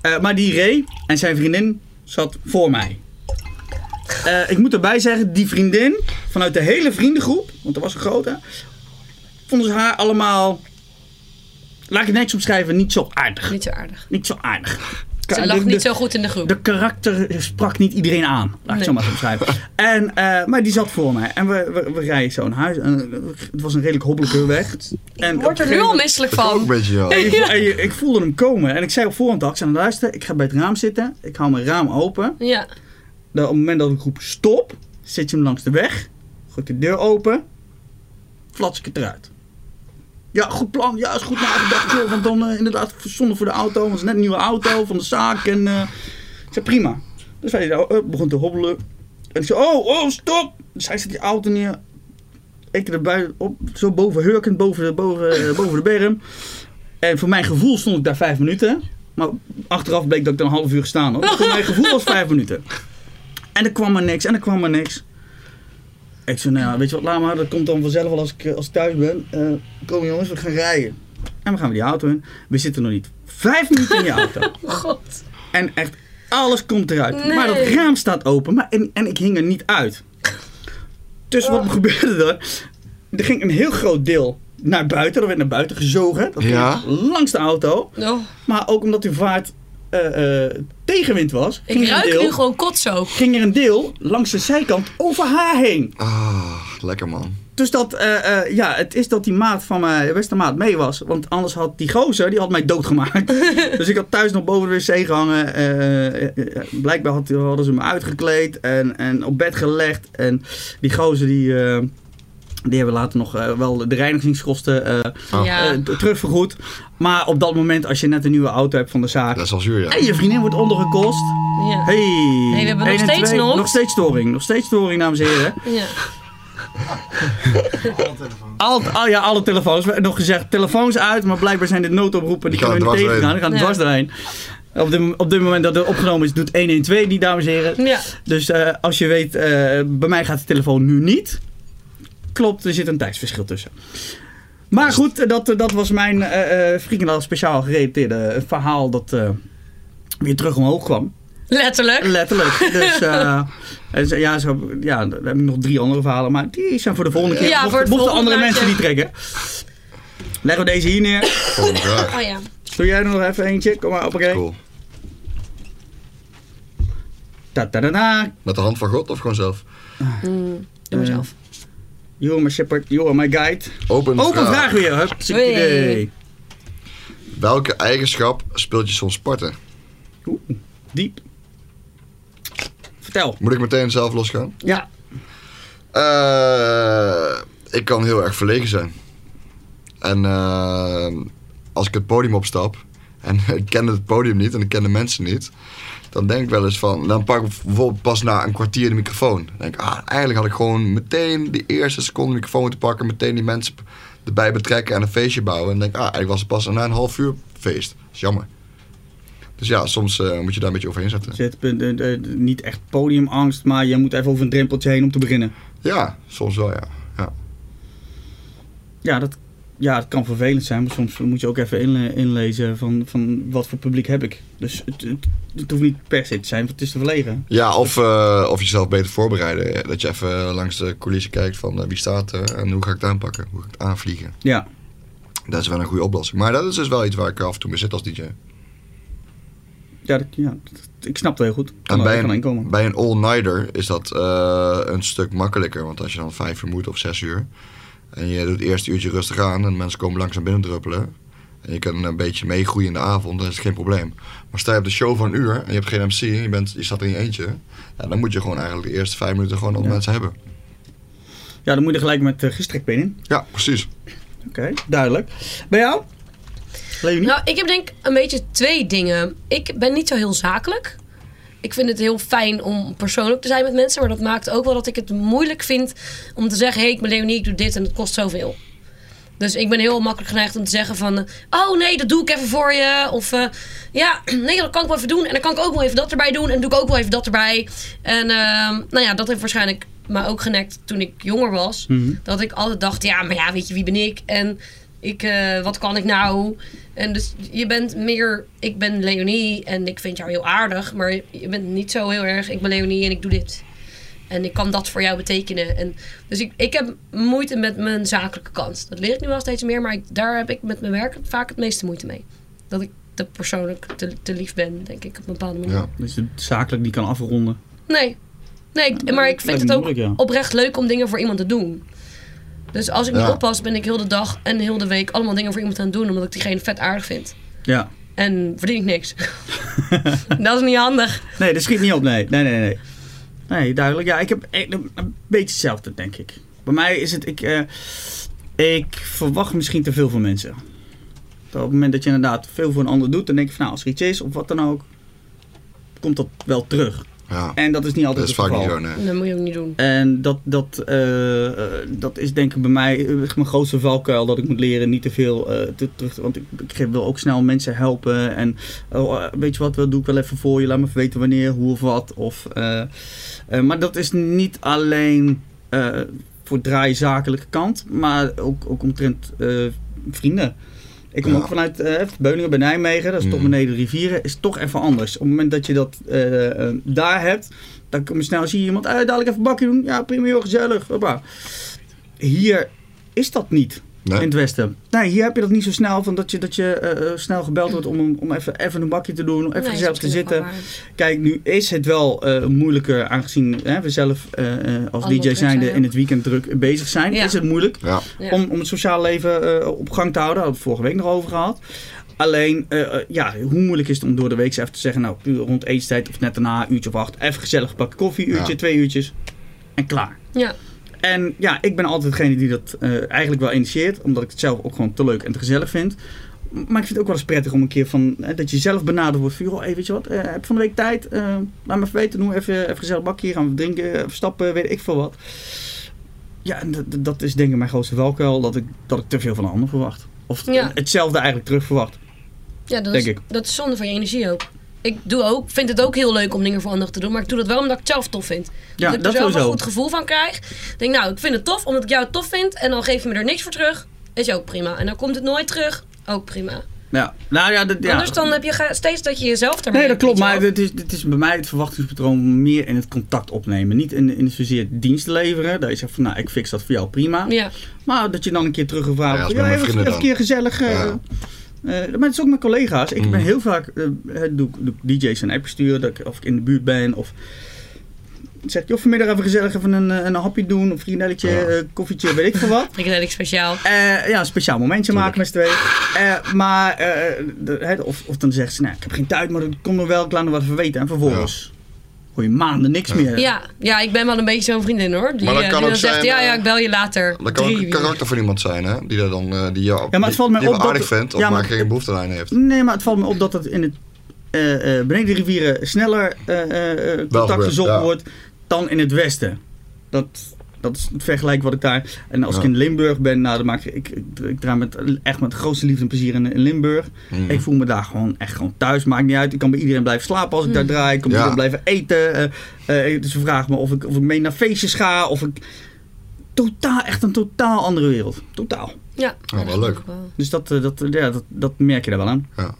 Eh, maar die reed en zijn vriendin zat voor mij. Eh, ik moet erbij zeggen, die vriendin vanuit de hele vriendengroep, want dat was een grote, vonden ze haar allemaal, laat ik het netjes omschrijven, niet zo aardig.
Niet zo aardig.
Niet zo aardig.
Ze lag
De- de-
niet zo goed in de groep.
de karakter sprak niet iedereen aan. Laat ik het
Nee.
zo maar even schrijven. En, eh, maar die zat voor mij. En we, we, we rijden zo naar huis. En, eh, het was een redelijk hobbelige weg. En
Ah, Ik word er nu al misselijk
Ook een
van.
beetje, ja.
en je voel- en je- ik voelde hem komen. En ik zei op voorhand, dag, ik zei, luister, ik ga bij het raam zitten. Ik hou mijn raam open.
Ja.
Dan Nou, op het moment dat ik roep stop, zit je hem langs de weg. Gooit de deur open. Flats ik het eruit. Ja, goed plan. Ja, is goed nagedacht. joh, Want dan eh, inderdaad zonde voor de auto. Want het is net een nieuwe auto van de zaak. En eh, ik zei prima. Dus wij nou, eh, begon te hobbelen. En ik zei, oh, oh, stop. Dus hij zet die auto neer. Ik erbij op, zo boven hurkend, boven de, boven, eh, boven de berm. En voor mijn gevoel stond ik daar vijf minuten. Maar achteraf bleek dat ik dan een half uur gestaan had. Maar Voor mijn gevoel was vijf minuten. En er kwam maar niks, en er kwam maar niks. Ik zei, nou ja, weet je wat, laat maar, dat komt dan vanzelf wel als ik, eh, als ik thuis ben. Eh, kom jongens, we gaan rijden. En we gaan weer die auto in. We zitten nog niet vijf minuten in die auto.
Oh, God.
En echt alles komt eruit.
Nee.
Maar dat raam staat open maar en, en ik hing er niet uit. Dus
Oh.
wat er gebeurde er? Er ging een heel groot deel naar buiten. Dat werd naar buiten gezogen. Dat ging
Ja.
langs de auto.
Oh,
Maar ook omdat die vaart eh, eh, tegenwind was. ging
ik
er een
ruik
deel-
nu gewoon kotzoop.
ging er een deel langs de zijkant over haar heen.
Ah, lekker man.
Dus dat, eh, eh, ja, het is dat die maat van mijn beste maat mee was. Want anders had die gozer, die had mij doodgemaakt. dus ik had thuis nog boven de wc gehangen. eh, eh, eh, blijkbaar had, hadden ze me uitgekleed en, en op bed gelegd. En die gozer, die, eh, die hebben later nog eh, wel de reinigingskosten eh,
Oh.
Ja.
eh, t- terugvergoed. Maar op dat moment, als je net een nieuwe auto hebt van de zaak...
Dat is al zuur, ja.
En je vriendin wordt ondergekost.
ja.
Hey,
Hey, we hebben nog
Eén en
steeds
twee.
nog.
Nog steeds storing, nog steeds storing, dames en heren.
ja.
Al, al- ja, alle telefoons. We hebben Nog gezegd, telefoons uit, maar blijkbaar zijn dit noodoproepen. Die
Die gaan
kunnen we niet
er dwars
tegengaan. Die gaan er
Ja.
dwars doorheen. Op dit, op dit moment dat het opgenomen is, doet 112 die, dames en heren.
ja.
Dus eh, als je weet, eh, bij mij gaat de telefoon nu niet. Klopt, er zit een tijdsverschil tussen. Maar goed, eh, dat, eh, dat was mijn eh eh Friekendaal speciaal gerelateerde eh, verhaal dat eh, weer terug omhoog kwam.
Letterlijk.
Letterlijk. Dus eh, en ze- ja, zo, ja, daar heb ik nog drie andere verhalen, maar die zijn voor de volgende keer.
Ja,
Mocht-
voor het
mochten
volgende
andere mensen die
plaatje.
trekken. Leggen we deze hier neer.
Volgende vraag.
Oh ja.
Doe jij er nog even eentje? Kom maar, hoppakee.
Cool.
Ta ta ta ta.
Met de hand van God of gewoon zelf?
Doe maar zelf.
You are my shepherd, you are my guide.
Open,
Open vraag weer. Hup, ziek
Hey.
idee.
Welke eigenschap speelt je soms parten?
Oeh, diep. Vertel.
Moet ik meteen zelf losgaan?
Ja.
Eh, ik kan heel erg verlegen zijn. En eh, als ik het podium opstap en ik ken het podium niet en ik ken de mensen niet, dan denk ik wel eens van, dan pak ik bijvoorbeeld pas na een kwartier de microfoon. Dan denk ik, ah, eigenlijk had ik gewoon meteen die eerste seconde de microfoon moeten pakken, meteen die mensen erbij betrekken en een feestje bouwen. En dan denk ik, ah, eigenlijk was het pas na een half uur feest. Dat is jammer. Dus ja, soms eh, moet je daar een beetje overheen zetten.
Zit, eh, eh, eh, niet echt podiumangst, maar je moet even over een drempeltje heen om te beginnen.
Ja, soms wel, ja. ja.
Ja, dat, ja, het kan vervelend zijn, maar soms moet je ook even inle- inlezen van, van wat voor publiek heb ik. Dus het, het, het hoeft niet per se te zijn, want het is te verlegen.
Ja, of, eh, of jezelf beter voorbereiden. Ja, Dat je even langs de coulissen kijkt van eh, wie staat er en hoe ga ik het aanpakken? Hoe ga ik het aanvliegen?
Ja.
Dat is wel een goede oplossing. Maar dat is dus wel iets waar ik af en toe mee zit als DJ.
Ja, dat- ja, dat- ik snap het heel goed. Kan
En
er-
bij
kan erin
een,
komen.
bij een all-nighter is dat eh, een stuk makkelijker. Want als je dan vijf uur moet of zes uur. En je doet het eerste uurtje rustig aan. En mensen komen langzaam binnendruppelen. En je kan een beetje meegroeien in de avond. Dan is het geen probleem. Maar sta je op de show van een uur. En je hebt geen MC. En je, bent, je staat in je eentje. Ja, dan moet je gewoon eigenlijk de eerste vijf minuten gewoon op
Ja.
mensen hebben.
Ja, dan moet je er gelijk met eh, gestrekt been in.
Ja, precies.
Oké, duidelijk. Bij jou? Leonie?
Nou, ik heb denk ik een beetje twee dingen. Ik ben niet zo heel zakelijk. Ik vind het heel fijn om persoonlijk te zijn met mensen. Maar dat maakt ook wel dat ik het moeilijk vind om te zeggen... hé, hey, ik ben Leonie, ik doe dit en het kost zoveel. Dus ik ben heel makkelijk geneigd om te zeggen van... eh, oh nee, dat doe ik even voor je. Of eh, ja, nee, dat kan ik wel even doen. En dan kan ik ook wel even dat erbij doen. En doe ik ook wel even dat erbij. En ehm, nou ja, dat heeft waarschijnlijk mij ook genekt toen ik jonger was. Dat ik altijd dacht, ja, maar ja, weet je, wie ben ik? En ik, eh, wat kan ik nou? En dus je bent meer, ik ben Leonie en ik vind jou heel aardig. Maar je- je bent niet zo heel erg, ik ben Leonie en ik doe dit. En ik kan dat voor jou betekenen. En dus ik, ik heb moeite met mijn zakelijke kant. Dat leer ik nu wel steeds meer, maar ik, daar heb ik met mijn werk vaak het meeste moeite mee. Dat ik te persoonlijk te, te lief ben, denk ik, op een bepaalde manier.
Ja.
Dus het zakelijk niet kan afronden.
Nee, nee ik- maar ik vind
lijkt
het
me
ook
moeilijk, ja.
oprecht leuk om dingen voor iemand te doen. Dus als ik
Ja.
niet oppas, ben ik heel de dag en heel de week allemaal dingen voor iemand aan het doen. Omdat ik diegene vet aardig vind.
Ja.
En verdien ik niks. dat is niet handig.
Nee, dat schiet niet op, nee. Nee, nee, nee. Nee, duidelijk. Ja, ik heb e- een beetje hetzelfde, denk ik. Bij mij is het, ik, eh, ik verwacht misschien te veel van mensen. Dat op het moment dat je inderdaad veel voor een ander doet, dan denk je van nou, als er iets is of wat dan ook, komt dat wel terug.
Ja,
En dat is niet altijd
dat is
het
vaak
geval.
niet zo, nee.
Dat moet je ook niet doen.
En dat, dat, eh, eh, dat is denk ik bij mij eh, mijn grootste valkuil. Dat ik moet leren niet te veel eh, te terug. Want ik, ik wil ook snel mensen helpen. En oh, eh, weet je wat, dat doe ik wel even voor je. Laat me even weten wanneer, hoe of wat. Of, eh, eh, maar dat is niet alleen eh, voor draai zakelijke kant. Maar ook, ook omtrent eh, vrienden. Ik kom
Ja.
ook vanuit eh Beuningen bij Nijmegen. Dat is toch
Mhm.
beneden de rivieren. Is toch even anders. Op het moment dat je dat eh, eh, daar hebt. Dan kom je snel, zie je iemand, eh, dadelijk even een bakje doen. Ja, prima, heel gezellig. Hoppa. Hier is dat niet
Nee.
in het Westen. Nee, hier heb je dat niet zo snel van dat je, dat je eh, eh, snel gebeld wordt om, een- om even, even een bakje te doen, om even
Nee,
gezellig
dat
te
is natuurlijk
zitten.
wel waar.
Kijk, nu is het wel eh, moeilijker aangezien hè, we zelf eh, eh, als
Allemaal
DJ
druk
zijnde
zijn
in
ook.
het weekend druk bezig zijn.
Ja.
Is het moeilijk
Ja,
Ja.
om, om het sociale leven eh, op gang te houden. Daar hadden we het vorige week nog over gehad. Alleen, eh, eh, ja, hoe moeilijk is het om door de week eens even te zeggen... nou, rond eetstijd of net daarna, uurtje of acht... even gezellig een bakje koffie, uurtje,
Ja.
twee uurtjes en klaar.
Ja.
En ja, ik ben altijd degene die dat eh, eigenlijk wel initieert... omdat ik het zelf ook gewoon te leuk en te gezellig vind... Maar ik vind het ook wel eens prettig om een keer van... eh, dat je zelf benaderd wordt van... joh, hey, weet je wat, eh, heb je van de week tijd? Eh, laat me even weten, doen we even, even een gezellig bakje... gaan we drinken, even stappen, weet ik veel wat. Ja, en dat, dat is denk ik mijn grootste valkuil... dat ik, dat ik te veel van de ander verwacht. Of
Ja.
hetzelfde eigenlijk terug verwacht.
Ja, dat,
Denk
is,
ik.
dat is zonde van je energie ook. Ik doe ook, vind het ook heel leuk om dingen voor anderen te doen. Maar ik doe dat wel omdat ik het zelf tof vind.
Ja,
dat ik er
dat
zelf
sowieso.
een goed gevoel van krijg. Ik denk, nou, ik vind het tof omdat ik jou het tof vind. En dan geef je me er niks voor terug. Is ook prima. En dan komt het nooit terug. Ook prima.
Ja, nou ja, dat, ja.
Anders dan heb je ge- steeds dat je jezelf daarmee...
Nee, dat klopt. Maar
weet je
het is, het is bij mij het verwachtingspatroon meer in het contact opnemen. Niet in, in zozeer diensten leveren. Dat je zegt van, nou, ik fix dat voor jou prima.
wel. Ja.
Maar dat je dan een keer teruggevraagd
Ja,
wordt.
dat is
Ja, ja,
met mijn
even,
vrienden
even een keer gezellig. eh,
Ja.
eh, maar het is ook met collega's. Ik
Mm.
ben heel vaak, eh, eh, doe, ik- doe ik DJ's een appje sturen, dat ik, of ik in de buurt ben. Of zeg, joh, vanmiddag even gezellig even een, eh, een hapje doen. Een vriendelletje,
Ja.
eh, koffietje, weet ik veel wat.
Frikadelic speciaal.
Eh, ja, een speciaal momentje maken met z'n tweeën. Eh, maar, eh, de- hè, of, of dan zegt ze, nou, ik heb geen tijd, maar ik kom nog wel, ik laat nog wat even weten. En vervolgens hoor je maanden niks meer.
Ja, ja, ik ben wel een beetje zo'n vriendin hoor. Die,
Maar dat
eh,
kan
die
ook
dan zegt,
zijn,
ja,
eh,
ja, ik bel je later.
Dat kan ook
Drie
een
uur.
karakter van iemand zijn, hè? Die, daar dan, eh, die, jou,
het valt mij
die
op
wel
dat-
aardig vindt, of
ja, maar-
maar geen behoefte aan heeft.
Nee, maar het valt me op dat dat in het eh, eh, beneden de rivieren sneller eh, eh, eh, contact
gebeurt,
gezocht
ja.
wordt dan in het westen. Dat, dat is het vergelijk wat ik daar. En als
Ja.
ik in Limburg ben, nou, dan maak ik, ik, ik, ik draai met, echt met de grootste liefde en plezier in, in Limburg.
Mhm.
Ik voel me daar gewoon echt gewoon thuis. Maakt niet uit. Ik kan bij iedereen blijven slapen als ik daar draai. Ik kan bij
Ja.
iedereen blijven eten. Eh, eh, dus ze vragen me of ik, of ik mee naar feestjes ga. Of ik. Totaal, echt een totaal andere wereld. Totaal.
Ja,
wel
Ja, dat
leuk.
is ook wel-
Dus dat, eh, dat, eh, ja, dat, dat merk je daar wel aan.
Ja.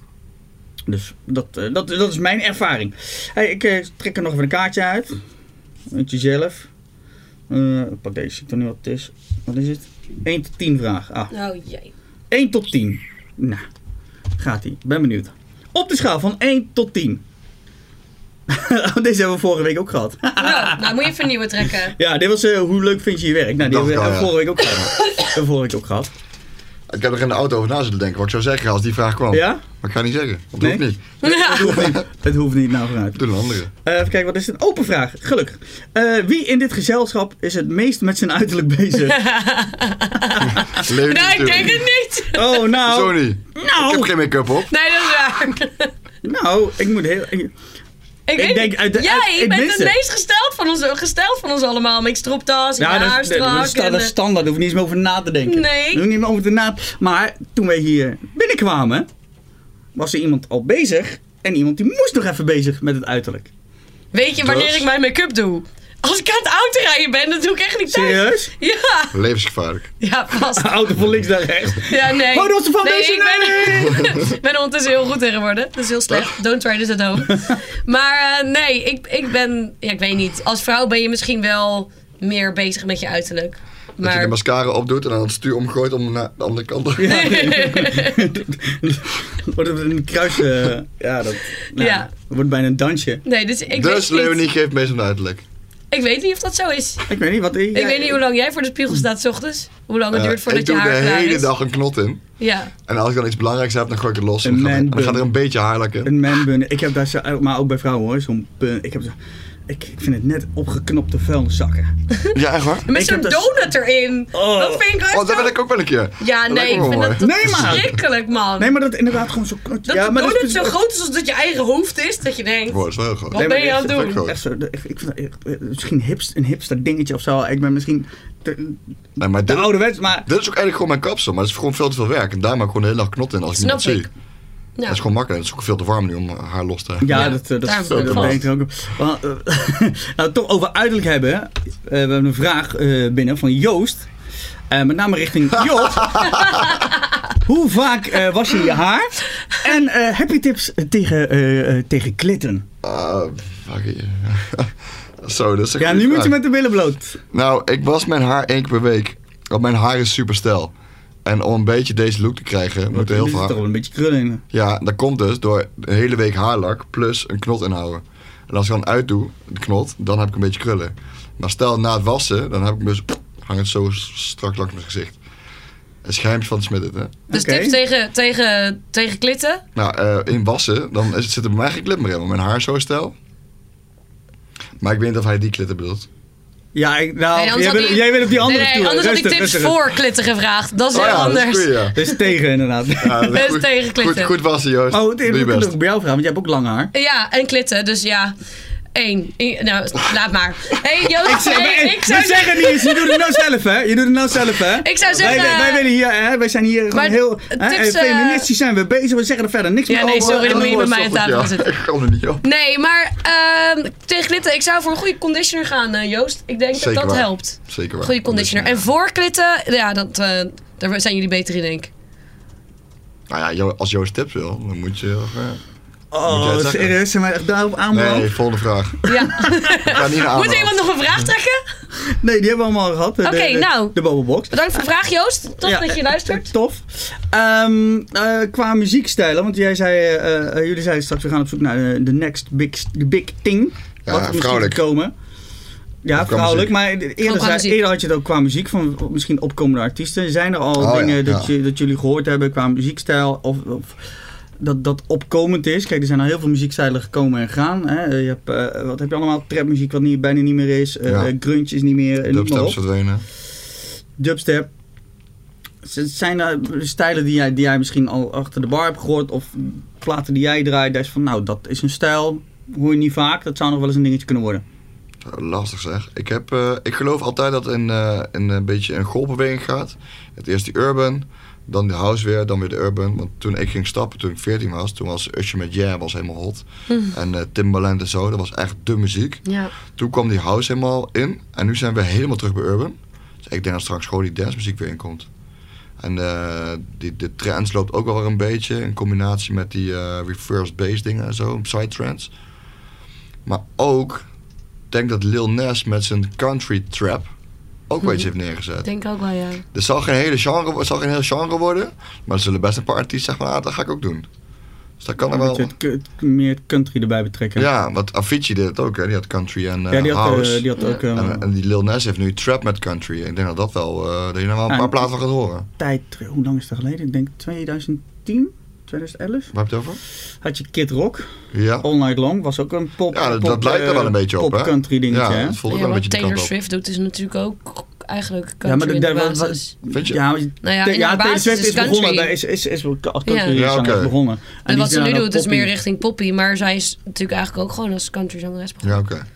Dus dat, eh, dat, dat is mijn ervaring. Hey, ik eh, trek er nog even een kaartje uit. Eentje zelf. Eh, ik pak deze, ik weet niet wat het is. Wat is het? 1 tot 10 vraag. Ah,
Oh jee.
Nou, 1 tot 10. Nou, gaat ie. Ik ben benieuwd. Op de schaal van 1 tot 10. Deze hebben we vorige week ook gehad.
Nou, nou, moet je even een nieuwe trekken.
ja, dit was eh, hoe leuk vind je je werk. Nou, die
Dacht
hebben we
ik al,
eh,
ja.
vorige week ook gehad. Die hebben we vorige week ook gehad.
Ik heb er in de auto over na zitten denken wat ik zou zeggen als die vraag kwam.
Ja?
Maar ik ga niet zeggen, want
Nee?
dat hoeft niet.
Ja.
Het hoeft niet nou vooruit.
Doe een andere.
Eh, even kijken, wat is het? Een open vraag, gelukkig. Eh, wie in dit gezelschap is het meest met zijn uiterlijk bezig?
Leuk
Nee, ik denk het niet. Oh.
Oh, nou.
Sorry. Ik heb
Nou,
geen make-up op.
Nee, dat is waar.
nou, ik moet heel... ik-
Ik, weet
denk
niet.
uit de-
Jij
uit- ik
bent
mis
het
het.
meest gesteld van, ons, gesteld van ons allemaal. Met stropdas, ja,
dat-
haar
dat, dat, is
strak.
sta-
en,
dat is
eh,
standaard, daar hoef je niet eens meer over na te denken.
Nee.
Daar hoef je niet meer over te na Maar toen wij hier binnenkwamen, was er iemand al bezig. En iemand die moest nog even bezig met het uiterlijk.
Weet je wanneer
Dus?
ik mijn make-up doe? Als ik aan het autorijden ben, dat doe ik echt niet thuis.
Serieus?
Ja,
Levensgevaarlijk.
ja, vast.
Auto van links naar rechts.
Ja, nee.
Oh, dat was de
nee,
foundation!
ik ben, ik ben ondertussen heel goed in geworden. Dat is heel slecht. Don't try this at home. Maar eh, nee, ik, ik ben... Ja, ik weet niet. Als vrouw ben je misschien wel meer bezig met je uiterlijk.
Dat je de
Maar...
mascara opdoet en dan het stuur omgooit om naar de andere kant.
Wordt het een kruis... eh, ja, dat nou,
Ja.
het wordt bijna een dansje.
Nee, dus ik
Dus
weet niet.
Leonie geeft meest een uiterlijk.
Ik weet niet of dat zo is.
Ik weet niet wat...
Ik weet niet hoe lang jij voor de spiegel staat 's ochtends. Hoe lang het
Eh,
duurt
ik
voordat je
doe de
haar klaar
hele
is.
dag een knot in.
Ja.
En als ik dan iets belangrijks heb, dan gooi ik het los. En
Een
dan, gaat er, en dan
man-bun.
gaat er een beetje haarlak in.
Een manbun. Ik heb daar, zo- eh, maar ook bij vrouwen hoor, zo'n pun. Ik, heb zo, ik, ik vind het net opgeknopte vuilniszakken.
Ja, echt waar?
Met
Ik heb
zo'n
dat-
donut erin.
Oh.
Dat vind ik echt
Oh, dat
zo-
wil ik ook wel een keer.
Ja, nee, ik
lijkt me wel
vind
mooi.
dat
Nee, maar.
verschrikkelijk, man.
Nee, maar dat inderdaad gewoon zo... knot-
dat
ja,
de
maar
donut
is
zo
precies-
groot is als dat je eigen hoofd is, dat je denkt...
Wow, dat is wel heel groot.
Wat ben je aan het
echt
doen?
groot.
Echt zo, de- echt- ik vind dat echt- eh, misschien hipst, een hipster dingetje of zo. Ik ben misschien te,
Nee, maar
te
dit,
ouderwets, maar
dit is ook eigenlijk gewoon mijn kapsel. Maar het is gewoon veel te veel werk. En daar maak ik gewoon de hele dag knot in als ik
Snap
niemand zie.
ik.
Dat is
Nou,
gewoon makkelijk. Het is ook veel te warm nu om eh, haar los te hebben.
ja,
Ja,
dat, eh, dat,
daar
dat,
heb ik
dat
vast.
denk ik ook. Maar, eh, nou, toch over uiterlijk hebben. eh, we hebben een vraag eh, binnen van Joost. Eh, met name richting Joost. Hoe vaak eh, was je je haar? En eh, heb je tips tegen, eh, eh, tegen klitten?
Ah, fuck je. Zo, dat is een
Ja,
goede
nu moet
vraag.
je met de billen bloot.
Nou, ik was mijn haar één keer per week. Want mijn haar is super stijl. En om een beetje deze look te krijgen, moet er heel
Er zit
veel
toch
haar...
wel een beetje krullen in.
Ja, dat komt dus door de hele week haarlak plus een knot inhouden. En als ik dan uitdoe, de knot, dan heb ik een beetje krullen. Maar stel na het wassen, dan heb ik dus... Hang het zo strak langs mijn gezicht. Een schijntje van de smid het, hè.
dus
Oké. Oh,
tips tegen, tegen, tegen klitten.
Nou, eh, in wassen, dan is, zit er bij mij geen klip meer in. Want mijn haar is zo stijl. Maar ik weet niet of hij die klitten bedoelt.
Ja, ik, nou,
Nee, anders
jij,
had
wil-
hij-
jij wil op die andere
nee, nee,
toer.
anders had ik
Rustig,
tips
rustig.
voor klitten gevraagd. Dat is heel
dat is
anders.
goed, Oh ja.
Dus tegen inderdaad.
Ja, dat is
Best
goed.
tegen klitten.
Goed, goed wassen, Joost.
Oh,
Doe
het-
je
we kunnen
best.
ook bij jou vragen, want jij hebt ook lang haar.
Ja, en klitten, dus ja. Eén. I- Nou, laat maar. Hé, hey, Joost, hey,
Nee,
Oh, ik zou
we zeggen niet eens, je doet het nou zelf, hè? Je doet het nou zelf, hè?
Ik zou zeggen-
Wij, wij, wij willen hier, hè, wij zijn hier gewoon
Maar
heel... Hè,
tips,
eh,
eh,
feministisch zijn we bezig, we zeggen er verder niks
Ja,
meer
nee,
over.
sorry, dan moet je bij mij aan tafel gaan zitten.
Ik kom er niet op.
Nee, maar ehm, tegen klitten, ik zou voor een goede conditioner gaan, eh, Joost. Ik denk
Zeker
dat dat
waar.
helpt.
Zeker waar.
Goede conditioner. En voor klitten, ja, dat, eh, daar zijn jullie beter in, denk ik.
Nou ja, Jo- als Joost tips wil, dan moet je... eh, Moet jij
Oh,
het zeggen?
serieus, zijn wij echt daarop aanbeland?
Nee,
Nee.
volgende vraag.
Ja.
Ik ga niet naar
Moet
aanhouden.
iemand nog een vraag trekken?
die hebben we allemaal al gehad. De-
Oké,
de- de-
nou.
De bobbelbox.
Bedankt voor de vraag, Joost. Tof
Ja,
dat je luistert.
Tof. Ehm, eh, qua muziekstijlen, want jij zei, eh, eh, jullie zeiden straks, we gaan op zoek naar eh, de next big, the big thing.
Ja,
wat er misschien
vrouwelijk.
gaat komen. Ja,
qua
vrouwelijk, maar eerder,
qua
zei-
muziek.
eerder had je het ook qua muziek van misschien opkomende artiesten. Zijn er al
Oh ja,
dingen dat,
ja.
je, dat jullie gehoord hebben qua muziekstijl of, of dat, dat opkomend is? Kijk, er zijn al heel veel muziekstijlen gekomen en gaan. Hè? Eh, Je hebt, eh, wat heb je allemaal? Trapmuziek wat niet, bijna niet meer is. Eh
Ja.
Grunge is niet meer. eh, noem maar
Dubstep
op
is verdwenen.
dubstep. Z- Zijn er stijlen die jij, die jij misschien al achter de bar hebt gehoord? Of platen die jij draait, daar is van, nou, dat is een stijl. Hoor je niet vaak, dat zou nog wel eens een dingetje kunnen worden.
Eh, Lastig zeg. Ik, heb, eh, ik geloof altijd dat in, eh, in een beetje een golfbeweging gaat. Het eerst die urban, dan de house weer, dan weer de urban. Want toen ik ging stappen, toen ik 14 was, toen was Usher met Yeah was helemaal hot.
Hm.
En eh, Timbaland en zo, dat was echt de muziek.
Ja.
Toen kwam die house helemaal in. En nu zijn we helemaal terug bij Urban. Dus ik denk dat straks gewoon die dancemuziek weer inkomt. En eh, die, de trends loopt ook wel weer een beetje. In combinatie met die eh, reverse bass dingen en zo. Side trends. Maar ook, ik denk dat Lil Nas met zijn country trap ook wel
Mhm.
iets heeft neergezet.
denk ook wel, ja.
Het zal geen, hele genre, het zal geen heel genre worden. Maar er zullen best een paar artiesten zeggen van, ah, dat ga ik ook doen. Dus Dus dat kan er
Een
wel.
beetje het cu- het- meer country erbij betrekken.
Ja, want Avicii deed het ook, hè? Die had country en eh,
Ja, die had, eh,
house.
die had ook eh,
En, en die Lil Nas heeft nu trap met country. Ik denk dat dat wel, eh, dat je daar wel een
Ah,
paar platen van gaat horen.
tijd, terug- hoe lang is dat geleden? Ik denk 2010, 2011.
Waar heb je het over?
Had je Kid Rock,
Ja.
All Night Long, was ook een pop.
Ja, dat-
pop,
dat lijkt er wel
eh,
een beetje op,
pop
hè?
country dingetje,
ja,
hè?
dat voelde ik
ja,
wel een
wat
beetje de
Taylor
kant op.
Swift doet is natuurlijk ook eigenlijk country
Ja, maar
in
dat-
de
daar- wat-
basis.
Vind je?
Ja, maar je-
Nou ja,
te-
in de basis
Taylor Swift
is
is begonnen.
country.
Daar is, is, is als country
Ja.
Ja,
zanger
oké.
begonnen.
En
die
wat ze
zijn
nu
dan
doet is
poppy.
meer richting poppy, maar zij is natuurlijk eigenlijk ook gewoon als country zangeres
Ja,
begonnen.
oké.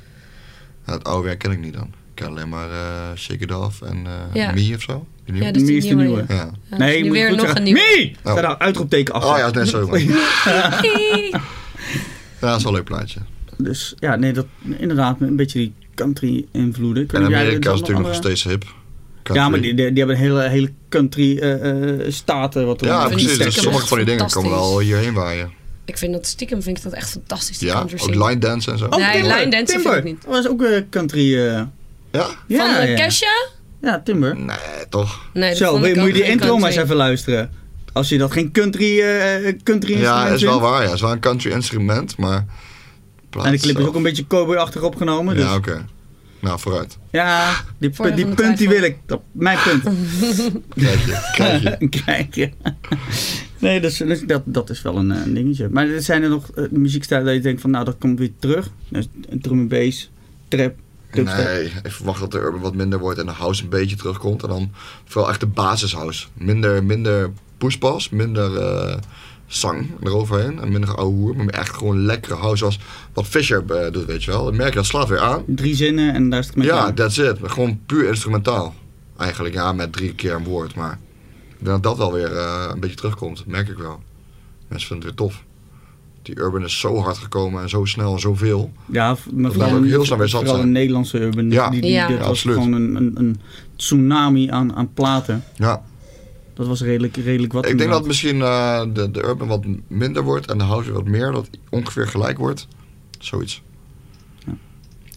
Ja, het oude werk ken ik niet dan. Ik ken alleen maar eh, Shake It Off en eh
Ja.
Me of zo. Die nieuwe.
Ja, dat is
Meer is
die
de
nieuwe,
nieuwe.
ja.
Ja.
Ja,
Nee,
dus
je
nu
moet
weer
goed
nog
zeggen,
een nieuwe.
Mee!
Oh.
Daar een uitroepteken achter.
Oh ja, nee, sorry. man. Ja, dat is wel een leuk plaatje.
Dus ja, nee, dat, inderdaad, een beetje die country invloeden. Ik weet
En
niet of jij dit
Amerika is
allemaal
natuurlijk nog
andere-
steeds hip.
Ja,
Country.
maar die, die, die hebben een hele, hele country eh, eh, staten. Wat er
Ja,
allemaal
Van die
precies.
stiekem
Dus sommige
echt
van die dingen komen
fantastisch.
wel hierheen waaien.
Ik vind dat stiekem vind ik dat echt fantastisch. Die
Ja,
country
ook
zingen.
line dance en zo.
Oh,
Nee,
Timber.
line dance
Timber.
vind ik niet.
Dat was ook eh, country. eh,
Ja?
ja,
van eh,
ja.
Kesha?
Ja, Timber.
Nee, toch?
Nee, dat
Zo,
vond
wil-
ik
moet je
ook
die
geen
intro maar eens
country.
even luisteren. Als je dat geen country, eh country
Ja,
instrument
is wel
vindt.
waar. Ja, is wel een country instrument, maar. plaat
En de clip is
zelf-
ook een beetje cowboy-achtig opgenomen. Dus.
Ja,
Ja,
oké. Nou, vooruit.
die,
Voordeel
punt, die
van de
punt die wil
twijfel.
ik. Dat, mijn punt.
Kijk je, kijk je.
Kijk je. nee, dus, dus dat, dat is wel een, eh, dingetje. Maar er zijn er nog eh, muziekstijlen dat je denkt van, nou, dat komt weer terug. Dus, een drum en bass, trap, dubstep.
Nee, ik verwacht dat de urban wat minder wordt en de house een beetje terugkomt. En dan vooral echt de basishouse. Minder, minder pushpas, minder eh zang eroverheen en minder ouwe Maar echt gewoon lekkere house zoals wat Fisher eh, doet, weet je wel. Dan merk je, dat slaat weer aan.
Drie zinnen en daar is het mee
Ja,
klaar.
that's it. Gewoon puur instrumentaal. Eigenlijk, ja, met drie keer een woord, maar ik denk dat dat wel weer eh, een beetje terugkomt, merk ik wel. Mensen vinden het weer tof. Die urban is zo hard gekomen en zo snel en zoveel.
Ja, v- maar
Dat laat ook heel snel weer zat
vooral
zijn.
een Nederlandse urban.
Ja.
die, die,
Ja.
dat
Ja,
was
absoluut.
gewoon een, een, een tsunami aan, aan platen.
Ja,
Dat was redelijk, redelijk wat.
ik denk dat
inderdaad.
misschien eh, de, de urban wat minder wordt en de house weer wat meer, dat ongeveer gelijk wordt. Zoiets.
Ja.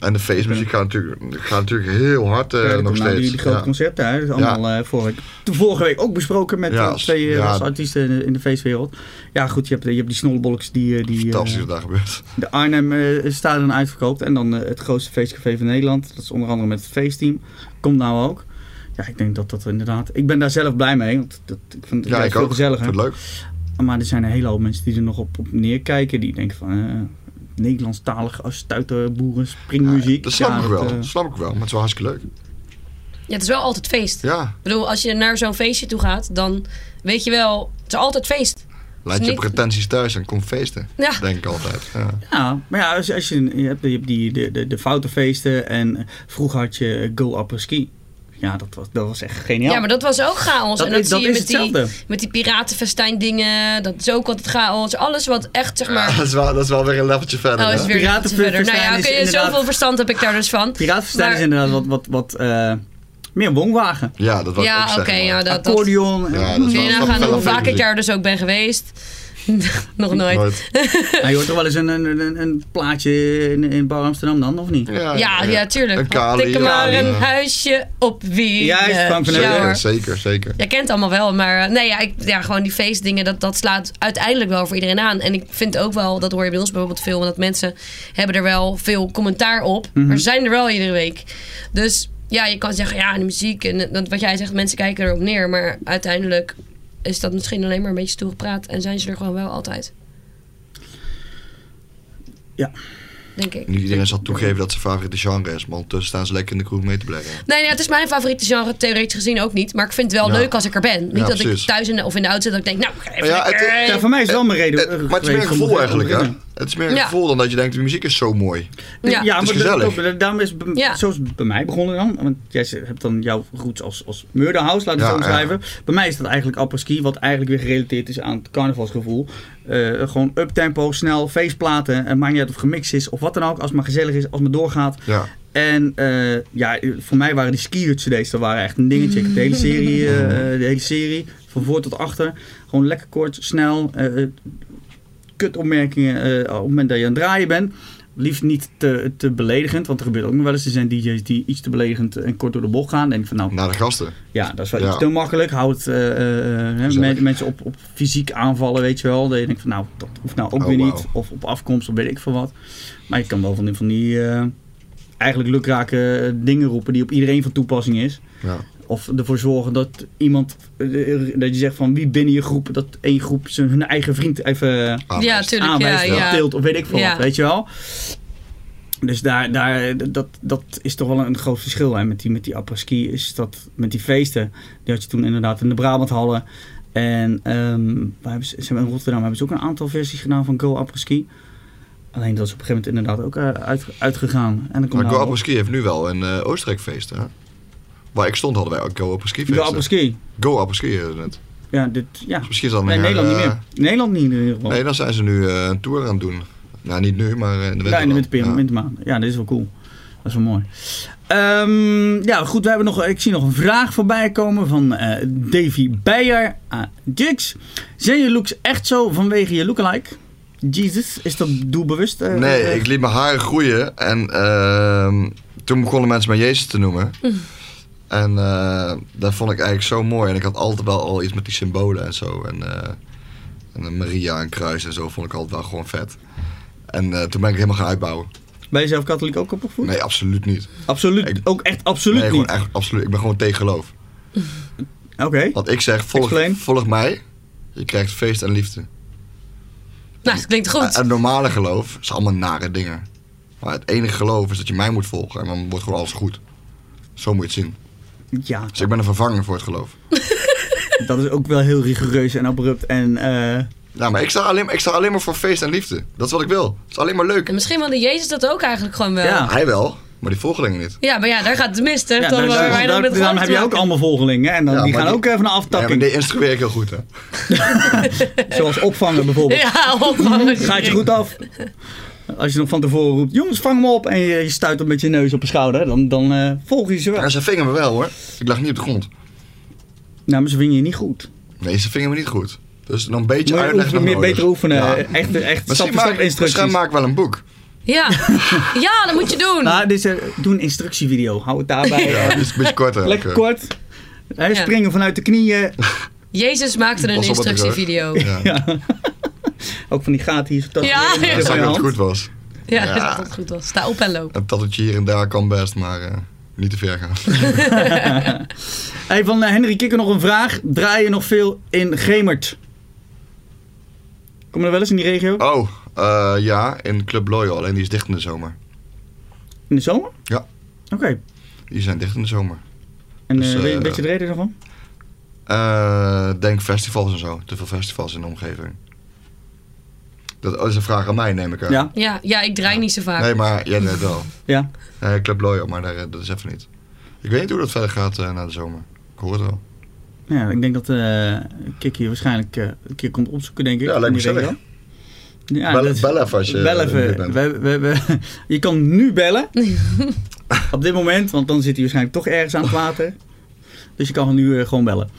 En de feestmuziek gaat natuurlijk, gaat natuurlijk heel hard eh,
Ja, er
nog
komt nou
steeds.
die, die grote
ja.
concepten. Hè? Dat is allemaal eh, vorige, de vorige week ook besproken met
Ja,
eh, twee eh,
ja.
als artiesten in de, in de feestwereld. Ja, goed, je hebt, je hebt die snollebolks die, eh, die eh,
Fantastisch wat daar gebeurt.
de Arnhem eh, Stadion uitverkoopt. En dan eh, het grootste feestcafé van Nederland. Dat is onder andere met het feestteam. Komt nou ook. Ja, ik denk dat dat inderdaad... Ik ben daar zelf blij mee. Want dat, ik vind het
Ja,
juist
ik
veel
ook.
gezelliger.
Vind het leuk.
Maar er zijn een hele hoop mensen die er nog op, op neerkijken. Die denken van... eh Nederlandstalige stuiterboeren, springmuziek.
Dat snap
Ja,
ik wel.
eh,
Dat snap ik wel, maar het is wel hartstikke leuk.
Ja, het is wel altijd feest.
Ja,
Ik bedoel, als je naar zo'n feestje toe gaat, dan weet je wel, het is altijd feest.
laat
Is
je
niet-
pretenties thuis en kom feesten.
Ja.
Denk ik altijd. Ja.
Ja, Nou, maar ja, als, als je, je hebt, je hebt die, de, de, de foutenfeesten en eh, vroeger had je Go Upper Ski. Ja, dat was, dat was echt
Ja,
geniaal.
maar dat was ook chaos.
Dat
en dat
is-
zie
dat
je
is
met die,
hetzelfde.
met die piratenfestijn dingen. Dat is ook altijd chaos. Alles wat echt, zeg maar...
Ja, dat, is wel, dat is wel weer een leveltje verder.
Oh,
hè?
is weer
Piraten-
iets verder. Nou ja,
verstaan is
oké,
inderdaad-
zoveel verstand heb ik daar dus van.
Piratenfestijn
Maar-
is inderdaad wat, wat, wat eh, meer woonwagen.
Ja, dat wil ik ook
Ja,
zeggen.
oké, ja,
maar.
dat... dat.
Accordeon. en-
Ja, dat is
Kun je
wel-
nagaan
wel
hoe
een
vaak ik
feestmuziek.
daar dus ook ben geweest? Nog nooit.
Nooit.
Nou, je hoort toch wel eens een, een, een, een plaatje in, in Bar Amsterdam dan, of niet?
Ja,
Ja, ja, tuurlijk.
Een kali.
Tikken
ja,
maar
ja.
een huisje op wie.
Juist, Frank van der
Ja,
Werf.
hoor.
Zeker, zeker, zeker.
Jij kent het allemaal wel, maar eh, nee, ja, ik, ja, gewoon die feestdingen, dat, dat slaat uiteindelijk wel voor iedereen aan. En ik vind ook wel, dat hoor je bij ons bijvoorbeeld veel, dat mensen hebben er wel veel commentaar op. Maar ze zijn er wel iedere week. Dus ja, je kan zeggen, ja, de muziek en eh, dat, wat jij zegt, mensen kijken erop neer. Maar uiteindelijk is dat misschien alleen maar een beetje toegepraat en zijn ze er gewoon wel altijd.
Ja.
Denk ik.
Niet iedereen zal toegeven dat zijn favoriete genre is, maar ondertussen staan ze lekker in de kroeg mee te blijven.
Nee, nee, het is mijn favoriete genre, theoretisch gezien ook niet. Maar ik vind het wel
Ja.
leuk als ik er ben. Niet
Ja,
dat
precies.
ik thuis in de, of in de auto zit dat ik denk, nou, ik ga even
Ja, het-
lekker-
Ja, voor mij is wel mijn reden. eh,
maar het is meer
geweest
een
om
gevoel
te
eigenlijk, hè?
beginnen.
Het is meer een
Ja.
gevoel dan dat je denkt, de muziek is zo mooi.
Ja,
ja.
maar
is
dat-
gezellig.
dat- daarom is het bij-
Ja.
zo is het bij mij begonnen dan. Want jij z- hebt dan jouw roots als, als murder house, laten we
Ja,
het zo
ja.
schrijven. Bij mij is dat eigenlijk apres-ski, wat eigenlijk weer gerelateerd is aan het carnavalsgevoel. Eh, gewoon uptempo, snel, feestplaten. En maakt niet uit of het gemixt is of wat dan ook. Als het maar gezellig is, als het maar doorgaat.
Ja.
En eh, ja, voor mij waren die ski-hut cd's, dat waren echt een dingetje. Ik heb de hele serie, eh, de hele serie, van voor tot achter. Gewoon lekker kort, snel. eh, eh, kutopmerkingen eh, op het moment dat je aan het draaien bent. Liefst niet te, te beledigend, want er gebeurt ook nog wel eens. Er zijn DJ's die iets te beledigend en kort door de bocht gaan. Denk ik van nou,
Naar de gasten.
ja, dat is wel
Ja.
iets te makkelijk. Houdt eh, eh, hè,
Gezellig.
men- mensen op, op fysiek aanvallen, weet je wel. Dan denk ik van, nou, dat hoeft nou ook
Oh,
weer niet.
wauw.
Of op afkomst, of weet ik veel wat. Maar je kan wel van die, van die eh, eigenlijk lukrake eh, dingen roepen die op iedereen van toepassing is.
Ja.
Of ervoor zorgen dat iemand, eh, dat je zegt van wie binnen je groep, dat één groep zijn, hun eigen vriend even
ja,
Aanwijs.
tuurlijk. Ja,
aanwijst, of
ja.
tilt of weet ik veel
Ja.
wat, weet je wel. Dus daar, daar, dat, dat is toch wel een groot verschil. En met die, met die ski is dat, met die feesten, die had je toen inderdaad in de Brabanthallen. En ehm, waar hebben ze, ze hebben in Rotterdam hebben ze ook een aantal versies gedaan van Go Ski. Alleen dat is op een gegeven moment inderdaad ook eh, uit, uitgegaan. En dan komt
Maar Go
nou
Apres Ski heeft nu wel een eh Oostenrijk feest, hè? Waar ik stond hadden wij ook Go Apres Ski
Go
feesten.
Apres-ski.
Go Apres Ski eh, net.
Ja, dit, ja.
Dus misschien is dat
Nee,
een
Nederland niet
eh,
meer. Nederland niet in ieder geval.
Nee, dan zijn ze nu eh, een tour aan het doen. Nou, niet nu, maar eh, in de winter.
Ja, in de
dan.
winterperiode,
Ja.
wintermaanden. Ja, dat is wel cool. Dat is wel mooi. Ehm, ja, goed. We hebben nog, ik zie nog een vraag voorbij komen van eh, Davy Beijer aan Jix. Zijn je looks echt zo vanwege je lookalike? Jesus, is dat doelbewust? eh,
Nee,
eh,
ik liet mijn haren groeien en ehm, toen begonnen mensen mij Jezus te noemen. En eh, dat vond ik eigenlijk zo mooi. En ik had altijd wel al iets met die symbolen en zo. En, eh, en een Maria en kruis en zo vond ik altijd wel gewoon vet. En eh, toen ben ik helemaal gaan uitbouwen.
Ben je zelf katholiek ook opgevoed?
Nee, absoluut niet.
Absoluut.
Ik-
ook echt absoluut
nee,
niet.
gewoon echt absoluut. Ik ben gewoon tegen geloof.
Oké.
Want ik zeg, volg,
Explain.
volg mij. Je krijgt feest en liefde.
Nou, dat klinkt goed.
En het normale geloof is allemaal nare dingen. Maar het enige geloof is dat je mij moet volgen en dan wordt gewoon alles goed. Zo moet je het zien.
Ja,
Dus ik ben een vervanger voor het geloof.
dat is ook wel heel rigoureus en abrupt. En eh,
Ja, maar ik sta, alleen, ik sta alleen maar voor feest en liefde. Dat is wat ik wil. Het is alleen maar leuk. Nou,
En misschien wilde Jezus dat ook eigenlijk gewoon wel.
Ja.
Ja,
Hij wel, maar die volgelingen niet.
maar ja, daar gaat het mis, hè?
ja,
dan
daar-
waar wij
daar-
dan met
daarom heb je ook allemaal volgelingen. En dan,
Ja,
die
maar
gaan
die-
ook even een
Ja, maar
aftappeling.
die instrueer ik heel goed, hè.
Zoals opvangen bijvoorbeeld.
Ja, ophangen.
Gaat je goed af. Als je nog van tevoren roept, jongens, vang me op. En je, je stuit hem met je neus op een schouder. Dan, dan eh, volg je ze wel.
Ja, ze vingen me wel, hoor. Ik lag niet op de grond.
Nou, maar ze vinden je niet goed.
Nee, ze vingen me niet goed. Dus nog een beetje
Moet je
uitleg
oefenen,
nog
meer
nodig.
beter oefenen.
dus. Ja.
Echt, echt stap
Misschien
voor stap
maak, misschien
instructies.
maak ik wel een boek.
Ja. ja, dat moet je doen.
Nou, dit is, eh, doe een instructievideo. Hou het daarbij.
Ja, die is een beetje korter.
Lekker
ook, eh.
kort. Hè,
Ja.
Springen vanuit de knieën.
Jezus maakte een
Pas op wat ik zeg.
instructievideo.
Ja.
Ook van die gaten hier. zo dat-
Ja,
dat-
ja.
Dat
dat-
zei ik dat het
dat-
goed was.
Ja,
Ja.
dat het goed was. Sta op en loop.
Een tattooetje hier en daar kan best, maar eh, niet te ver gaan.
Hey, van eh, Henry Kikker nog een vraag. Draai je nog veel in Gemert? Kom je er wel eens in die regio?
Oh, eh, ja, in Club Loyal, alleen die is dicht in de zomer.
In de zomer?
Ja.
Oké.
Die zijn dicht in de zomer.
En
Dus,
eh, weet-
eh,
weet je de reden daarvan?
Eh, denk festivals en zo. Te veel festivals in de omgeving. Dat is een vraag aan mij, neem ik aan.
Ja.
Ja, ja ik draai niet zo vaak.
Nee, maar jij net wel.
Ja.
Nee, Club Loyal, maar daar, eh, dat is even niet. Ik weet niet hoe dat verder gaat eh, na de zomer. Ik hoor het wel.
Ja, ik denk dat eh Kik hier waarschijnlijk eh, een keer komt opzoeken, denk ik.
Ja, lijkt me
In die
gezellig.
regio. Ja,
bel,
dat-
bel even als je
bel
er niet
even.
bent.
We, we, we- je kan nu bellen. Op dit moment, want dan zit hij waarschijnlijk toch ergens aan het water. Dus je kan nu eh, gewoon bellen.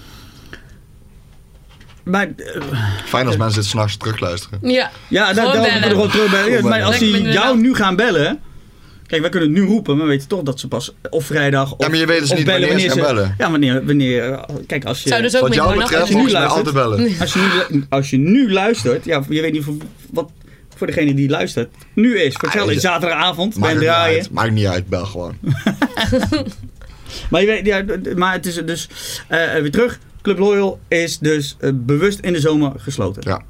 Maar eh,
Fijn als mensen dit s'nachts terugluisteren.
Ja,
ja, daar
Gewoon
daar
bellen.
moeten we gewoon terug bellen. Ja,
Gewoon
maar als
bellen.
die
Lekker
jou
inderdaad.
nu gaan bellen. Kijk, wij kunnen het nu roepen, maar we weten toch dat ze pas of vrijdag of,
Ja, maar je weet dus
of
niet
bellen
wanneer ze gaan bellen.
Ja, wanneer, wanneer eh, kijk, als je...
zou dus ook
Wat
meer
jou
gewoon
betreft,
je nu
nachten
volgens mij altijd
luistert.
bellen.
Als je, nu, als je nu luistert, ja, je weet niet voor, wat voor degene die luistert nu is. Voor hetzelfde
Ah, is-
zaterdagavond bij
Maakt
een
niet
draaien.
uit. Maakt niet uit, bel gewoon.
Maar, je weet, ja, d- maar het is dus eh, weer terug. Club Loyal is dus eh, bewust in de zomer gesloten.
Ja.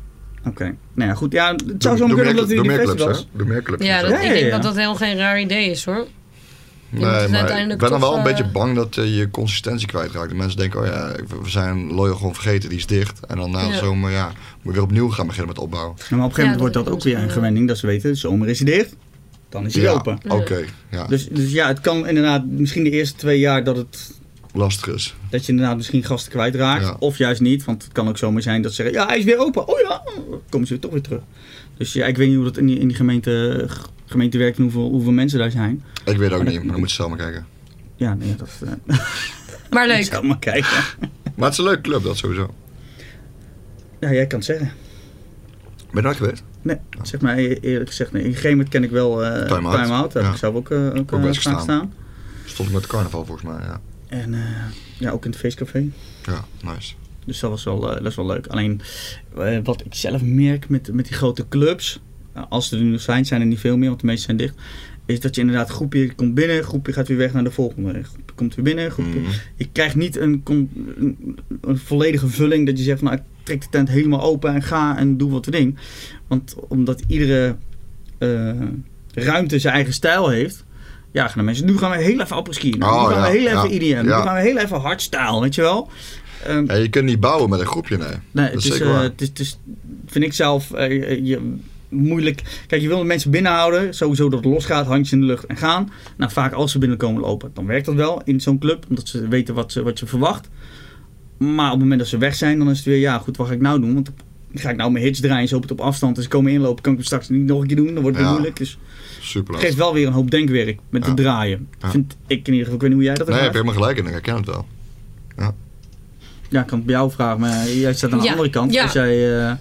Oké. Nou ja, goed. Ja, het zou zo
Doe- doe
kunnen
meer-
dat hij
doe
die
meer clubs,
festivals...
hè? Doe meer clubs.
Ja,
en zo.
dat,
Ja, ja,
ik denk
ja.
dat dat heel geen raar idee is hoor.
Nee,
moet het
maar
uiteindelijk
ik ben dan
toch,
wel een
eh,
beetje bang dat eh, je consistentie kwijtraakt. De mensen denken, oh ja, we zijn Loyal gewoon vergeten, die is dicht. En dan na de
Ja.
zomer, ja, moet je weer opnieuw gaan beginnen met opbouwen.
Ja, maar op een gegeven
Ja,
moment wordt
dat
dat ook
is
weer een
wel-
gewenning. Dat ze weten, de zomer is hij dicht. Dan is hij
ja,
open.
Oké, ja,
Dus, dus ja, het kan inderdaad misschien de eerste twee jaar dat het
lastig is.
Dat je inderdaad misschien gasten kwijtraakt.
Ja.
Of juist niet. Want het kan ook zomaar zijn dat ze zeggen... Ja, hij is weer open. Oh ja, dan komen ze weer toch weer terug. Dus ja, ik weet niet hoe dat in die, in die gemeente, g- gemeente werkt... en hoeveel, hoeveel mensen daar zijn.
Ik weet het ook
dat-
niet, maar dan moet je zelf maar kijken.
Ja, nee, dat eh,
Maar
ik
leuk.
zou maar kijken.
Maar het is een leuke club, dat sowieso.
Ja, jij kan het zeggen.
Ben je daar geweest?
Nee, zeg maar e- eerlijk gezegd. Nee. In Gemert ken ik wel eh
Time Out.
Time Out. Daar heb
Ja.
ik zelf ook, eh ook, eh,
best
gaan
gestaan.
staan.
Stond ik met carnaval volgens mij, ja.
En eh, ja, ook in het feestcafé.
Ja, nice.
Dus dat was wel, eh, dat is wel leuk. Alleen eh, wat ik zelf merk met, met die grote clubs, nou, als ze er nu zijn, zijn er niet veel meer, want de meeste zijn dicht. Is dat je inderdaad groepje komt binnen, groepje gaat weer weg naar de volgende. Groepje komt weer binnen, groepje.
Mhm.
Je krijgt niet een, com- een, een volledige vulling dat je zegt, nou ik trek de tent helemaal open en ga en doe wat ding. Want omdat iedere eh, ruimte zijn eigen stijl heeft, ja, gaan de mensen, nu gaan we heel even apres-ski. Nu
Oh,
gaan
ja,
we heel
ja,
even IDM,
ja.
nu gaan we heel even hardstyle, weet je wel. Ehm,
Ja, je kunt niet bouwen met een groepje, nee.
Nee,
Dat
het
is
is,
zeker
eh,
waar.
het is, het is- vind ik zelf eh, je, moeilijk. Kijk, je wil de mensen binnenhouden. Sowieso dat het losgaat, handjes in de lucht en gaan. Nou, vaak als ze binnenkomen lopen, dan werkt dat wel in zo'n club. Omdat ze weten wat ze, wat je verwacht. Maar op het moment dat ze weg zijn, dan is het weer... Ja, goed, wat ga ik nou doen? Want ga ik nou mijn hits draaien, zo op het op afstand. Dus ze komen inlopen, kan ik het straks niet nog een keer doen. Dan wordt het weer
Ja.
moeilijk. Dus het
Superleuk.
geeft wel weer een hoop denkwerk met
Ja.
het draaien.
Ja.
Vind ik in ieder geval. Ik weet niet hoe jij dat
Nee, heb
ervaart.
je helemaal gelijk in, ik herken het wel.
Ja, ik kan het bij jou vragen, maar jij staat aan de
Ja,
andere kant.
ja.
Als jij eh, eh,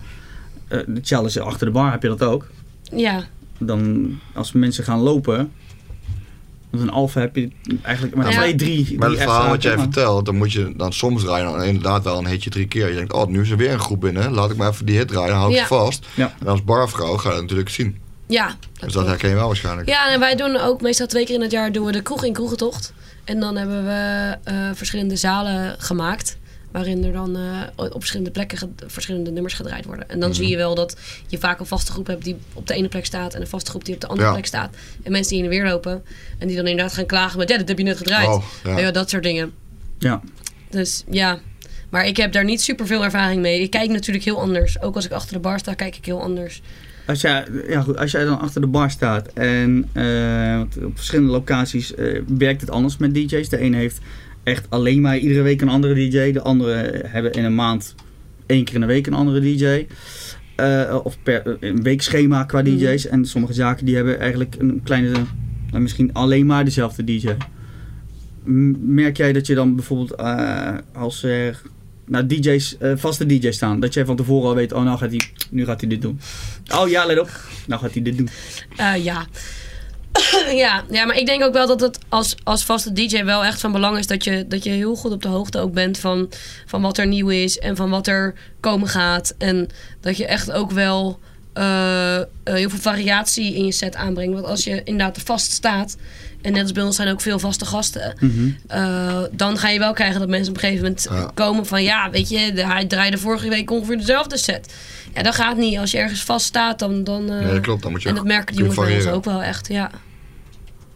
de challenge achter de bar, heb je dat ook.
Ja.
Dan als mensen gaan lopen, met een alfa heb je eigenlijk maar
Ja.
twee, drie. drie
Maar het verhaal
extra,
wat jij
zeg maar.
vertelt, dan moet je dan soms draaien dan inderdaad wel een hitje drie keer. Je denkt, oh, nu is er weer een groep binnen. Laat ik maar even die hit draaien, dan hou ik
Ja.
je vast.
Ja.
En als barvrouw ga je dat natuurlijk zien.
Ja.
Dus dat
klopt.
herken je wel waarschijnlijk.
Ja, en wij doen ook meestal twee keer in het jaar doen we de kroeg in kroegentocht. En dan hebben we eh, verschillende zalen gemaakt. Waarin er dan eh, op verschillende plekken ge- verschillende nummers gedraaid worden. En dan
Mhm.
zie je wel dat je vaak een vaste groep hebt die op de ene plek staat. En een vaste groep die op de andere
Ja.
plek staat. En mensen die in de weer lopen. En die dan inderdaad gaan klagen met ja, dat heb je net gedraaid.
Oh, ja.
ja. dat soort dingen.
Ja.
Dus ja. Maar ik heb daar niet super veel ervaring mee. Ik kijk natuurlijk heel anders. Ook als ik achter de bar sta, kijk ik heel anders.
Als jij, ja goed, als jij dan achter de bar staat en eh, want op verschillende locaties eh, werkt het anders met DJ's. De ene heeft echt alleen maar iedere week een andere DJ. De andere hebben in een maand één keer in de week een andere DJ. Eh, of per eh, een weekschema qua DJ's. En sommige zaken die hebben eigenlijk een kleine, nou, misschien alleen maar dezelfde DJ. M- Merk jij dat je dan bijvoorbeeld eh, als er nou, DJ's, eh, vaste DJ's staan, dat jij van tevoren al weet, oh nou gaat hij, nu gaat hij dit doen. Oh ja, let op. Nou gaat hij dit doen.
Eh, ja. ja. Ja, maar ik denk ook wel dat het als, als vaste DJ wel echt van belang is dat je, dat je heel goed op de hoogte ook bent van, van wat er nieuw is en van wat er komen gaat. En dat je echt ook wel eh, eh, heel veel variatie in je set aanbrengt. Want als je inderdaad vast staat, en net als bij ons zijn ook veel vaste gasten,
Mhm.
eh, dan ga je wel krijgen dat mensen op een gegeven moment
Ja.
komen van ja, weet je, de- hij draaide vorige week ongeveer dezelfde set. Ja, dat gaat niet. Als je ergens vast staat, dan. dan eh,
Nee, dat klopt. Dan moet je
en dat merken die
kunnen
jongens bij ons
variëren.
ook wel echt, ja.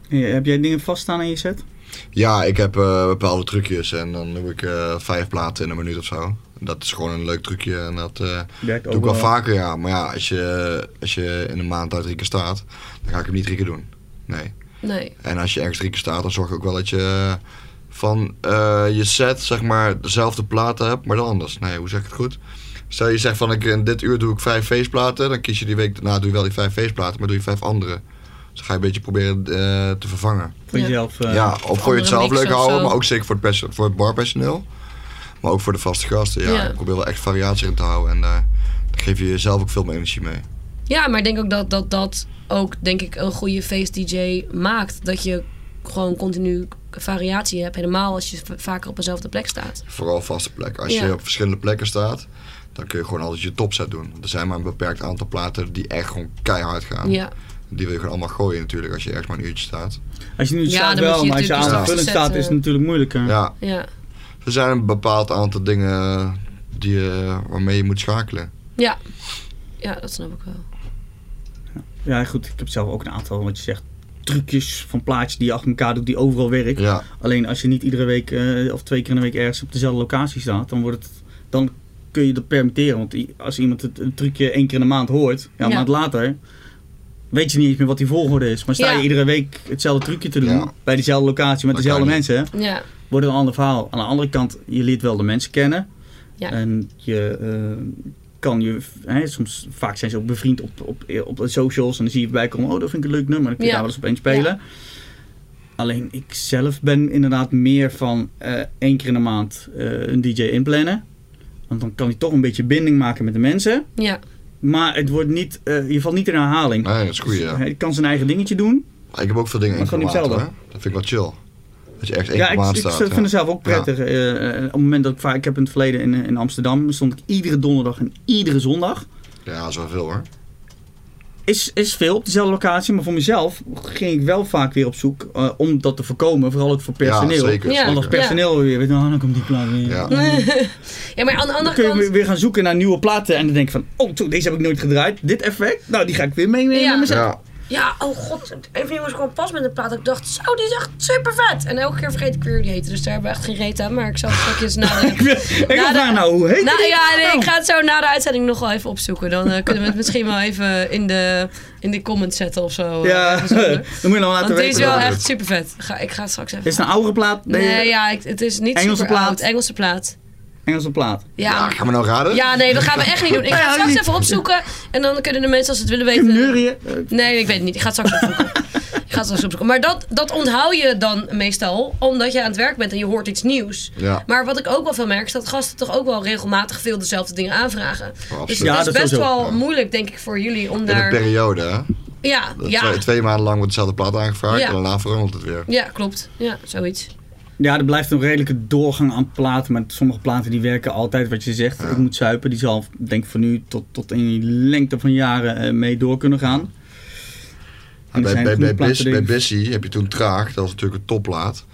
Eh, heb jij dingen vaststaan in je set?
Ja, ik heb eh, bepaalde trucjes en dan doe ik eh, vijf platen in een minuut of zo. Dat is gewoon een leuk trucje en dat eh,
Werkt
doe ik wel vaker, ja. Maar ja, als je, als je in een maand daar drie keer staat, dan ga ik hem niet drie keer doen. Nee.
Nee.
En als je ergens drie keer staat, dan zorg ik ook wel dat je van eh, je set, zeg maar, dezelfde platen hebt, maar dan anders. Nee, hoe zeg ik het goed? Stel je zegt van ik, in dit uur doe ik vijf feestplaten, dan kies je die week daarna doe je wel die vijf feestplaten, maar doe je vijf andere. Dus dan ga je een beetje proberen eh, te vervangen.
Voor
Ja.
jezelf. eh,
ja, of voor je
andere
het zelf
mix
leuk
of
houden,
zo.
maar ook zeker voor het, perso- voor het barpersoneel. Maar ook voor de vaste gasten. Ja,
Ja.
Ik probeer wel echt variatie in te houden en daar daar geef je jezelf ook veel meer energie mee.
Ja, maar ik denk ook dat dat, dat ook denk ik, een goede feest-DJ maakt. Dat je gewoon continu variatie hebt. Helemaal als je v- vaker op dezelfde plek staat.
Vooral vaste plekken. Als
Ja.
je op verschillende plekken staat, dan kun je gewoon altijd je topset doen. Want Er zijn maar een beperkt aantal platen die echt gewoon keihard
Ah.
gaan.
Ja.
Die wil je gewoon allemaal gooien natuurlijk als je ergens maar een uurtje staat.
Als je nu
Ja,
staat
dan moet
wel,
je
maar als je aan
natuurlijk dus
de vulling
tussen
iets
staat, is het
zetten.
natuurlijk moeilijker.
Ja,
Ja.
er zijn een bepaald aantal dingen die, je- waarmee je moet schakelen.
Ja. Ja, dat snap ik wel.
Ja, goed. Ik heb zelf ook een aantal, wat je zegt, trucjes van plaatjes die je achter elkaar doet, die overal werken.
Ja,
Alleen als je niet iedere week eh, of twee keer in de week ergens op dezelfde locatie staat, dan, wordt het, dan kun je dat permitteren. Want i- als iemand het een trucje één keer in de maand hoort, ja, een
Ja.
maand later, weet je niet eens meer wat die volgorde is. Maar sta
Ja.
je iedere week hetzelfde trucje te doen,
Ja.
bij dezelfde locatie, met
Dat
dezelfde
kan je
mensen,
Ja.
wordt het een ander verhaal. Aan de andere kant, je leert wel de mensen kennen.
Ja.
En je eh, kan je, hè, soms vaak zijn ze ook bevriend op, op, op de socials. En dan zie je voorbij komen, oh dat vind ik een leuk nummer. Dan kun je
Ja.
daar wel eens op één spelen. Alleen ik zelf ben inderdaad meer van eh, één keer in de maand eh, een DJ inplannen. Want dan kan hij toch een beetje binding maken met de mensen.
Ja.
Maar het wordt niet, eh, je valt niet in herhaling.
Nee, dat is goed, Oh, ja.
Hij kan zijn eigen dingetje doen.
Maar ik heb ook veel dingen
Maar
in
kan niet
formaat,
hetzelfde.
hoor. Dat vind ik wel chill. Dat je echt één
Ja, ik,
formaat
ik
staat.
vind
ja.
het zelf ook prettig. Eh, eh, op het moment dat ik vaak, ik heb in het verleden in, eh, in Amsterdam, stond ik iedere donderdag en iedere zondag.
Ja, dat is wel veel hoor.
Is, is veel op dezelfde locatie, maar voor mezelf ging ik wel vaak weer op zoek eh, om dat te voorkomen. Vooral ook voor personeel.
Ja, zeker.
Ja.
Want
zeker.
als personeel weer, weet je, nou, dan komt die plaat weer.
Ja.
Ja, maar aan de
Dan
andere
kun je weer-
kant...
weer gaan zoeken naar nieuwe platen en dan denk ik van, oh, toe, deze heb ik nooit gedraaid. Dit effect, nou, die ga ik weer meenemen.
Ja.
naar mijn set.
Ja,
Ja, oh god. Even jongens gewoon pas met een plaat. Ik dacht, zo, die is echt super vet. En elke keer vergeet ik weer hoe die heette. Dus daar hebben we echt geen reet aan. Maar ik zal straks nadenken.
ik wil
Nou,
vragen,
de-
nou, hoe heet
Nou
die?
ja, nee,
nou?
ik ga het zo na de uitzending nog wel even opzoeken. Dan eh, kunnen we het misschien wel even in de, in de comments zetten of zo. eh,
Ja,
even
dan
zonder.
moet je nog laten
Want
weten.
deze is wel
welke.
echt super vet. Ga, ik ga het straks even.
Is het een oudere plaat?
nee,
Nee,
ja, ik- het is niet
Engelse
super
plaat?
oud. Engelse plaat.
Engelse plaat.
ja
Ja,
gaan we nou raden?
ja, nee, dat gaan we echt niet doen. Ik ga
Ja,
het straks
niet.
even opzoeken. En dan kunnen de mensen als ze het willen
Kim
weten.
Neurien. eh,
Nee, ik weet het niet. Ik ga het straks opzoeken. ik ga het straks opzoeken. Maar dat, dat onthoud je dan meestal omdat je aan het werk bent en je hoort iets nieuws.
Ja.
Maar wat ik ook wel veel merk is dat gasten toch ook wel regelmatig veel dezelfde dingen aanvragen.
absoluut.
dus
Ja,
het is
dat
best
sowieso.
wel
Ja.
moeilijk, denk ik, voor jullie om
In een
daar.
periode hè.
ja,
Dat
ja,
Twee, twee maanden lang wordt dezelfde plaat aangevraagd
Ja.
en daarna verandert het weer.
ja, klopt. Ja, zoiets.
Ja, er blijft een redelijke doorgang aan platen. Maar sommige platen die werken altijd wat je zegt. Ik moet zuipen. Die zal, denk ik, van nu tot, tot in lengte van jaren eh, mee door kunnen gaan. En Ah, er
Bij,
zijn
bij,
genoeg
bij,
platen
Bis-
die-
bij Bissy heb je toen Traag, dat was natuurlijk een topplaat.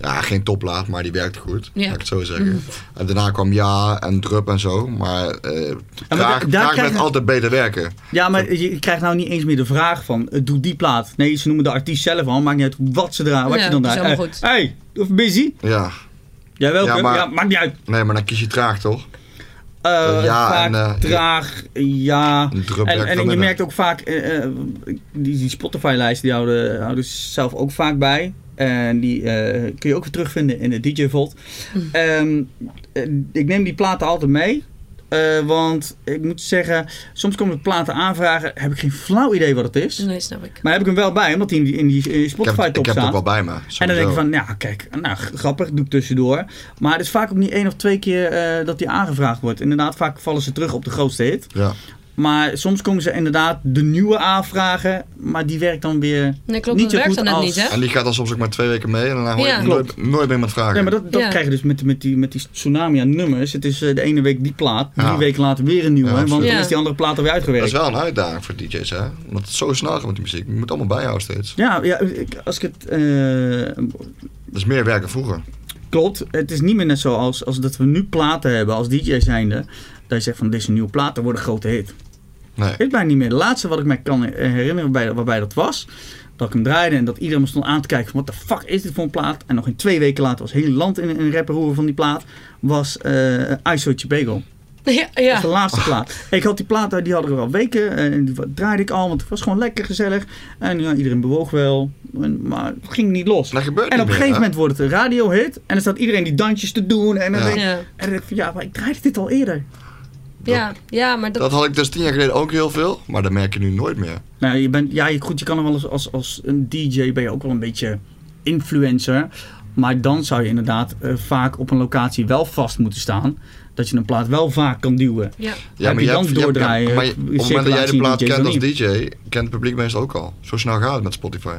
Ja, geen topplaat, maar die werkte goed,
Ja.
laat ik het zo
Mhm.
zeggen. En daarna kwam Ja en Drup en zo, maar eh
daar
Traag, traag
krijg
blijft
je-
altijd beter werken.
Ja, maar je krijgt nou niet eens meer de vraag van, eh, doe die plaat. Nee, ze noemen de artiest zelf al. Maakt niet uit wat ze draaien, wat
Ja,
je dan
dat is
draait.
helemaal goed.
Eh, hey, of busy?
Ja,
Ja, welke? Ja,
Ja, maar-
maakt niet uit.
nee, maar dan kies je Traag toch?
Eh,
Ja,
vaak
en, eh,
traag, ja.
Een druk
En,
werkt wel
en je
minder.
merkt ook vaak, eh, eh, die, die Spotify-lijst die houden, houden ze zelf ook vaak bij. En die eh, kun je ook weer terugvinden in de DJ Vault. Ehm, eh, ik neem die platen altijd mee. eh, want ik moet zeggen, soms komen er platen aanvragen, heb ik geen flauw idee wat het is.
Nee, snap ik.
Maar heb ik hem wel bij, omdat die in die, in die eh,
Ik heb, het- ik
Spotify-top
heb het ook
staat.
wel bij me.
En dan denk
sowieso.
ik van, ja, kijk, nou, g- grappig, doe ik tussendoor. Maar het is vaak ook niet één of twee keer eh, dat die aangevraagd wordt. Inderdaad, vaak vallen ze terug op de grootste hit.
Ja.
Maar soms komen ze inderdaad de nieuwe aanvragen, maar die werkt dan weer...
Nee, klopt.
Niet
dat
zo
werkt
goed
dan net
als-
niet, hè?
En die gaat dan soms ook maar twee weken mee en daarna hoor je
Ja.
het nooit, nooit meer met vragen.
Ja, maar dat, dat
Ja.
krijg je dus met, met, die, met die tsunami aan nummers. Het is eh, de ene week die plaat,
Ja.
drie weken later weer een nieuwe.
Ja,
hè, want
absoluut.
dan is die andere plaat alweer
Dat
uitgewerkt.
is wel een uitdaging voor DJ's, hè? Omdat het zo snel gaat met die muziek. Je moet het allemaal bijhouden steeds.
Ja, ja ik- als ik het... eh,
Dat is meer werken vroeger.
klopt, het is niet meer net zo als, als dat we nu platen hebben als DJ zijnde. Dat je zegt van, dit is een nieuwe plaat, dat wordt een grote hit.
Nee.
Ik weet bijna niet meer. De laatste wat ik mij kan eh, herinneren bij, waarbij dat was. Dat ik hem draaide en dat iedereen me stond aan te kijken van wat de fuck is dit voor een plaat. En nog in twee weken later was het hele land in een rapperoer van die plaat. Was eh ISO Chibago.
Ja,
Dat is de
ja.
laatste plaat. Ik had die plaat, eh, die hadden we al weken. eh, En die wa- draaide ik al, want het was gewoon lekker gezellig. En ja, iedereen bewoog wel. En- maar het ging niet los.
Dat gebeurt
En
niet
op een
meer,
gegeven
hè?
moment wordt het een radiohit. En dan staat iedereen die dansjes te doen. En dan
Ja.
denk ik,
Ja.
en dan denk ik van, ja, maar ik draaide dit al eerder.
Ja, ja, maar dat,
Dat had ik dus tien jaar geleden ook heel veel, maar dat merk je nu nooit meer.
Nou, je bent, ja, je, goed, je kan er wel eens als, als een DJ ben je ook wel een beetje influencer. Maar dan zou je inderdaad eh, vaak op een locatie wel vast moeten staan. Dat je een plaat wel vaak kan duwen.
ja.
Heb je dan doordraaien,
maar je- op het moment dat jij de
circulatie
plaat
DJ's
kent als
dan
DJ, kent het publiek meestal ook al. Zo snel gaat het met Spotify.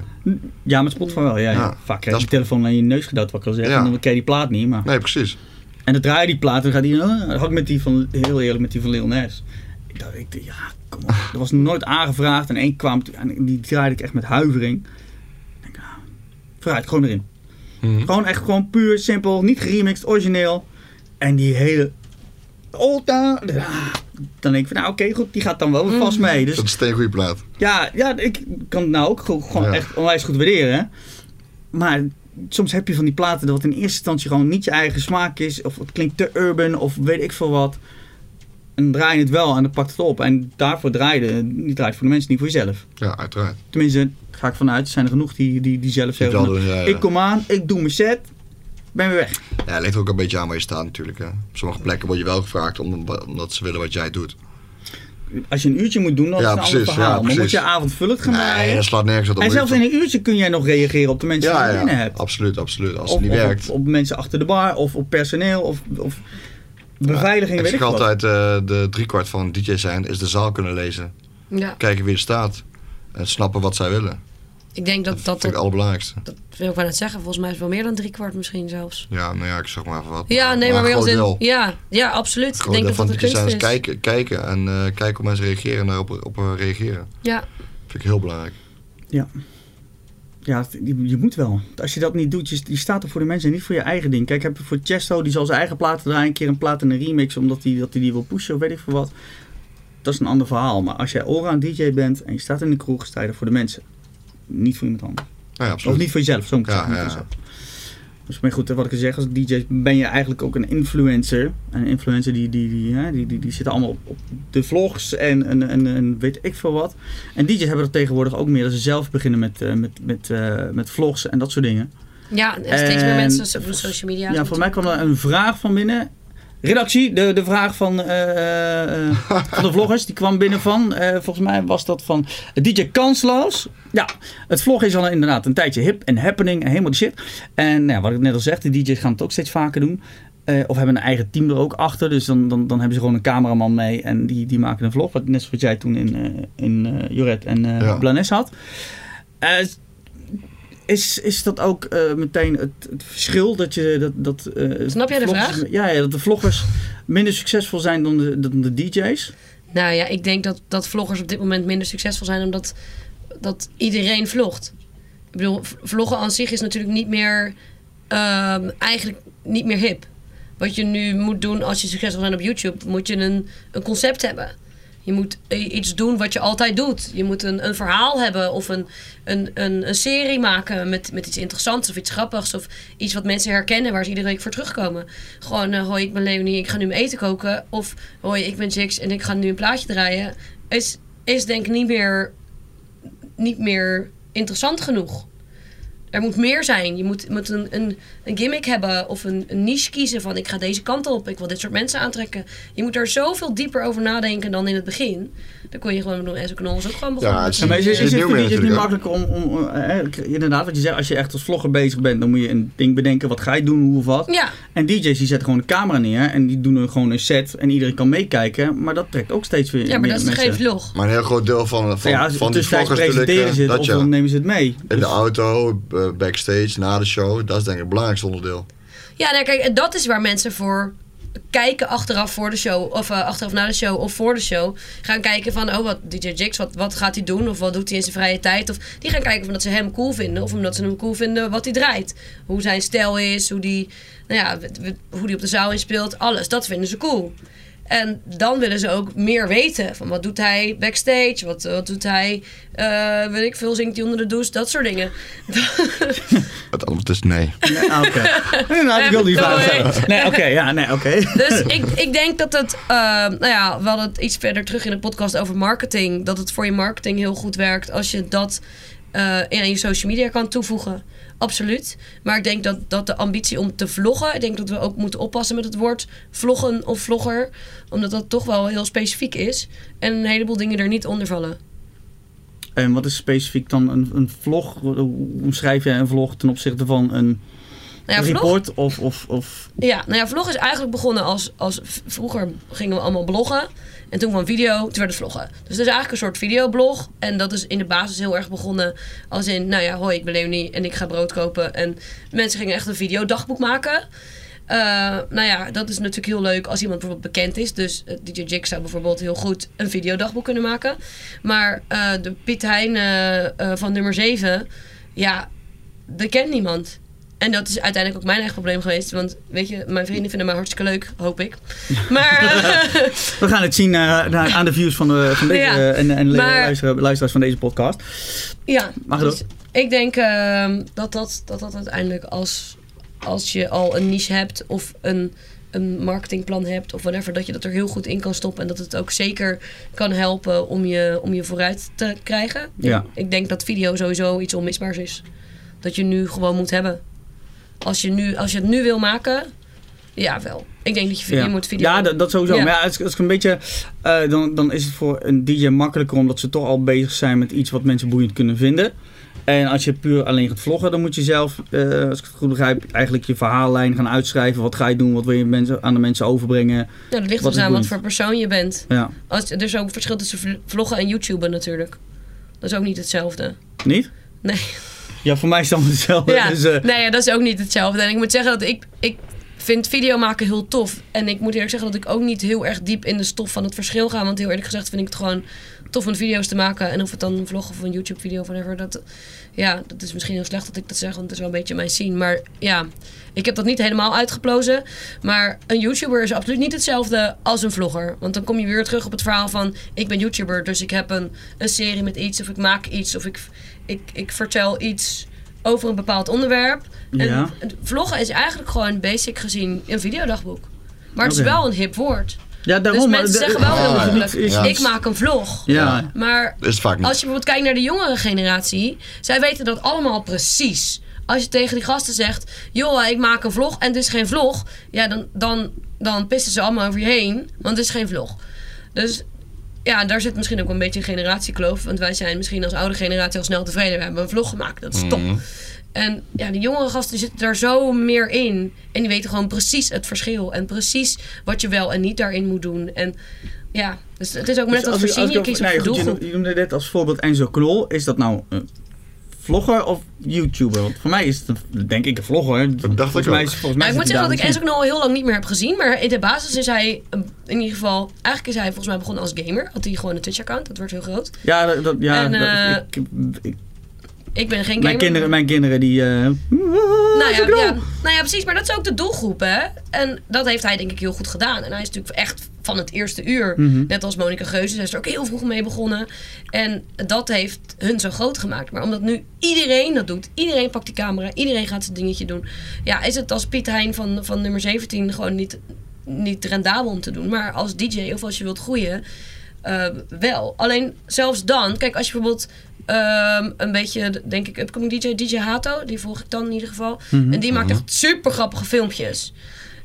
Ja, met Spotify wel. Ja, ja.
Ja,
Vaak
dat
krijg je
is-
die telefoon aan je neus gedouwd, wat ik al zeg.
Ja.
En dan ken je die plaat niet. Maar...
Nee, precies.
En dan draai je die plaat en dan gaat die... eh, dat had ik met die van, heel eerlijk, met die van Lil Nas. Ik dacht, ik, dacht, ja, kom op. Dat was nooit aangevraagd. En één kwam, en die draaide ik echt met huivering. Ik denk, ah, vooruit, gewoon erin.
Mhm.
Gewoon echt gewoon puur, simpel, niet geremixed, origineel. En die hele... Olta, ah, dan denk ik van, nou oké, goed, die gaat dan wel weer vast mee. Dus
Dat is een goede plaat.
ja, ja, ik kan het nou ook gewoon, gewoon
Ja.
echt onwijs goed waarderen. hè. Maar soms heb je van die platen dat wat in eerste instantie gewoon niet je eigen smaak is. Of het klinkt te urban of weet ik veel wat. En dan draai je het wel en dan pakt het op. En daarvoor draai je, niet draait voor de mensen, niet voor jezelf.
Ja, uiteraard.
Tenminste, ga ik vanuit, er zijn er genoeg die, die, die zelf zeggen.
wel
van,
doen, ja, ja.
Ik kom aan, ik doe mijn set, ben weer weg.
Ja, het ligt ook een beetje aan waar je staat natuurlijk. Hè. Op sommige plekken word je wel gevraagd om, omdat ze willen wat jij doet.
Als je een uurtje moet doen, dan
Ja,
is het een ander
precies, ja,
verhaal. maar moet
precies.
je avondvullend gaan
Nee,
draaien.
dat slaat nergens op.
en zelfs in een uurtje kun jij nog reageren op de mensen die
Ja,
je binnen
ja,
hebt.
absoluut, absoluut. Als
Of,
het niet
of
werkt.
Op, op mensen achter de bar of op personeel. Of, of, beveiliging
Ik
weet ik
zeg
wat.
altijd, eh, de driekwart van DJ zijn is de zaal kunnen lezen.
Ja,
Kijken wie er staat. En snappen wat zij willen.
ik denk
Dat
dat
vind
dat,
ik
dat,
het allerbelangrijkste.
dat wil ik bijna net zeggen. Volgens mij is het wel meer dan driekwart misschien zelfs.
Ja, nou ja, ik zeg maar even wat.
Ja, nee, maar,
een
meer als
groot deel-
in... Ja, ja, absoluut.
een
Ik
groot
denk
deel
dat
van
dat de
DJ
kunst
zijn is
is.
kijken, kijken en eh, kijken hoe mensen reageren en daarop op, eh, reageren.
Ja,
Vind ik heel belangrijk.
Ja, je, je moet wel. Als je dat niet doet, je, je staat er voor de mensen en niet voor je eigen ding. Kijk, heb je voor Chesto, die zal zijn eigen platen draaien, een keer een plaat en een remix, omdat hij dat die, die wil pushen of weet ik veel wat. Dat is een ander verhaal. Maar als jij allround DJ bent en je staat in de kroeg, sta je er voor de mensen. Niet voor iemand anders.
Nou ja,
Of
absoluut.
niet voor jezelf, zo moet ik
Ja,
zeggen. niet
ja.
voor jezelf. Dus maar goed, wat ik zeg, als DJ ben je eigenlijk ook een influencer. Een influencer die, die, die, hè, die, die, die zitten allemaal op, op de vlogs en, en, en, en weet ik veel wat. En DJ's hebben dat tegenwoordig ook meer dat ze zelf beginnen met, eh, met, met, eh, met vlogs en dat soort dingen.
ja en steeds meer
En-
mensen zo- doen social media.
Ja, voor mij kwam er een vraag van binnen. Redactie, de, de vraag van, eh, eh, van de vloggers, die kwam binnen van, eh, volgens mij was dat van DJ Kansloos. Ja, het vlog is al inderdaad een tijdje hip en happening en helemaal de shit. En nou, ja, wat ik net al zeg, de DJ's gaan het ook steeds vaker doen. Eh, of hebben een eigen team er ook achter. Dus dan, dan, dan hebben ze gewoon een cameraman mee en die, die maken een vlog. Wat, net zoals jij toen in, eh in eh, Joret en eh
Ja.
Blanes had. Eh, is, is dat ook eh, meteen het, het verschil dat je dat. dat eh,
Snap jij de
vloggers-
vraag?
Ja, ja, dat de vloggers minder succesvol zijn dan de, dan de DJ's.
Nou ja, ik denk dat, dat vloggers op dit moment minder succesvol zijn omdat dat iedereen vlogt. Ik bedoel, v- vloggen aan zich is natuurlijk niet meer, ehm, eigenlijk niet meer hip. Wat je nu moet doen als je succesvol bent op YouTube, moet je een, een concept hebben. Je moet i- iets doen wat je altijd doet. Je moet een, een verhaal hebben of een, een, een, een serie maken met, met iets interessants of iets grappigs. Of iets wat mensen herkennen waar ze iedere week voor terugkomen. Gewoon, eh, hoi, ik ben Leonie, ik ga nu mijn eten koken. Of, hoi, ik ben Jix en ik ga nu een plaatje draaien. Is, is denk ik niet meer, niet meer interessant genoeg. Er moet meer zijn. Je moet, moet een, een, een gimmick hebben of een, een niche kiezen van ik ga deze kant op, ik wil dit soort mensen aantrekken. Je moet er zoveel dieper over nadenken dan in het begin. Dan kon je gewoon doen. En zo kan ons ook gewoon begonnen.
Ja, het
Ja, maar is, is,
Is
is
het
het
nieuw
voor
meer
DJ's niet
natuurlijk
makkelijk om. om eh, eh, inderdaad, wat je zegt, als je echt als vlogger bezig bent, dan moet je een ding bedenken. Wat ga je doen, hoe of wat.
ja,
En DJ's die zetten gewoon de camera neer en die doen er gewoon een set en iedereen kan meekijken. Maar dat trekt ook steeds weer.
ja, maar
meer
dat is
mensen.
geen vlog.
Maar een heel groot deel van, eh, van,
ja, als
van die
tussentijds
vloggers natuurlijk.
presenteren
eh,
ze het
dat
of
ja.
dan nemen ze het mee.
In de
Dus-
auto, eh, backstage, na de show. Dat is denk ik het belangrijkste onderdeel.
Ja, nou kijk, en dat is waar mensen voor kijken achteraf voor de show. Of eh, achteraf na de show of voor de show. Gaan kijken van, oh, wat DJ Jix, wat, wat gaat hij doen? Of wat doet hij in zijn vrije tijd? Of die gaan kijken omdat ze hem cool vinden. Of omdat ze hem cool vinden wat hij draait. Hoe zijn stijl is, hoe die, nou ja, w- w- hoe die op de zaal inspeelt. Alles, dat vinden ze cool. En dan willen ze ook meer weten. Van wat doet hij backstage? Wat, wat doet hij? eh, weet ik veel, zingt hij onder de douche? Dat soort dingen.
Het antwoord is nee.
Ah, oké. Nee, nou, ik wil die vraag stellen. Nee, oké, ja, nee, oké.
Dus ik, ik denk dat het, eh, nou ja, we hadden het iets verder terug in de podcast over marketing. Dat het voor je marketing heel goed werkt als je dat eh, in je social media kan toevoegen. Absoluut. Maar ik denk dat, dat de ambitie om te vloggen, ik denk dat we ook moeten oppassen met het woord vloggen of vlogger. Omdat dat toch wel heel specifiek is. En een heleboel dingen er niet onder vallen.
En wat is specifiek dan een, een vlog? Hoe omschrijf jij een vlog ten opzichte van een
Nou ja, vlog,
report? Of, of, of,
ja, nou ja, vlog is eigenlijk begonnen als, als v- vroeger gingen we allemaal bloggen. En toen kwam video, toen werd het vloggen. Dus het is eigenlijk een soort videoblog. En dat is in de basis heel erg begonnen als in, nou ja, hoi, ik ben Leonie en ik ga brood kopen. En mensen gingen echt een videodagboek maken. Eh, nou ja, dat is natuurlijk heel leuk als iemand bijvoorbeeld bekend is. Dus eh, DJ Jig zou bijvoorbeeld heel goed een videodagboek kunnen maken. Maar eh, de Piet Hein eh, eh, van nummer 7, ja, dat kent niemand. En dat is uiteindelijk ook mijn eigen probleem geweest. Want weet je, mijn vrienden vinden mij hartstikke leuk, hoop ik. Maar eh,
we gaan het zien eh, naar- aan de views van, de, van deze,
Ja,
eh, en, en
maar- Dus
luistera- luisteraars van deze podcast.
ja,
Mag
dus
dat?
ik denk ehm, dat, dat, dat dat uiteindelijk als, als je al een niche hebt of een, een marketingplan hebt of whatever, dat je dat er heel goed in kan stoppen. En dat het ook zeker kan helpen om je, om je vooruit te krijgen.
Ja.
Ik denk dat video sowieso iets onmisbaars is. Dat je nu gewoon moet hebben. Als je, nu, als je het nu wil maken, ja wel. Ik denk dat je, video
ja.
moet video...
Ja, dat, dat sowieso.
Ja.
Maar ja, als, ik- als ik een beetje, eh, dan, dan is het voor een DJ makkelijker omdat ze toch al bezig zijn met iets wat mensen boeiend kunnen vinden. En als je puur alleen gaat vloggen, dan moet je zelf, eh, als ik het goed begrijp, eigenlijk je verhaallijn gaan uitschrijven. Wat ga je doen? Wat wil je mensen, aan de mensen overbrengen?
Nou, dat ligt
Wat is
dus aan wat
boeiend?
voor persoon je bent.
Ja.
Als, er is ook een verschil tussen vl- vloggen en YouTuben natuurlijk. Dat is ook niet hetzelfde.
Niet?
Nee.
Ja, voor mij is het allemaal hetzelfde.
Ja,
Dus, eh,
nee, ja, dat is ook niet hetzelfde. En ik moet zeggen dat ik, ik vind video maken heel tof. En ik moet eerlijk zeggen dat ik ook niet heel erg diep in de stof van het verschil ga. Want heel eerlijk gezegd vind ik het gewoon tof om video's te maken. En of het dan een vlog of een YouTube video of whatever. Dat, ja, dat is misschien heel slecht dat ik dat zeg, want het is wel een beetje mijn scene. Maar ja, ik heb dat niet helemaal uitgeplozen. Maar een YouTuber is absoluut niet hetzelfde als een vlogger. Want dan kom je weer terug op het verhaal van... ik ben YouTuber, dus ik heb een, een serie met iets... of ik maak iets, of ik, ik, ik vertel iets over een bepaald onderwerp. En
Ja.
vloggen is eigenlijk gewoon basic gezien een videodagboek. Maar het
Oké.
is wel een hip woord.
ja, daarom.
Dus
maar
mensen
de-
zeggen wel heel
Ah, ja.
makkelijk...
Is-
Ja.
ik maak een vlog.
Ja.
Maar
Is het vaak niet.
als je bijvoorbeeld kijkt naar de jongere generatie, zij weten dat allemaal precies. Als je tegen die gasten zegt, joh, ik maak een vlog en het is geen vlog, ja, dan, dan, dan pissen ze allemaal over je heen, want het is geen vlog. Dus ja, daar zit misschien ook een beetje een generatiekloof, want wij zijn misschien als oude generatie al snel tevreden. We hebben een vlog gemaakt,
Mhm.
dat is top. En ja, de jongere gasten zitten daar zo meer in. En die weten gewoon precies het verschil. En precies wat je wel en niet daarin moet doen. En ja, dus het is ook maar net
Dus als
wat
ik-
voorzien
als ik
je
ook-
kiest
nee,
voor
goed, je
doelgroep.
noemde- Je noemde net als voorbeeld Enzo Knol. Is dat nou een vlogger of YouTuber? Want voor mij is het, een- denk ik, een vlogger. Dat
dacht ik ook.
Mij is, volgens mij
Nou, ik moet
zit
zeggen dat ik
hij daar
Enzo al heel lang niet meer heb gezien. Maar in de basis is hij, eh, in ieder geval, eigenlijk is hij volgens mij begonnen als gamer. Had hij gewoon een Twitch-account, dat wordt heel groot.
misschien- Ja, dat, dat- ja
En,
dat-
eh,
ik, ik-
Ik ben geen gamer.
mijn, kinderen, mijn kinderen die... eh
nou, ja, ja, nou ja, precies. Maar dat is ook de doelgroep, hè. En dat heeft hij denk ik heel goed gedaan. En hij is natuurlijk echt van het eerste uur, net als Monica Geuze. Zij is er ook heel vroeg mee begonnen. En dat heeft hun zo groot gemaakt. Maar omdat nu iedereen dat doet, iedereen pakt die camera, iedereen gaat zijn dingetje doen. Ja, is het als Piet Hein van, van nummer 17 gewoon niet, niet rendabel om te doen. Maar als DJ of als je wilt groeien, eh, wel. Alleen zelfs dan, kijk, als je bijvoorbeeld ehm, een beetje, denk ik, upcoming DJ, DJ Hato, die volg ik dan in ieder geval. En die maakt echt super grappige filmpjes.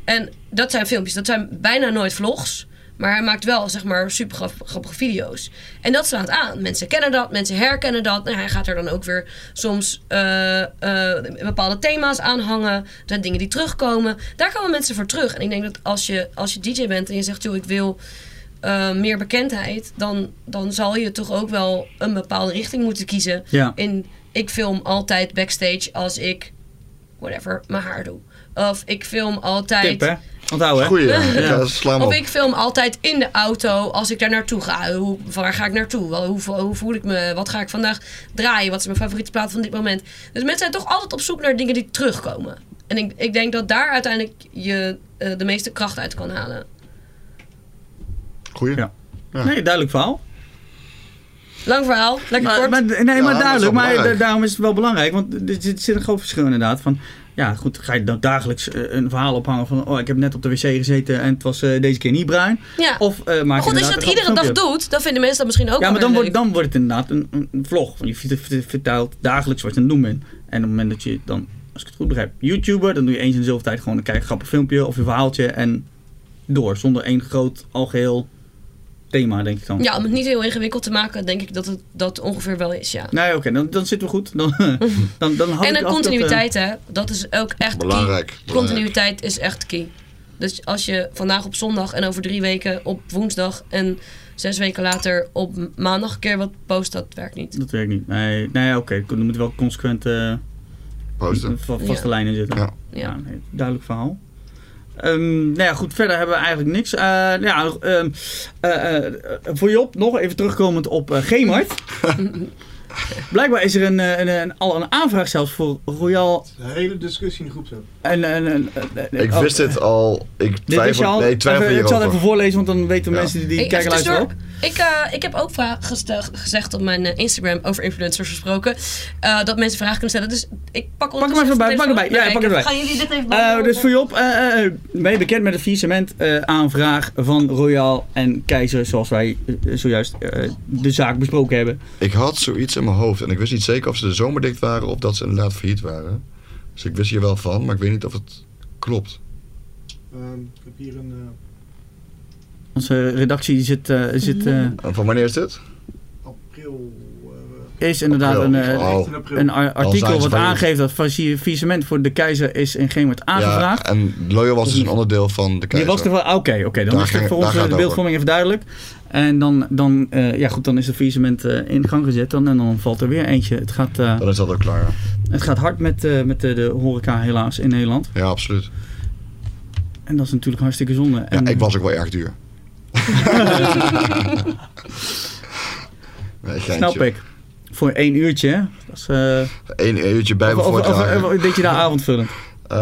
En dat zijn filmpjes, dat zijn bijna nooit vlogs. Maar hij maakt wel, zeg maar, super grap- grappige video's. En dat slaat aan. Mensen kennen dat, mensen herkennen dat. Nou, hij gaat er dan ook weer soms eh, eh, bepaalde thema's aan hangen. Er zijn dingen die terugkomen. Daar komen mensen voor terug. En ik denk dat als je, als je DJ bent en je zegt, joh, ik wil eh, meer bekendheid, dan, dan zal je toch ook wel een bepaalde richting moeten kiezen.
Ja.
In, ik film altijd backstage als ik, whatever, mijn haar doe. Of ik film altijd.
Tip, hè? Onthouden, hè?
Goeie, ja.
Ja.
Ja, sla hem op.
Of ik film altijd in de auto als ik daar naartoe ga. Hoe, waar ga ik naartoe? Wel, Hoe, hoe, voel ik me? Wat ga ik vandaag draaien? Wat is mijn favoriete plaat van dit moment? Dus mensen zijn toch altijd op zoek naar dingen die terugkomen. En ik, ik denk dat daar uiteindelijk je eh, de meeste kracht uit kan halen.
Goeie.
Ja.
Ja.
Nee, duidelijk verhaal.
Lang verhaal, lekker
Maar,
kort.
maar, nee, maar
maar dat is
duidelijk.
wel
Maar
belangrijk.
da- daarom is het wel belangrijk. Want er zit, zit een groot verschil inderdaad. Van, ja, goed, ga je dan dagelijks eh, een verhaal ophangen van... Oh, ik heb net op de wc gezeten en het was eh, deze keer niet bruin.
ja.
Of eh maak
maar goed, als je
inderdaad
dat
een
iedere
grappig
dag
filmpje.
doet, dan vinden mensen dat misschien ook
Ja, maar
wel
dan
weer
wordt,
leuk.
dan wordt het inderdaad een, een- een vlog. Want je vert- vert- vertelt dagelijks wat je aan het doen bent. En op het moment dat je dan, als ik het goed begrijp, YouTuber... dan doe je eens in de zoveel tijd gewoon een kijk, grappig filmpje of je verhaaltje en door. Zonder één groot, algeheel thema, denk ik dan.
Ja, om het niet heel ingewikkeld te maken, denk ik dat het dat ongeveer wel is, ja.
Nee, oké, dan, dan zitten we goed. Dan, dan, dan hou ik
En een
af dat, eh,
continuïteit, hè. Dat is ook echt key.
Belangrijk, belangrijk.
Continuïteit is echt key. Dus als je vandaag op zondag en over drie weken op woensdag en zes weken later op m- maandag een keer wat post, dat werkt niet.
eh, Dat werkt niet. Nee, nee oké. Er moet wel consequent eh,
Posten.
va- vaste
Ja.
lijnen zitten.
Ja.
Ja.
nee, duidelijk verhaal. Ehm, nou ja, goed. Verder hebben we eigenlijk niks. Eh, ja, ehm, eh, eh, voor Job nog even terugkomend op eh Gemart. Blijkbaar is er een, eh, een, een, al een aanvraag zelfs voor Royal.
De hele discussie in de groep zo.
En, en, en, eh,
Ik
oh,
wist dit al. Ik
Dit wist je
twijfel,
al.
nee, ik twijfel
Even- ik zal het even
hierover.
voorlezen, want dan weten de
Ja.
mensen die, die
Hey,
kijken
even
luisteren ook.
tussendoor. Ik, eh, ik heb ook vragen gesteld- gezegd op mijn eh, Instagram over influencers gesproken. eh, dat mensen vragen kunnen stellen. Dus ik pak
hem
ondertussen
even bij,
de
pak hem
telefoon.
bij. Ja, pak hem
Kijk,
bij.
Gaan jullie dit even
Eh,
behandelen?
dus voor Job, eh, eh, ben je bekend met de faillissement eh, aanvraag van Royal en Keizer, zoals wij eh, zojuist eh, de zaak besproken hebben.
Ik had zoiets in mijn hoofd. En ik wist niet zeker of ze de zomer dicht waren of dat ze inderdaad failliet waren. Dus ik wist hier wel van, maar ik weet niet of het klopt.
Ehm, ik heb hier een... eh,
Onze redactie zit, eh, zit eh,
En van wanneer is dit?
april... eh,
is inderdaad
April.
een, eh,
Oh.
een ar- artikel
zijn ze
wat
van jullie.
aangeeft dat faillissement voor de keizer is in geen wordt aangevraagd.
Ja, en Loyal was dus een onderdeel van de
Die
keizer.
was er wel, oké, oké. dan
Daar
is het
ging-
voor ons
daar
eh,
gaat
de
het
beeldvorming even duidelijk. En dan, dan, eh, ja, goed, dan is het faillissement eh, in gang gezet dan, en dan valt er weer eentje. Het gaat, eh,
Dan is dat ook klaar. Ja,
het gaat hard met, eh, met de, de horeca helaas in Nederland.
ja absoluut.
En dat is natuurlijk hartstikke zonde.
Ja,
En,
ik was ook wel erg duur. Nee, geintje.
Snap ik. Voor één uurtje, hè? Dat is, eh,
Eén uurtje bij me
of, of,
voortdragen.
of- of deed je daar avondvullend?
Eh,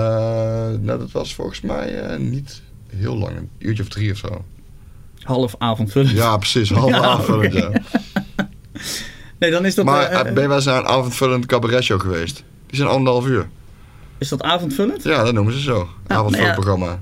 nou, dat was volgens mij eh, niet heel lang. Een uurtje of drie of zo.
Half avondvullend.
Ja, precies. Half
Ja,
avondvullend,
oké.
ja.
Nee, dan is dat,
Maar
eh,
eh, ben je wel eens naar een avondvullend cabaretshow geweest? Die zijn anderhalf uur.
is dat avondvullend?
Ja, dat noemen ze zo.
nou ja,
avondvullend programma.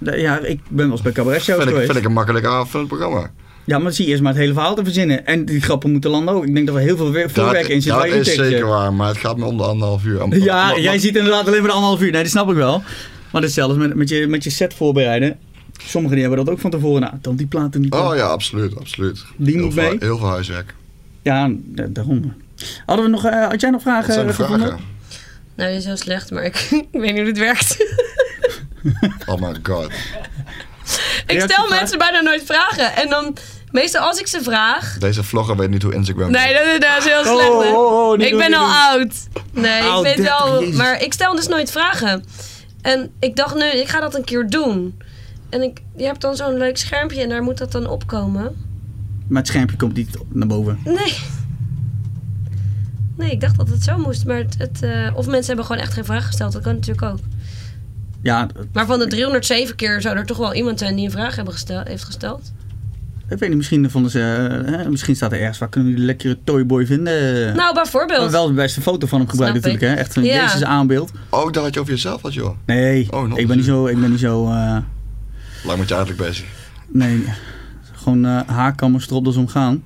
Nee, Ja, ik ben wel eens bij cabaret shows
Vind ik,
geweest.
vind ik een makkelijk avondvullend programma.
Ja, maar zie eerst maar het hele verhaal te verzinnen. En die grappen moeten landen ook. Ik denk dat er heel veel we- voorwerk in zit.
dat
waar je niet
is
tegen
zeker
zegt.
waar, maar het gaat me om de anderhalf uur. Am-
Ja,
ma- ma-
jij ziet inderdaad alleen maar de anderhalf uur. Nee, dat snap ik wel. Maar dat is zelfs met, met, je, met je set voorbereiden. Sommigen die hebben dat ook van tevoren. Nou, dan die platen niet.
Oh ja, absoluut, absoluut.
Die
heel
moet
veel,
mee.
Heel veel huiswerk.
ja, da- daarom. Hadden we nog, eh, had jij nog vragen?
Wat zijn de
eh, gevonden?
vragen?
Nou, dit is heel slecht, maar ik, ik weet niet hoe dit werkt.
Oh my god.
ik stel
Reactievraag?
mensen bijna nooit vragen. En dan, meestal als ik ze vraag...
Deze vlogger weet niet hoe Instagram
Nee,
werkt.
dat, dat is heel slecht.
Oh,
hè.
oh, oh, niet
ik
doen,
ben
niet
al
doen.
oud. Nee,
Oud,
ik weet
30,
wel.
jezus.
Maar ik stel dus nooit vragen. En ik dacht nu, ik ga dat een keer doen. En ik, je hebt dan zo'n leuk schermpje en daar moet dat dan opkomen.
Maar het schermpje komt niet naar boven.
Nee. Nee, ik dacht dat het zo moest. Maar het, het, eh, of mensen hebben gewoon echt geen vraag gesteld. Dat kan natuurlijk ook.
Ja,
Maar van de 307 keer zou er toch wel iemand zijn die een vraag hebben gestel- heeft gesteld.
ik weet niet. Misschien, vonden ze, eh, hè, misschien staat er ergens waar kunnen we die lekkere toyboy vinden.
Nou, bijvoorbeeld.
wel de beste foto van hem gebruikt
Snap
natuurlijk. Hè?
ik.
Echt een
Ja.
Jezus aanbeeld.
Ook dat Oh, had je over jezelf had, joh.
Nee,
Oh, nog
ik ben niet zo. Ik ben niet zo eh,
Lang moet je eigenlijk bezig.
nee, gewoon eh haarkammers, stropdas omgaan.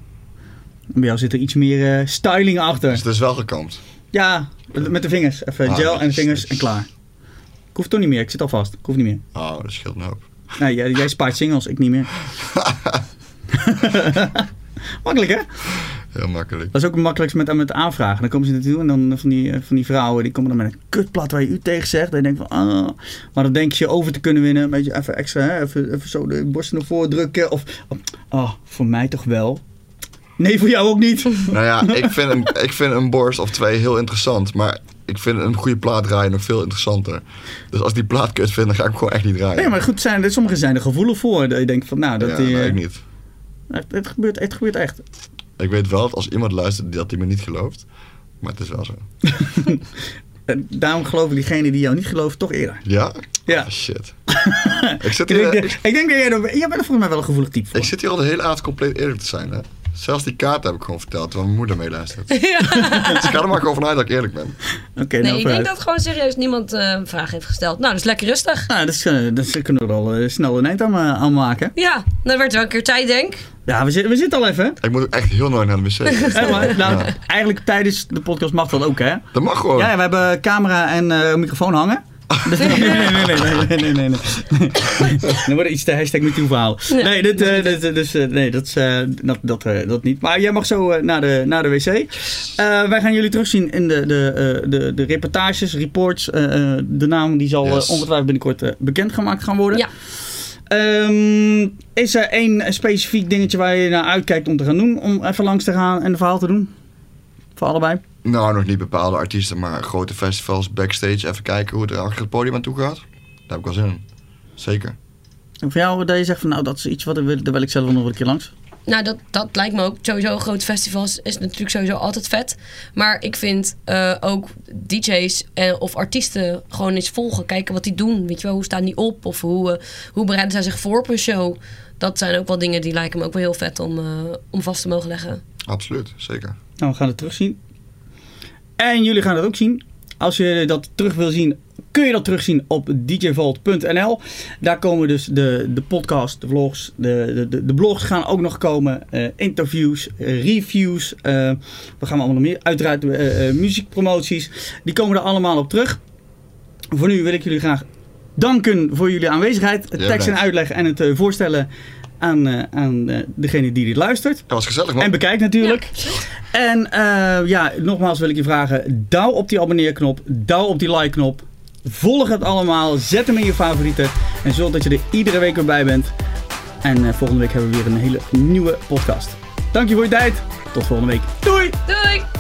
Bij jou zit er iets meer eh, styling
Dus
achter.
het is wel gekampt.
Ja, met de vingers. Even
Ah,
gel en
netjes,
vingers en
netjes.
klaar. Ik hoef toch niet meer, ik zit al vast. Ik hoef niet meer.
Oh, dat scheelt een hoop.
Nee, jij, jij spaart singles, ik niet meer. Makkelijk hè?
Heel makkelijk.
Dat is ook het makkelijkst met, met aanvragen. Dan komen ze naartoe en dan eh, van die, van die vrouwen die komen dan met een kutplat waar je u tegen zegt. En je denkt van, ah. Maar dan denk je je over te kunnen winnen. Een beetje even extra, hè? Even, even zo de borsten naar voren drukken. Of, ah, voor mij toch wel. Nee, voor jou ook niet.
Nou ja, ik vind, een, ik vind een borst of twee heel interessant. Maar ik vind een goede plaat draaien nog veel interessanter. Dus als ik die plaat kut vind, dan ga ik hem gewoon echt niet draaien.
Nee, maar goed, zijn, er- sommigen zijn er gevoelig voor. Dat je denkt van, nou, dat
ja,
die,
nou,
eh,
ik niet.
Het, het gebeurt, het gebeurt echt.
Ik weet wel dat als iemand luistert dat hij me niet gelooft. Maar het is wel zo.
En daarom geloven diegenen die jou niet geloven toch eerder.
Ja?
Ja.
Ah, shit. ik, zit
Ik denk,
hier,
dat-
ik,
ik denk dat jij, er- jij bent er volgens mij wel een gevoelig type voor.
eh, ik zit hier al de hele avond compleet eerlijk te zijn. Hè? Zelfs die kaart heb ik gewoon verteld terwijl mijn moeder meeluistert. Dus ik ga er maar gewoon vanuit dat ik eerlijk ben.
Oké, nou,
nee, ik
vooruit.
denk dat gewoon serieus niemand eh, een vraag heeft gesteld. Nou, dus lekker rustig.
Nou, dus, eh, dus kunnen we er al eh, snel een eind aan, eh, aan maken.
Ja, dan werd wel een keer tijd, denk ik.
Ja, we, zitten we zitten al even. hè?
Ik moet ook echt heel nooit naar de wc.
Hè, maar, nou,
Ja.
Eigenlijk tijdens de podcast mag dat ook, hè? Ja,
Dat mag gewoon.
ja, we hebben camera en eh, microfoon hangen. Oh. Nee, nee, nee, nee, nee, nee, nee, nee, nee. Dan wordt het iets te hashtag met verhaal.
Ja.
Nee, dit, eh, dit, eh, dus, eh, nee dat, is, eh, dat, dat, eh, dat niet. Maar jij mag zo eh, naar, de, naar de wc. Eh, wij gaan jullie terugzien in de, de, eh, de, de reportages, reports. Eh, eh, de naam die zal eh,
Yes.
ongetwijfeld binnenkort eh, bekendgemaakt gaan worden.
Ja.
Ehm, is er één specifiek dingetje waar je naar uitkijkt om te gaan doen? Om even langs te gaan en een verhaal te doen? Voor allebei?
Nou, nog niet bepaalde artiesten, maar grote festivals, backstage. Even kijken hoe het er achter het podium aan toe gaat. Daar heb ik wel zin in. Zeker.
En voor jou dat je zegt van nou dat is iets wat ik wil, daar wil ik zelf nog wel een keer langs.
Nou, dat, dat lijkt me ook. Sowieso, grote festivals is natuurlijk sowieso altijd vet. Maar ik vind eh, ook DJ's en of artiesten gewoon eens volgen. Kijken wat die doen. Weet je wel, hoe staan die op? Of hoe, eh, hoe bereiden zij zich voor op een show? Dat zijn ook wel dingen die lijken me ook wel heel vet om, eh, om vast te mogen leggen.
Absoluut, zeker.
Nou, we gaan het terugzien. En jullie gaan het ook zien. Als je dat terug wil zien, kun je dat terugzien op djvault.nl. Daar komen dus de, de podcast, de vlogs, de, de, de, de blogs gaan ook nog komen. Eh, interviews, eh, reviews. eh, we gaan allemaal nog meer. Uiteraard eh, eh, muziekpromoties. Die komen er allemaal op terug. Voor nu wil ik jullie graag danken voor jullie aanwezigheid. Het
Ja,
tekst en
bedankt.
uitleg en het eh, voorstellen aan, eh, aan eh, degene die dit luistert.
Dat was gezellig, man.
En bekijkt natuurlijk. En eh, ja, nogmaals wil ik je vragen: douw op die abonneerknop, douw op die like-knop. Volg het allemaal, zet hem in je favorieten en zorg dat je er iedere week weer bij bent. En eh, volgende week hebben we weer een hele nieuwe podcast. Dank je voor je tijd. Tot volgende week. Doei!
Doei!